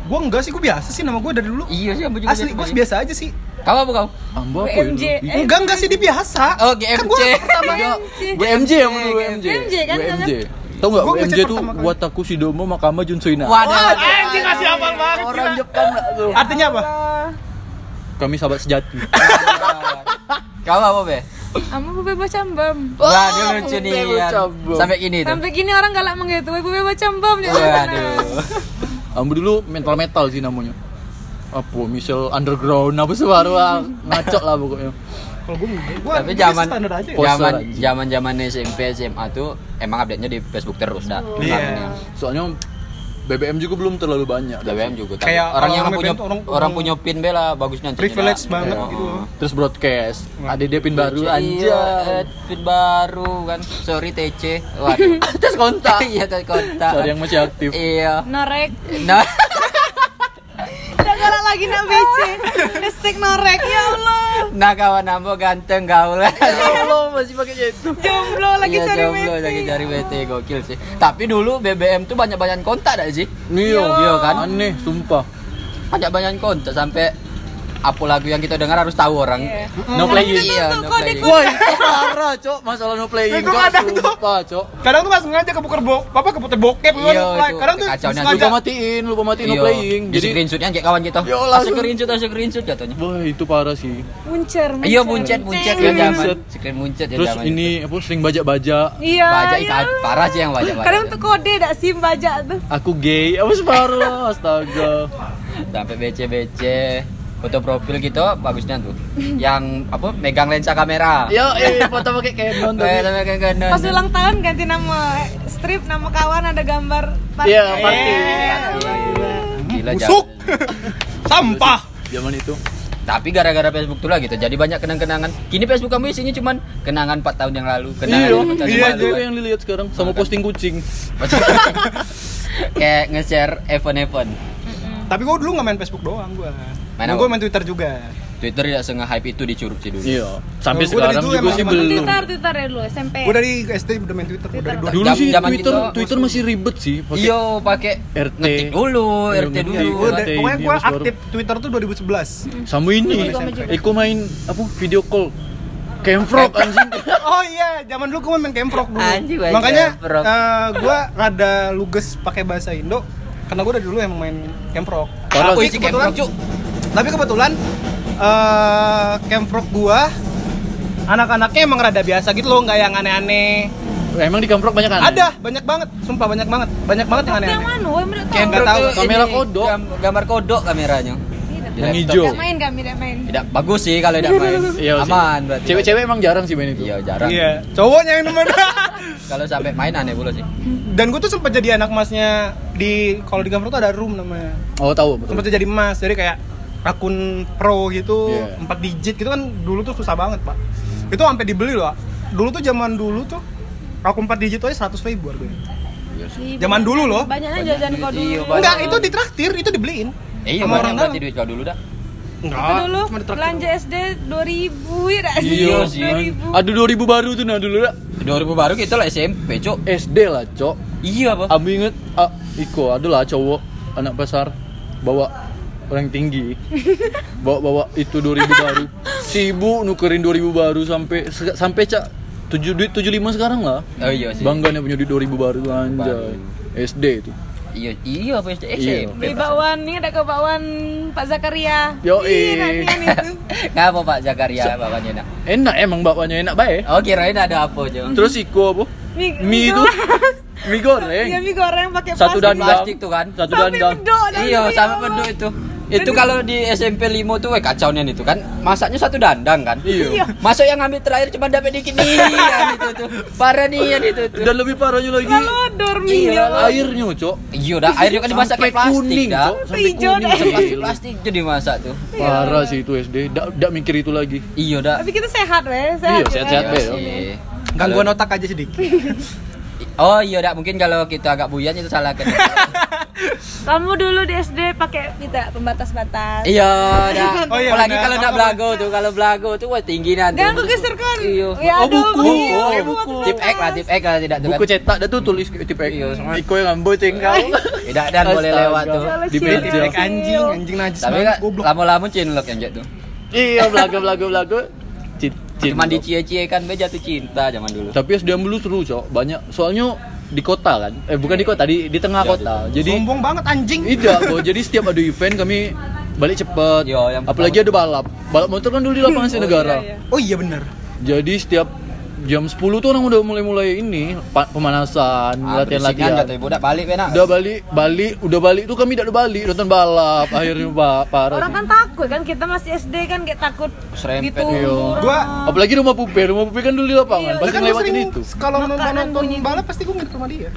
Speaker 1: gue enggak sih gue biasa sih nama gue dari dulu
Speaker 3: Iya sih, aku juga
Speaker 1: asli gue biasa aja sih
Speaker 3: Kau apa kau?
Speaker 2: Ambo apa
Speaker 4: WMJ.
Speaker 2: ya? dulu? Ih,
Speaker 1: enggak enggak sih dia biasa
Speaker 3: Oh,
Speaker 1: kan gue
Speaker 3: GMC.
Speaker 1: pertama
Speaker 2: WMJ yang dulu WMJ.
Speaker 4: WMJ, kan,
Speaker 2: WMJ. Tahu enggak
Speaker 1: Gua ngechat
Speaker 2: WMJ tuh
Speaker 1: pertama kali.
Speaker 2: Wataku Shidomo Makama Junsuina.
Speaker 3: Wadah.
Speaker 1: anjing kasih abang banget
Speaker 2: Orang
Speaker 1: gila.
Speaker 2: Jepang enggak tuh.
Speaker 1: artinya apa
Speaker 2: Kami sahabat sejati.
Speaker 3: Kau apa, Be?
Speaker 4: Kamu bebe macam bom.
Speaker 3: Wah, dia lucu nih.
Speaker 2: Bebek
Speaker 3: Yan.
Speaker 2: cambuk.
Speaker 3: Sampai ini tuh.
Speaker 4: Sampai gini orang galak menggitu bebe macam bom dia.
Speaker 3: Waduh.
Speaker 2: Ambo dulu mental metal sih namanya. Apa misal underground apa sih baru ah, ngacok lah pokoknya.
Speaker 1: kalau gue gue
Speaker 3: Tapi zaman
Speaker 1: standar aja ya.
Speaker 2: Poster
Speaker 3: zaman
Speaker 2: anjing.
Speaker 3: zaman zaman SMP SMA tuh emang update-nya di Facebook terus dah. Nah,
Speaker 1: iya
Speaker 2: Soalnya BBM juga belum terlalu banyak.
Speaker 3: BBM juga tapi
Speaker 1: Kayak
Speaker 3: orang
Speaker 1: orang
Speaker 3: yang
Speaker 1: BBM
Speaker 3: punya
Speaker 1: tuh
Speaker 3: orang,
Speaker 1: orang-
Speaker 3: punya pin bela bagusnya anjingnya,
Speaker 1: privilege
Speaker 3: dah.
Speaker 1: banget
Speaker 3: Iya.
Speaker 1: gitu loh.
Speaker 2: Terus broadcast, ada dia pin baru
Speaker 3: Iya, eh,
Speaker 2: aja.
Speaker 3: pin baru kan. Sorry TC. Waduh.
Speaker 2: Terus kontak.
Speaker 3: iya tadi kontak.
Speaker 2: Cari yang masih aktif.
Speaker 3: Iya.
Speaker 4: Norek.
Speaker 3: Nah,
Speaker 4: Udah galak lagi nak BC. Hashtag norek ya Allah.
Speaker 3: nah kawan ambo ganteng gaul.
Speaker 2: Allah masih pakai itu.
Speaker 4: Jomblo lagi
Speaker 3: Iya,
Speaker 4: cari
Speaker 3: jomblo,
Speaker 4: BC.
Speaker 3: lagi cari WT gokil sih. Tapi dulu BBM tuh banyak-banyak kontak dah sih.
Speaker 2: Iya,
Speaker 3: Iya kan?
Speaker 2: Aneh, sumpah.
Speaker 3: Banyak-banyak kontak sampai apa lagu yang kita dengar harus tahu orang.
Speaker 4: Iya.
Speaker 2: No playing.
Speaker 3: Iya,
Speaker 4: Tuh,
Speaker 3: no
Speaker 4: kode
Speaker 3: playing.
Speaker 2: Wah, itu parah, Cok. Masalah no playing,
Speaker 1: Itu
Speaker 2: Cok.
Speaker 1: kadang tuh.
Speaker 2: Sumpah, Cok.
Speaker 1: kadang tuh nggak sengaja keputer bo apa keputer bokep
Speaker 3: Iya,
Speaker 1: gitu kan, like.
Speaker 3: itu
Speaker 1: kadang tuh
Speaker 3: kekacauannya
Speaker 1: sengaja
Speaker 2: Lupa matiin, lupa matiin no
Speaker 3: Iya,
Speaker 2: playing.
Speaker 3: Di
Speaker 2: Jadi,
Speaker 3: screenshotnya kayak kawan kita.
Speaker 2: Yo,
Speaker 3: Asal
Speaker 2: langsung.
Speaker 3: screenshot, asal screenshot jatuhnya.
Speaker 2: wah, itu parah sih.
Speaker 4: Muncer,
Speaker 3: Iya, muncet, muncet ya
Speaker 2: Screen
Speaker 3: zaman.
Speaker 2: muncet.
Speaker 3: Screen muncet ya
Speaker 2: Terus
Speaker 3: zaman.
Speaker 2: ini apa sering bajak-bajak.
Speaker 4: Iya.
Speaker 3: Bajak
Speaker 4: iya.
Speaker 3: ikan parah sih yang bajak.
Speaker 4: Kadang tuh kode dak sim bajak tuh.
Speaker 2: Aku gay, apa separuh, astaga.
Speaker 3: sampai BC-BC foto profil gitu bagusnya tuh. Yang apa megang lensa kamera.
Speaker 2: Yo, eh, foto pakai Canon tadi.
Speaker 3: Eh, tapi kayak gak ada-
Speaker 4: Pas ulang tahun ganti nama strip nama kawan ada gambar Eh, party.
Speaker 2: Iya, party.
Speaker 3: Gila
Speaker 1: Eh, busuk
Speaker 3: zaman.
Speaker 1: sampah
Speaker 2: Zaman itu.
Speaker 3: Tapi gara-gara Facebook tuh lah gitu. Jadi banyak kenang-kenangan. Kini Facebook kamu isinya cuman kenangan 4 tahun yang lalu, kenangan
Speaker 2: Iya,
Speaker 3: 5 tahun
Speaker 2: iya,
Speaker 3: yang lalu.
Speaker 2: itu yang dilihat sekarang sama posting kucing.
Speaker 3: kayak nge-share event-event.
Speaker 1: tapi gua dulu nggak main Facebook doang gua
Speaker 3: Main apa?
Speaker 1: gua main Twitter juga
Speaker 3: Twitter tidak sengaja hype itu dicurup sih dulu.
Speaker 2: Iya,
Speaker 1: Kalau gua dari
Speaker 2: sampai sekarang
Speaker 1: dulu
Speaker 2: juga
Speaker 1: emang
Speaker 2: sih
Speaker 1: emang
Speaker 2: belum.
Speaker 4: Twitter, Twitter ya dulu SMP.
Speaker 1: gua dari SD udah main Twitter gua dari dua
Speaker 2: Dulu
Speaker 3: Jam-
Speaker 2: sih
Speaker 3: zaman
Speaker 2: Twitter,
Speaker 3: kita-
Speaker 2: Twitter masih ribet sih. pakai-
Speaker 3: Iya, pakai
Speaker 2: RT.
Speaker 3: ngetik dulu,
Speaker 2: Iya,
Speaker 3: RT
Speaker 2: ngetik.
Speaker 3: dulu.
Speaker 1: Gua dari-
Speaker 2: Iya,
Speaker 1: pokoknya gua
Speaker 2: iya, baru.
Speaker 1: aktif Twitter tuh 2011
Speaker 2: Sama
Speaker 3: Iya,
Speaker 2: ini,
Speaker 4: Sama juga.
Speaker 2: Eko main apa video call. Camfrog anjing.
Speaker 1: Oh iya, zaman dulu gue main Camfrog dulu.
Speaker 3: Anjing, main
Speaker 1: Makanya
Speaker 3: Camfrog.
Speaker 1: eh, gua rada luges pakai bahasa Indo karena gua dari dulu emang main Camfrog.
Speaker 2: Parah
Speaker 1: Tapi
Speaker 3: sih Camfrog, Cuk.
Speaker 1: Tapi kebetulan eh Camfrog gua anak-anaknya emang rada biasa gitu loh, nggak yang aneh-aneh.
Speaker 2: Emang di Camfrog banyak kan?
Speaker 1: Ada, banyak banget, sumpah banyak banget. Banyak banget yang
Speaker 4: Tapi yang
Speaker 1: aneh-aneh.
Speaker 4: mana? Woi, mereka tahu.
Speaker 1: Nggak
Speaker 3: Camera
Speaker 1: tahu.
Speaker 3: tuh ini,
Speaker 2: Kamera kodok.
Speaker 3: gam- Gambar kodok kameranya.
Speaker 2: Yang
Speaker 3: Laptop.
Speaker 2: hijau.
Speaker 4: Tidak Iya. main kami, tidak main.
Speaker 3: Tidak bagus sih kalau tidak main.
Speaker 2: Iya, sih.
Speaker 3: Aman berarti.
Speaker 2: Cewek-cewek emang jarang sih main itu.
Speaker 3: Iya, jarang.
Speaker 1: Iya, cowoknya yang nemen.
Speaker 3: Kalau sampai main aneh pula sih.
Speaker 1: Dan gua tuh sempat jadi anak masnya di kalau di Camfrog tuh ada room namanya.
Speaker 2: Oh, tahu. betul.
Speaker 1: Sempat jadi emas, jadi kayak akun pro gitu,
Speaker 2: Iya.
Speaker 1: empat digit gitu kan dulu tuh susah banget, Pak. Itu sampai dibeli loh. Pak. Dulu tuh zaman dulu tuh akun empat digit tuh aja 100 ribu harganya.
Speaker 4: Iya.
Speaker 1: Zaman dulu loh.
Speaker 4: Banyaknya jajan kau dulu.
Speaker 3: Iya, banyak.
Speaker 1: Enggak, itu ditraktir, itu dibeliin.
Speaker 3: Eh, iya,
Speaker 1: Sama
Speaker 3: banyak
Speaker 1: orang
Speaker 3: berarti
Speaker 1: dalam.
Speaker 3: duit kau dulu dah.
Speaker 4: Aku
Speaker 1: Enggak,
Speaker 4: dulu
Speaker 1: cuma ditraktir.
Speaker 4: belanja SD 2000 ya dak sih?
Speaker 2: Iya, sih.
Speaker 4: 2000.
Speaker 2: Aduh 2000 baru tuh nah dulu lah.
Speaker 3: 2000 baru kita lah SMP, Cuk.
Speaker 2: SD lah, Cok.
Speaker 3: Iya, apa?
Speaker 2: Aku inget ah, Iko adalah cowok anak pasar bawa orang tinggi. Bawa bawa itu 2000 baru. Sibuk nukerin 2000 baru sampai se- sampai cak 7 duit 75 sekarang lah.
Speaker 3: Oh iya sih.
Speaker 2: Bangganya punya duit 2000 baru anjay. SD itu.
Speaker 3: Iya, iya apa SD? SMP.
Speaker 4: Beli bakwan nih ada kau bakwan Pak Zakaria. Iya,
Speaker 2: Yo, eh.
Speaker 4: Ih, nantian itu.
Speaker 3: Enggak apa Pak Zakaria, bapaknya nak.
Speaker 2: Enak emang bakwanya enak bae.
Speaker 3: Oh, kirain ada apa, Cuk?
Speaker 2: Terus Iko apa?
Speaker 4: Mie-
Speaker 2: Mie
Speaker 4: mie
Speaker 2: itu mie goreng.
Speaker 4: Iya, mie goreng pakai
Speaker 2: Satu
Speaker 4: plastik.
Speaker 2: dandang.
Speaker 3: Plastik tuh kan.
Speaker 2: Satu
Speaker 4: Sampai
Speaker 2: dandang.
Speaker 4: bedok dah,
Speaker 3: Iya, sama
Speaker 4: ya Allah.
Speaker 3: penduduk itu. Itu kalau di SMP limo tuh eh, kacaunya itu kan. Masaknya satu dandang kan.
Speaker 2: Iya.
Speaker 3: Masuk yang ambil terakhir cuma dapat dikit nih yang itu tuh. Parah nih yang itu tuh.
Speaker 2: Dan lebih parahnya lagi
Speaker 4: Ngelodor mie.
Speaker 3: Iya,
Speaker 4: ya.
Speaker 2: airnya, Cok.
Speaker 3: Iya dah, airnya kan dimasak
Speaker 2: Sampai
Speaker 3: pakai plastik
Speaker 2: kuning,
Speaker 3: dah.
Speaker 2: Cok. Iya. Sampai
Speaker 4: Hijau
Speaker 2: kuning,
Speaker 4: dah.
Speaker 2: sampai
Speaker 3: Plastik,
Speaker 2: plastik.
Speaker 3: plastik jadi masak tuh.
Speaker 2: Parah sih itu SD. Dak dak mikir itu lagi.
Speaker 3: Iya dah.
Speaker 4: Tapi kita sehat, weh. Sehat.
Speaker 2: Iya,
Speaker 4: ya,
Speaker 2: sehat-sehat,
Speaker 4: kan?
Speaker 2: weh.
Speaker 3: Iya.
Speaker 1: gangguan otak aja sedikit.
Speaker 3: Oh iya dah, mungkin kalau kita agak buyat itu salah kan.
Speaker 4: Kamu dulu di SD pakai kita pembatas-batas.
Speaker 3: iya dah.
Speaker 1: Oh, iya,
Speaker 3: Apalagi
Speaker 1: benar.
Speaker 3: kalau
Speaker 1: Apa-
Speaker 3: nak
Speaker 1: apa-
Speaker 3: belago tuh, kalau belago tuh wah tinggi nanti.
Speaker 4: Jangan aku geserkan.
Speaker 3: Iya.
Speaker 4: Ya,
Speaker 2: Oh,
Speaker 4: aduh,
Speaker 2: buku.
Speaker 4: iya,
Speaker 2: Oh,
Speaker 4: iya,
Speaker 2: buku.
Speaker 4: pembatas.
Speaker 3: Tip X lah, tip X lah tidak tuh
Speaker 2: Buku
Speaker 3: kan.
Speaker 2: cetak dah tuh tulis tipe
Speaker 3: Iya, sama.
Speaker 2: Iko yang ngambil cengkau.
Speaker 3: Tidak Eh, dan boleh
Speaker 2: Astaga.
Speaker 3: lewat tuh.
Speaker 4: Salah
Speaker 2: Di
Speaker 4: cil,
Speaker 2: meja.
Speaker 4: salah
Speaker 1: Kayak anjing,
Speaker 4: cil.
Speaker 1: anjing najis
Speaker 3: Tapi
Speaker 1: banget
Speaker 3: kan
Speaker 1: goblok.
Speaker 3: lama-lama cinlok yang jatuh.
Speaker 2: Iya, belaga belaga belaga. Cin, cin.
Speaker 3: Cuma dicie-cie kan be jatuh cinta zaman dulu.
Speaker 2: Tapi SD dulu seru, Cok. Banyak. Soalnya di kota kan. Eh bukan di kota, di di tengah
Speaker 3: Iya,
Speaker 2: kota. Jadi
Speaker 1: Sombong banget anjing.
Speaker 2: Tidak, Bo. Jadi setiap ada event kami balik cepet.
Speaker 3: Yo, yang pertama-
Speaker 2: Apalagi ada balap. Balap motor kan dulu di lapangan Negara.
Speaker 4: iya, iya.
Speaker 1: Oh iya bener
Speaker 2: Jadi setiap jam 10 tuh orang udah mulai-mulai ini pa- pemanasan,
Speaker 3: Ah, berisikkan
Speaker 2: latihan-latihan.
Speaker 3: jatuh ibu dak balik benak.
Speaker 2: Udah balik, balik, udah balik tuh kami tidak ada balik nonton balap. Akhirnya Pak parah. sih.
Speaker 4: Orang kan takut kan kita masih SD kan kayak takut
Speaker 3: Serempet,
Speaker 4: gitu.
Speaker 2: iya.
Speaker 1: Gua
Speaker 2: Apalagi rumah pupe, rumah pupe kan dulu di lapangan,
Speaker 4: Iya,
Speaker 2: pasti
Speaker 1: kan gua
Speaker 2: ngelewatin
Speaker 1: sering
Speaker 2: itu.
Speaker 1: Kalau nonton
Speaker 4: Makanan
Speaker 1: nonton
Speaker 4: bunyi.
Speaker 1: balap pasti gue nginep rumah dia.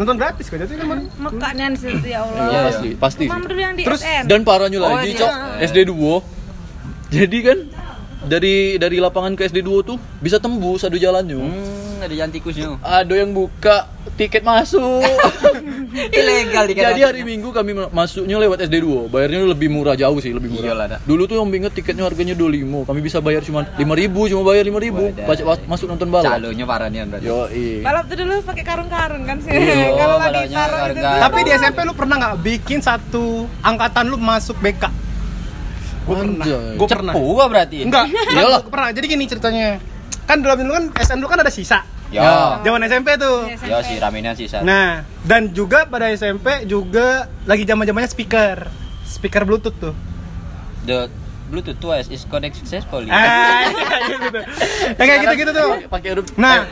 Speaker 1: Nonton gratis kan jadi kemarin.
Speaker 4: Mekaknya di situ ya Allah.
Speaker 2: Iya, pasti, pasti. sih.
Speaker 4: Mama dulu yang di
Speaker 1: Terus,
Speaker 4: SN.
Speaker 2: Dan parahnya
Speaker 3: Oh,
Speaker 2: lagi,
Speaker 3: iya.
Speaker 2: Cok, SD 2. Jadi kan dari dari lapangan ke SD 2 tuh bisa tembus satu jalannya.
Speaker 3: Hmm, ada yang tikusnya.
Speaker 2: ada yang buka tiket masuk.
Speaker 3: Ilegal di
Speaker 2: Jadi hari Minggu kami masuknya lewat SD2. Bayarnya lebih murah jauh sih, lebih murah.
Speaker 3: Iyalah, dah.
Speaker 2: Dulu tuh yang inget tiketnya harganya 25. Kami bisa bayar cuma 5000, cuma bayar 5000.
Speaker 3: Wadah.
Speaker 2: Baca mas- masuk nonton balap.
Speaker 3: Calonya parah nih berarti.
Speaker 2: Yo, iya.
Speaker 4: Balap tuh dulu pakai karung-karung kan sih.
Speaker 3: Iya,
Speaker 4: Kalau nggak
Speaker 3: balapnya
Speaker 4: ditaruh
Speaker 2: Ah.
Speaker 4: gitu.
Speaker 3: karung-karung.
Speaker 1: Tapi di SMP lu pernah nggak bikin satu angkatan lu masuk BK? Gue pernah.
Speaker 2: Anjay. Iya
Speaker 1: Gue pernah.
Speaker 3: Cepu gua berarti.
Speaker 1: Enggak.
Speaker 2: Iyalah.
Speaker 1: Gua pernah. Jadi gini ceritanya. Kan dalam dulu kan SN dulu kan ada sisa.
Speaker 3: Ya.
Speaker 1: Zaman SMP tuh.
Speaker 4: Iya,
Speaker 3: Ya si raminnya sisa.
Speaker 1: Nah, dan juga pada SMP juga lagi zaman-zamannya speaker. Speaker Bluetooth tuh.
Speaker 3: The Bluetooth twice is connect successfully.
Speaker 1: Ah, iya, gitu. Yang kayak gitu-gitu tuh.
Speaker 2: Pakai huruf
Speaker 1: Nah,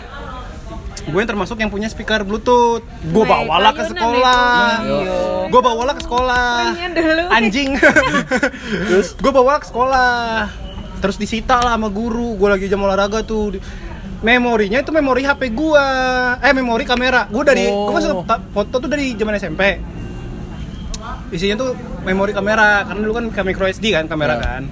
Speaker 1: gue yang termasuk yang punya speaker Bluetooth. Gue
Speaker 4: Baik,
Speaker 1: bawalah ke
Speaker 4: ayo,
Speaker 1: sekolah.
Speaker 4: Nana,
Speaker 2: Iya.
Speaker 1: Gue bawalah ke sekolah.
Speaker 4: Tangan dulu.
Speaker 1: Anjing. Terus gue bawa ke sekolah. Terus disita lah sama guru. Gue lagi jam olahraga tuh. Di- Memorinya itu memori HP gua. Eh, memori kamera. Gue dari
Speaker 2: Oh.
Speaker 1: gua masuk ta- foto tuh dari zaman SMP. Isinya tuh memori kamera karena dulu kan kamera micro SD kan kamera
Speaker 2: Ya.
Speaker 1: kan.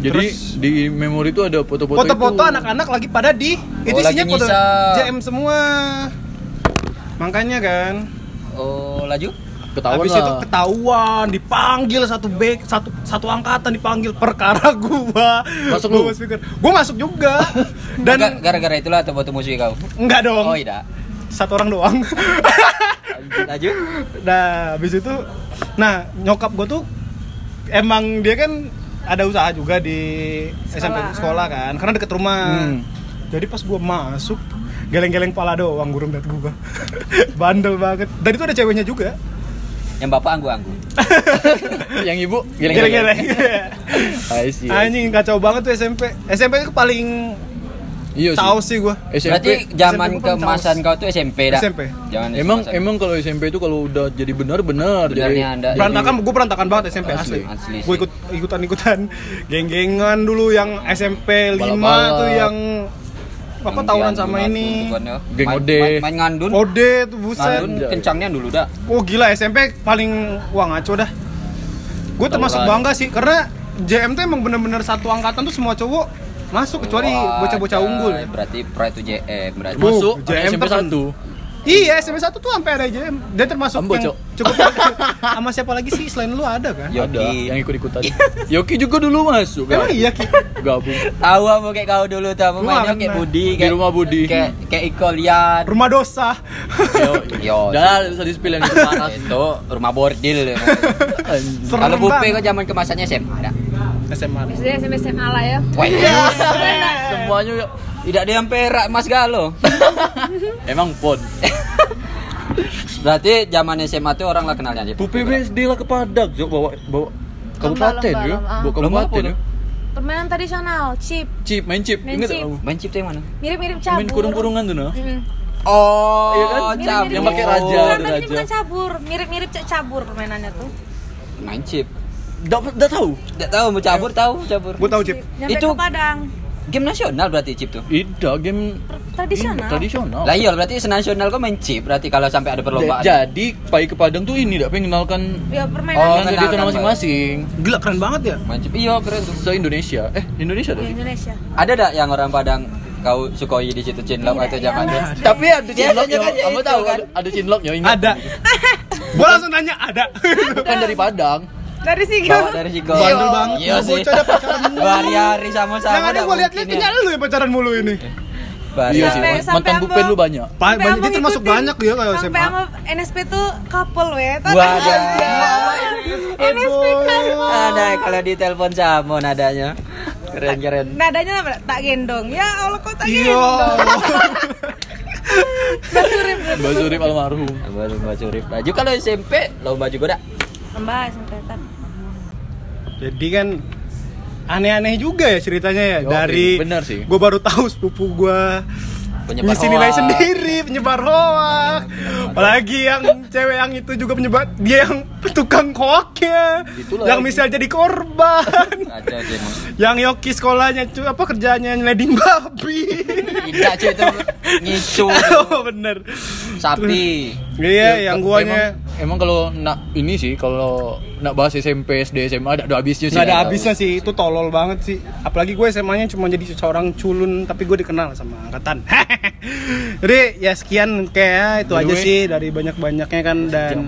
Speaker 2: Jadi
Speaker 1: Terus-
Speaker 2: di memori itu ada foto-foto
Speaker 1: Foto-foto
Speaker 2: itu.
Speaker 1: anak-anak lagi pada di itu
Speaker 3: Oh,
Speaker 1: isinya
Speaker 3: lagi
Speaker 1: foto
Speaker 3: nyisa.
Speaker 1: JM semua. Makanya kan
Speaker 3: Oh, laju.
Speaker 2: Ketahuan
Speaker 1: Habis
Speaker 2: lah.
Speaker 1: itu ketahuan, dipanggil satu back, satu satu angkatan dipanggil perkara gua.
Speaker 2: Masuk
Speaker 1: gua
Speaker 2: lu?
Speaker 1: speaker. Gua masuk juga.
Speaker 3: Enggak,
Speaker 1: Dan
Speaker 3: gara-gara itulah atau foto musuh kau.
Speaker 1: enggak dong.
Speaker 3: Oh, tidak.
Speaker 1: Satu orang doang.
Speaker 3: Laju.
Speaker 1: nah, habis itu nah, nyokap gua tuh emang dia kan ada usaha juga di SMP sekolah kan, karena deket rumah.
Speaker 2: Hmm.
Speaker 1: Jadi pas gua masuk geleng-geleng pala doang guru ngeliat gua. Bandel banget. Dan itu ada ceweknya juga.
Speaker 3: Yang bapak anggu-anggu.
Speaker 2: yang ibu
Speaker 1: Geleng-geleng.
Speaker 2: I see.
Speaker 1: Anjing kacau banget tuh SMP. SMP itu paling
Speaker 2: Iya sih.
Speaker 1: tahu sih gua.
Speaker 2: SMP.
Speaker 3: Berarti zaman
Speaker 1: SMP pun
Speaker 3: kemasan
Speaker 1: caos.
Speaker 3: kau tuh SMP dah.
Speaker 1: SMP.
Speaker 3: Jangan
Speaker 2: Emang
Speaker 3: kemasan.
Speaker 2: emang kalau SMP itu kalau udah jadi benar benar jadi
Speaker 3: Benarnya Anda.
Speaker 1: Berantakan, gua berantakan banget SMP asli.
Speaker 3: Iya, Asli, asli sih.
Speaker 1: Gua ikut ikutan-ikutan geng-gengan dulu yang SMP 5
Speaker 2: Balap-balap.
Speaker 1: tuh yang apa tahunan
Speaker 3: Yang
Speaker 1: sama
Speaker 3: ngandun,
Speaker 1: ini.
Speaker 3: ngandun,
Speaker 2: Geng
Speaker 3: ngandun. kan, ya. Main-
Speaker 2: Ode.
Speaker 3: main- Main ngandun.
Speaker 1: Ode tuh buset.
Speaker 3: Ngandun kencangnya dulu dah.
Speaker 1: Oh gila SMP paling wah ngaco dah. Gue termasuk
Speaker 2: Tauran.
Speaker 1: bangga sih karena JM tuh emang bener-bener satu angkatan tuh semua cowok masuk kecuali
Speaker 3: Wah,
Speaker 1: bocah-bocah unggul.
Speaker 3: coy. Berarti pra itu JM berarti.
Speaker 1: Bu.
Speaker 2: masuk
Speaker 1: JM
Speaker 2: SMP
Speaker 1: tekan.
Speaker 2: 1.
Speaker 1: Iya, SMP 1 tuh sampai ada JM. Dia termasuk
Speaker 2: Ambo,
Speaker 1: yang
Speaker 2: Cok.
Speaker 1: cukup sama siapa lagi sih selain lu ada kan?
Speaker 3: Yogi.
Speaker 2: Ada yang ikut ikutan. Yoki juga dulu masuk
Speaker 1: Emang
Speaker 2: kan.
Speaker 3: ya.
Speaker 1: iya Ki?
Speaker 2: Gabung
Speaker 3: Tahu apa kayak kau dulu tuh apa
Speaker 1: Gua
Speaker 3: mainnya
Speaker 1: nggak
Speaker 3: kayak
Speaker 1: pernah.
Speaker 3: Budi
Speaker 2: kan, di
Speaker 3: kayak
Speaker 2: rumah Budi.
Speaker 3: kayak kayak Iko liar.
Speaker 1: Rumah dosa.
Speaker 2: Yo,
Speaker 3: Yo.
Speaker 2: Dah, bisa di-spill yang itu panas.
Speaker 3: Itu rumah bordil.
Speaker 2: Anjing.
Speaker 1: Serem
Speaker 3: Kalau kan Bupe
Speaker 1: banget.
Speaker 3: kau zaman kemasannya SMA ada.
Speaker 1: SMA.
Speaker 4: SD SMA SMA lah ya.
Speaker 3: Wah,
Speaker 2: Iya. Semuanya ya.
Speaker 3: tidak ada yang perak Mas Galo.
Speaker 2: emang pon.
Speaker 3: Berarti zaman SMA tuh orang lah kenalnya aja.
Speaker 2: Pupi BSD lah ke Padang, Jok bawa bawa kabupaten
Speaker 4: lomba,
Speaker 2: ya.
Speaker 4: lomba.
Speaker 2: Bawa
Speaker 3: Lomba apa
Speaker 2: kabupaten ya.
Speaker 3: tuh?
Speaker 4: Permainan tradisional, chip.
Speaker 2: Chip, main chip.
Speaker 4: Main
Speaker 2: Ingat
Speaker 4: chip.
Speaker 2: nggak?
Speaker 3: Main chip tuh yang mana?
Speaker 4: Mirip-mirip cabur.
Speaker 2: Main kurung-kurungan tuh nah.
Speaker 4: Mm.
Speaker 3: Oh,
Speaker 2: Iya kan?
Speaker 3: cabur.
Speaker 2: Yang
Speaker 1: Oh.
Speaker 2: pakai raja.
Speaker 4: Bukan,
Speaker 2: ada
Speaker 4: tapi ini
Speaker 2: raja.
Speaker 4: bukan cabur. Mirip-mirip cek cabur permainannya tuh.
Speaker 3: Main chip.
Speaker 2: Dapat dah tahu.
Speaker 3: Tidak tahu mau cabur
Speaker 1: Iya.
Speaker 3: tahu mau cabur.
Speaker 1: Gue tahu Jip.
Speaker 4: Nyampe
Speaker 3: Itu-
Speaker 4: ke Padang.
Speaker 3: Game nasional berarti chip tuh.
Speaker 2: Ida game Ih,
Speaker 4: Tradisional.
Speaker 1: Oh.
Speaker 2: tradisional.
Speaker 3: Lah iya berarti senasional kok main chip berarti kalau sampai ada perlombaan.
Speaker 2: Jadi pai ke Padang tuh ini dak mengenalkan
Speaker 4: Ya
Speaker 3: Oh,
Speaker 4: permainan
Speaker 2: oh, jadi itu
Speaker 3: kenalkan, Pak.
Speaker 2: masing-masing.
Speaker 1: Gila keren banget ya.
Speaker 3: Main chip. Iya keren tuh.
Speaker 2: Se Indonesia. Eh, Indonesia
Speaker 4: di
Speaker 2: tadi.
Speaker 4: Indonesia.
Speaker 3: Ada dak yang orang Padang kau sukoi di situ Cinlok
Speaker 4: Tidak,
Speaker 3: atau zaman
Speaker 4: iyalah.
Speaker 2: Tapi
Speaker 4: Iya,
Speaker 2: ada cinlok
Speaker 3: Biasanya
Speaker 2: ya.
Speaker 3: kan ya
Speaker 2: Kamu
Speaker 3: itu
Speaker 2: tahu
Speaker 3: kan.
Speaker 2: ada, ada cinlok ya ingat.
Speaker 1: Ada. Gue langsung nanya ada.
Speaker 2: Bukan dari Padang.
Speaker 3: Bawa
Speaker 4: Dari
Speaker 2: Oh,
Speaker 4: Sigau.
Speaker 3: dari Siko.
Speaker 1: Bandel banget.
Speaker 3: Iya
Speaker 1: Lu
Speaker 3: sih.
Speaker 1: bocah ada pacaran mulu.
Speaker 3: Berhari-hari sama-sama.
Speaker 1: Yang ada ya.
Speaker 3: dak
Speaker 1: gue liat-liat
Speaker 3: mungkin ya.
Speaker 1: kayaknya lu yang pacaran mulu ini.
Speaker 3: Berhari-
Speaker 2: Iya sih.
Speaker 4: Sampai- sampai
Speaker 2: Mantan
Speaker 4: apa?
Speaker 2: bupen lu banyak.
Speaker 1: Pa-
Speaker 4: Sampai
Speaker 1: banyak
Speaker 4: abang
Speaker 1: itu termasuk
Speaker 4: ngikutin.
Speaker 1: banyak ya kalau
Speaker 4: Sampai
Speaker 1: SMA.
Speaker 4: sama NSP tuh couple weh. Tau
Speaker 3: Wadah.
Speaker 4: tak? NSP couple.
Speaker 3: Ada kalau di telepon sama nadanya. Keren-keren.
Speaker 4: Nadanya apa? tak gendong. Ya Allah kok tak
Speaker 1: Iya.
Speaker 4: gendong. Basurip.
Speaker 2: Mbak Surip almarhum.
Speaker 3: Baru Mbak Surip. Laju kalau SMP lomba juga dak.
Speaker 4: Mbak sempetan.
Speaker 1: Jadi kan aneh-aneh juga ya ceritanya ya
Speaker 2: Yo,
Speaker 1: dari
Speaker 2: bener sih.
Speaker 1: gue baru tahu sepupu gue
Speaker 3: Penyebar
Speaker 1: ngisi nilai
Speaker 3: hoak.
Speaker 1: sendiri penyebar
Speaker 2: Iya,
Speaker 1: hoak apalagi yang cewek yang itu juga penyebar dia yang tukang hoaknya
Speaker 2: Itulah
Speaker 1: yang
Speaker 2: lagi.
Speaker 1: misal jadi korban
Speaker 3: Ada sih emang.
Speaker 1: yang yoki sekolahnya cu apa kerjanya nyelading babi
Speaker 3: Tidak cuy itu ngicu
Speaker 1: oh bener
Speaker 3: sapi.
Speaker 1: iya yang
Speaker 2: ke-
Speaker 1: guanya
Speaker 2: Emang, emang kalau nak ini sih kalau nak bahas SMP, SD, SMA ada, ada habisnya sih.
Speaker 1: nggak ada habisnya sih itu tolol banget sih apalagi gue SMA nya cuma jadi seorang culun tapi gue dikenal sama angkatan jadi ya sekian kayak itu
Speaker 2: By the
Speaker 1: aja
Speaker 2: way.
Speaker 1: sih dari banyak banyaknya kan dan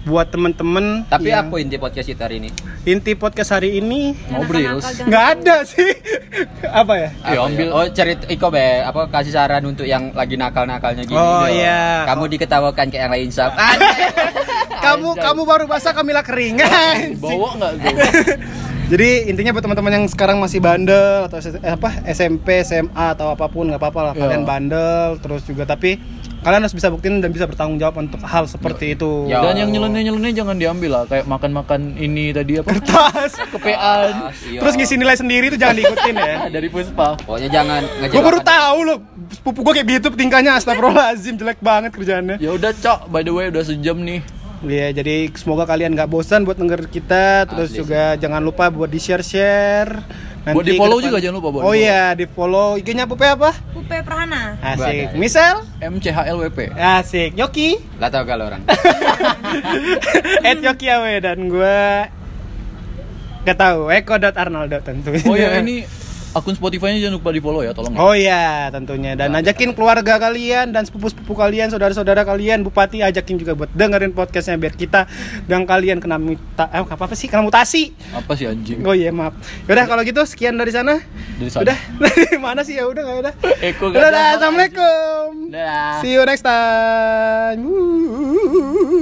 Speaker 1: buat temen-temen
Speaker 3: Tapi
Speaker 1: ya,
Speaker 3: apa inti podcast kita hari ini?
Speaker 1: inti podcast hari ini
Speaker 2: Ngobrol.
Speaker 1: nggak ada sih apa ya
Speaker 2: Ya,
Speaker 3: Apa
Speaker 2: ambil.
Speaker 3: ya? Oh cerita Iko be, apa kasih saran untuk yang lagi nakal-nakalnya gini.
Speaker 1: Oh,
Speaker 3: Yo.
Speaker 1: iya. Ah,
Speaker 3: Kamu diketawakan kayak yang lain sab.
Speaker 1: kamu kamu baru basah kamilah kering
Speaker 2: Bawa nggak gue?
Speaker 1: Jadi intinya buat teman-teman yang sekarang masih bandel atau S- eh, apa SMP, SMA atau apapun nggak apa-apa lah
Speaker 2: Iya.
Speaker 1: kalian bandel terus juga tapi kalian harus bisa buktiin dan bisa bertanggung jawab untuk hal
Speaker 2: Iya.
Speaker 1: seperti itu.
Speaker 3: Ya.
Speaker 2: Dan yang nyeleneh-nyeleneh jangan diambil lah kayak makan-makan ini tadi apa
Speaker 1: Tas.
Speaker 2: kepean
Speaker 3: Iya.
Speaker 1: Terus ngisi nilai sendiri itu jangan diikutin ya.
Speaker 2: dari Puspa.
Speaker 3: Pokoknya jangan ngejar
Speaker 1: gue baru
Speaker 3: orang.
Speaker 1: tahu loh sepupu gue kayak gitu tingkahnya astagfirullahalazim jelek banget kerjaannya.
Speaker 2: Ya udah, Cok. By the way, udah sejam nih.
Speaker 1: Iya, jadi semoga kalian nggak bosan buat denger kita, terus
Speaker 3: Asli
Speaker 1: juga jangan lupa buat di share share.
Speaker 2: Buat di-follow juga jangan lupa, buat
Speaker 1: Oh
Speaker 2: di-follow.
Speaker 1: iya, di follow IG-nya Pupe apa?
Speaker 4: Pupe Prahana.
Speaker 1: Asik.
Speaker 3: Badai.
Speaker 1: Misal?
Speaker 2: MCHLWP.
Speaker 1: Asik. Yoki.
Speaker 3: Lah tahu kalau orang.
Speaker 1: At Yoki Awe dan gue gak tahu Eko.Arnaldo tentunya.
Speaker 2: Oh ya, ini akun Spotify-nya jangan lupa di-follow ya, tolong. ya.
Speaker 1: Iya. Oh iya, tentunya. Dan
Speaker 2: Nah,
Speaker 1: ajakin keluarga kalian dan sepupu-sepupu kalian, saudara-saudara kalian, bupati ajakin juga buat dengerin podcastnya biar kita dan kalian kena muta eh, apa, apa sih? Kena mutasi.
Speaker 2: Apa sih anjing?
Speaker 1: Oh iya, maaf. Yaudah kalau gitu sekian dari sana.
Speaker 2: Dari sana.
Speaker 1: Udah. Dari mana sih ya udah nggak udah.
Speaker 2: Eko gak
Speaker 1: Udah,
Speaker 2: ada.
Speaker 1: Assalamuaikum.
Speaker 2: Dadah.
Speaker 1: See you next time. Wuuu.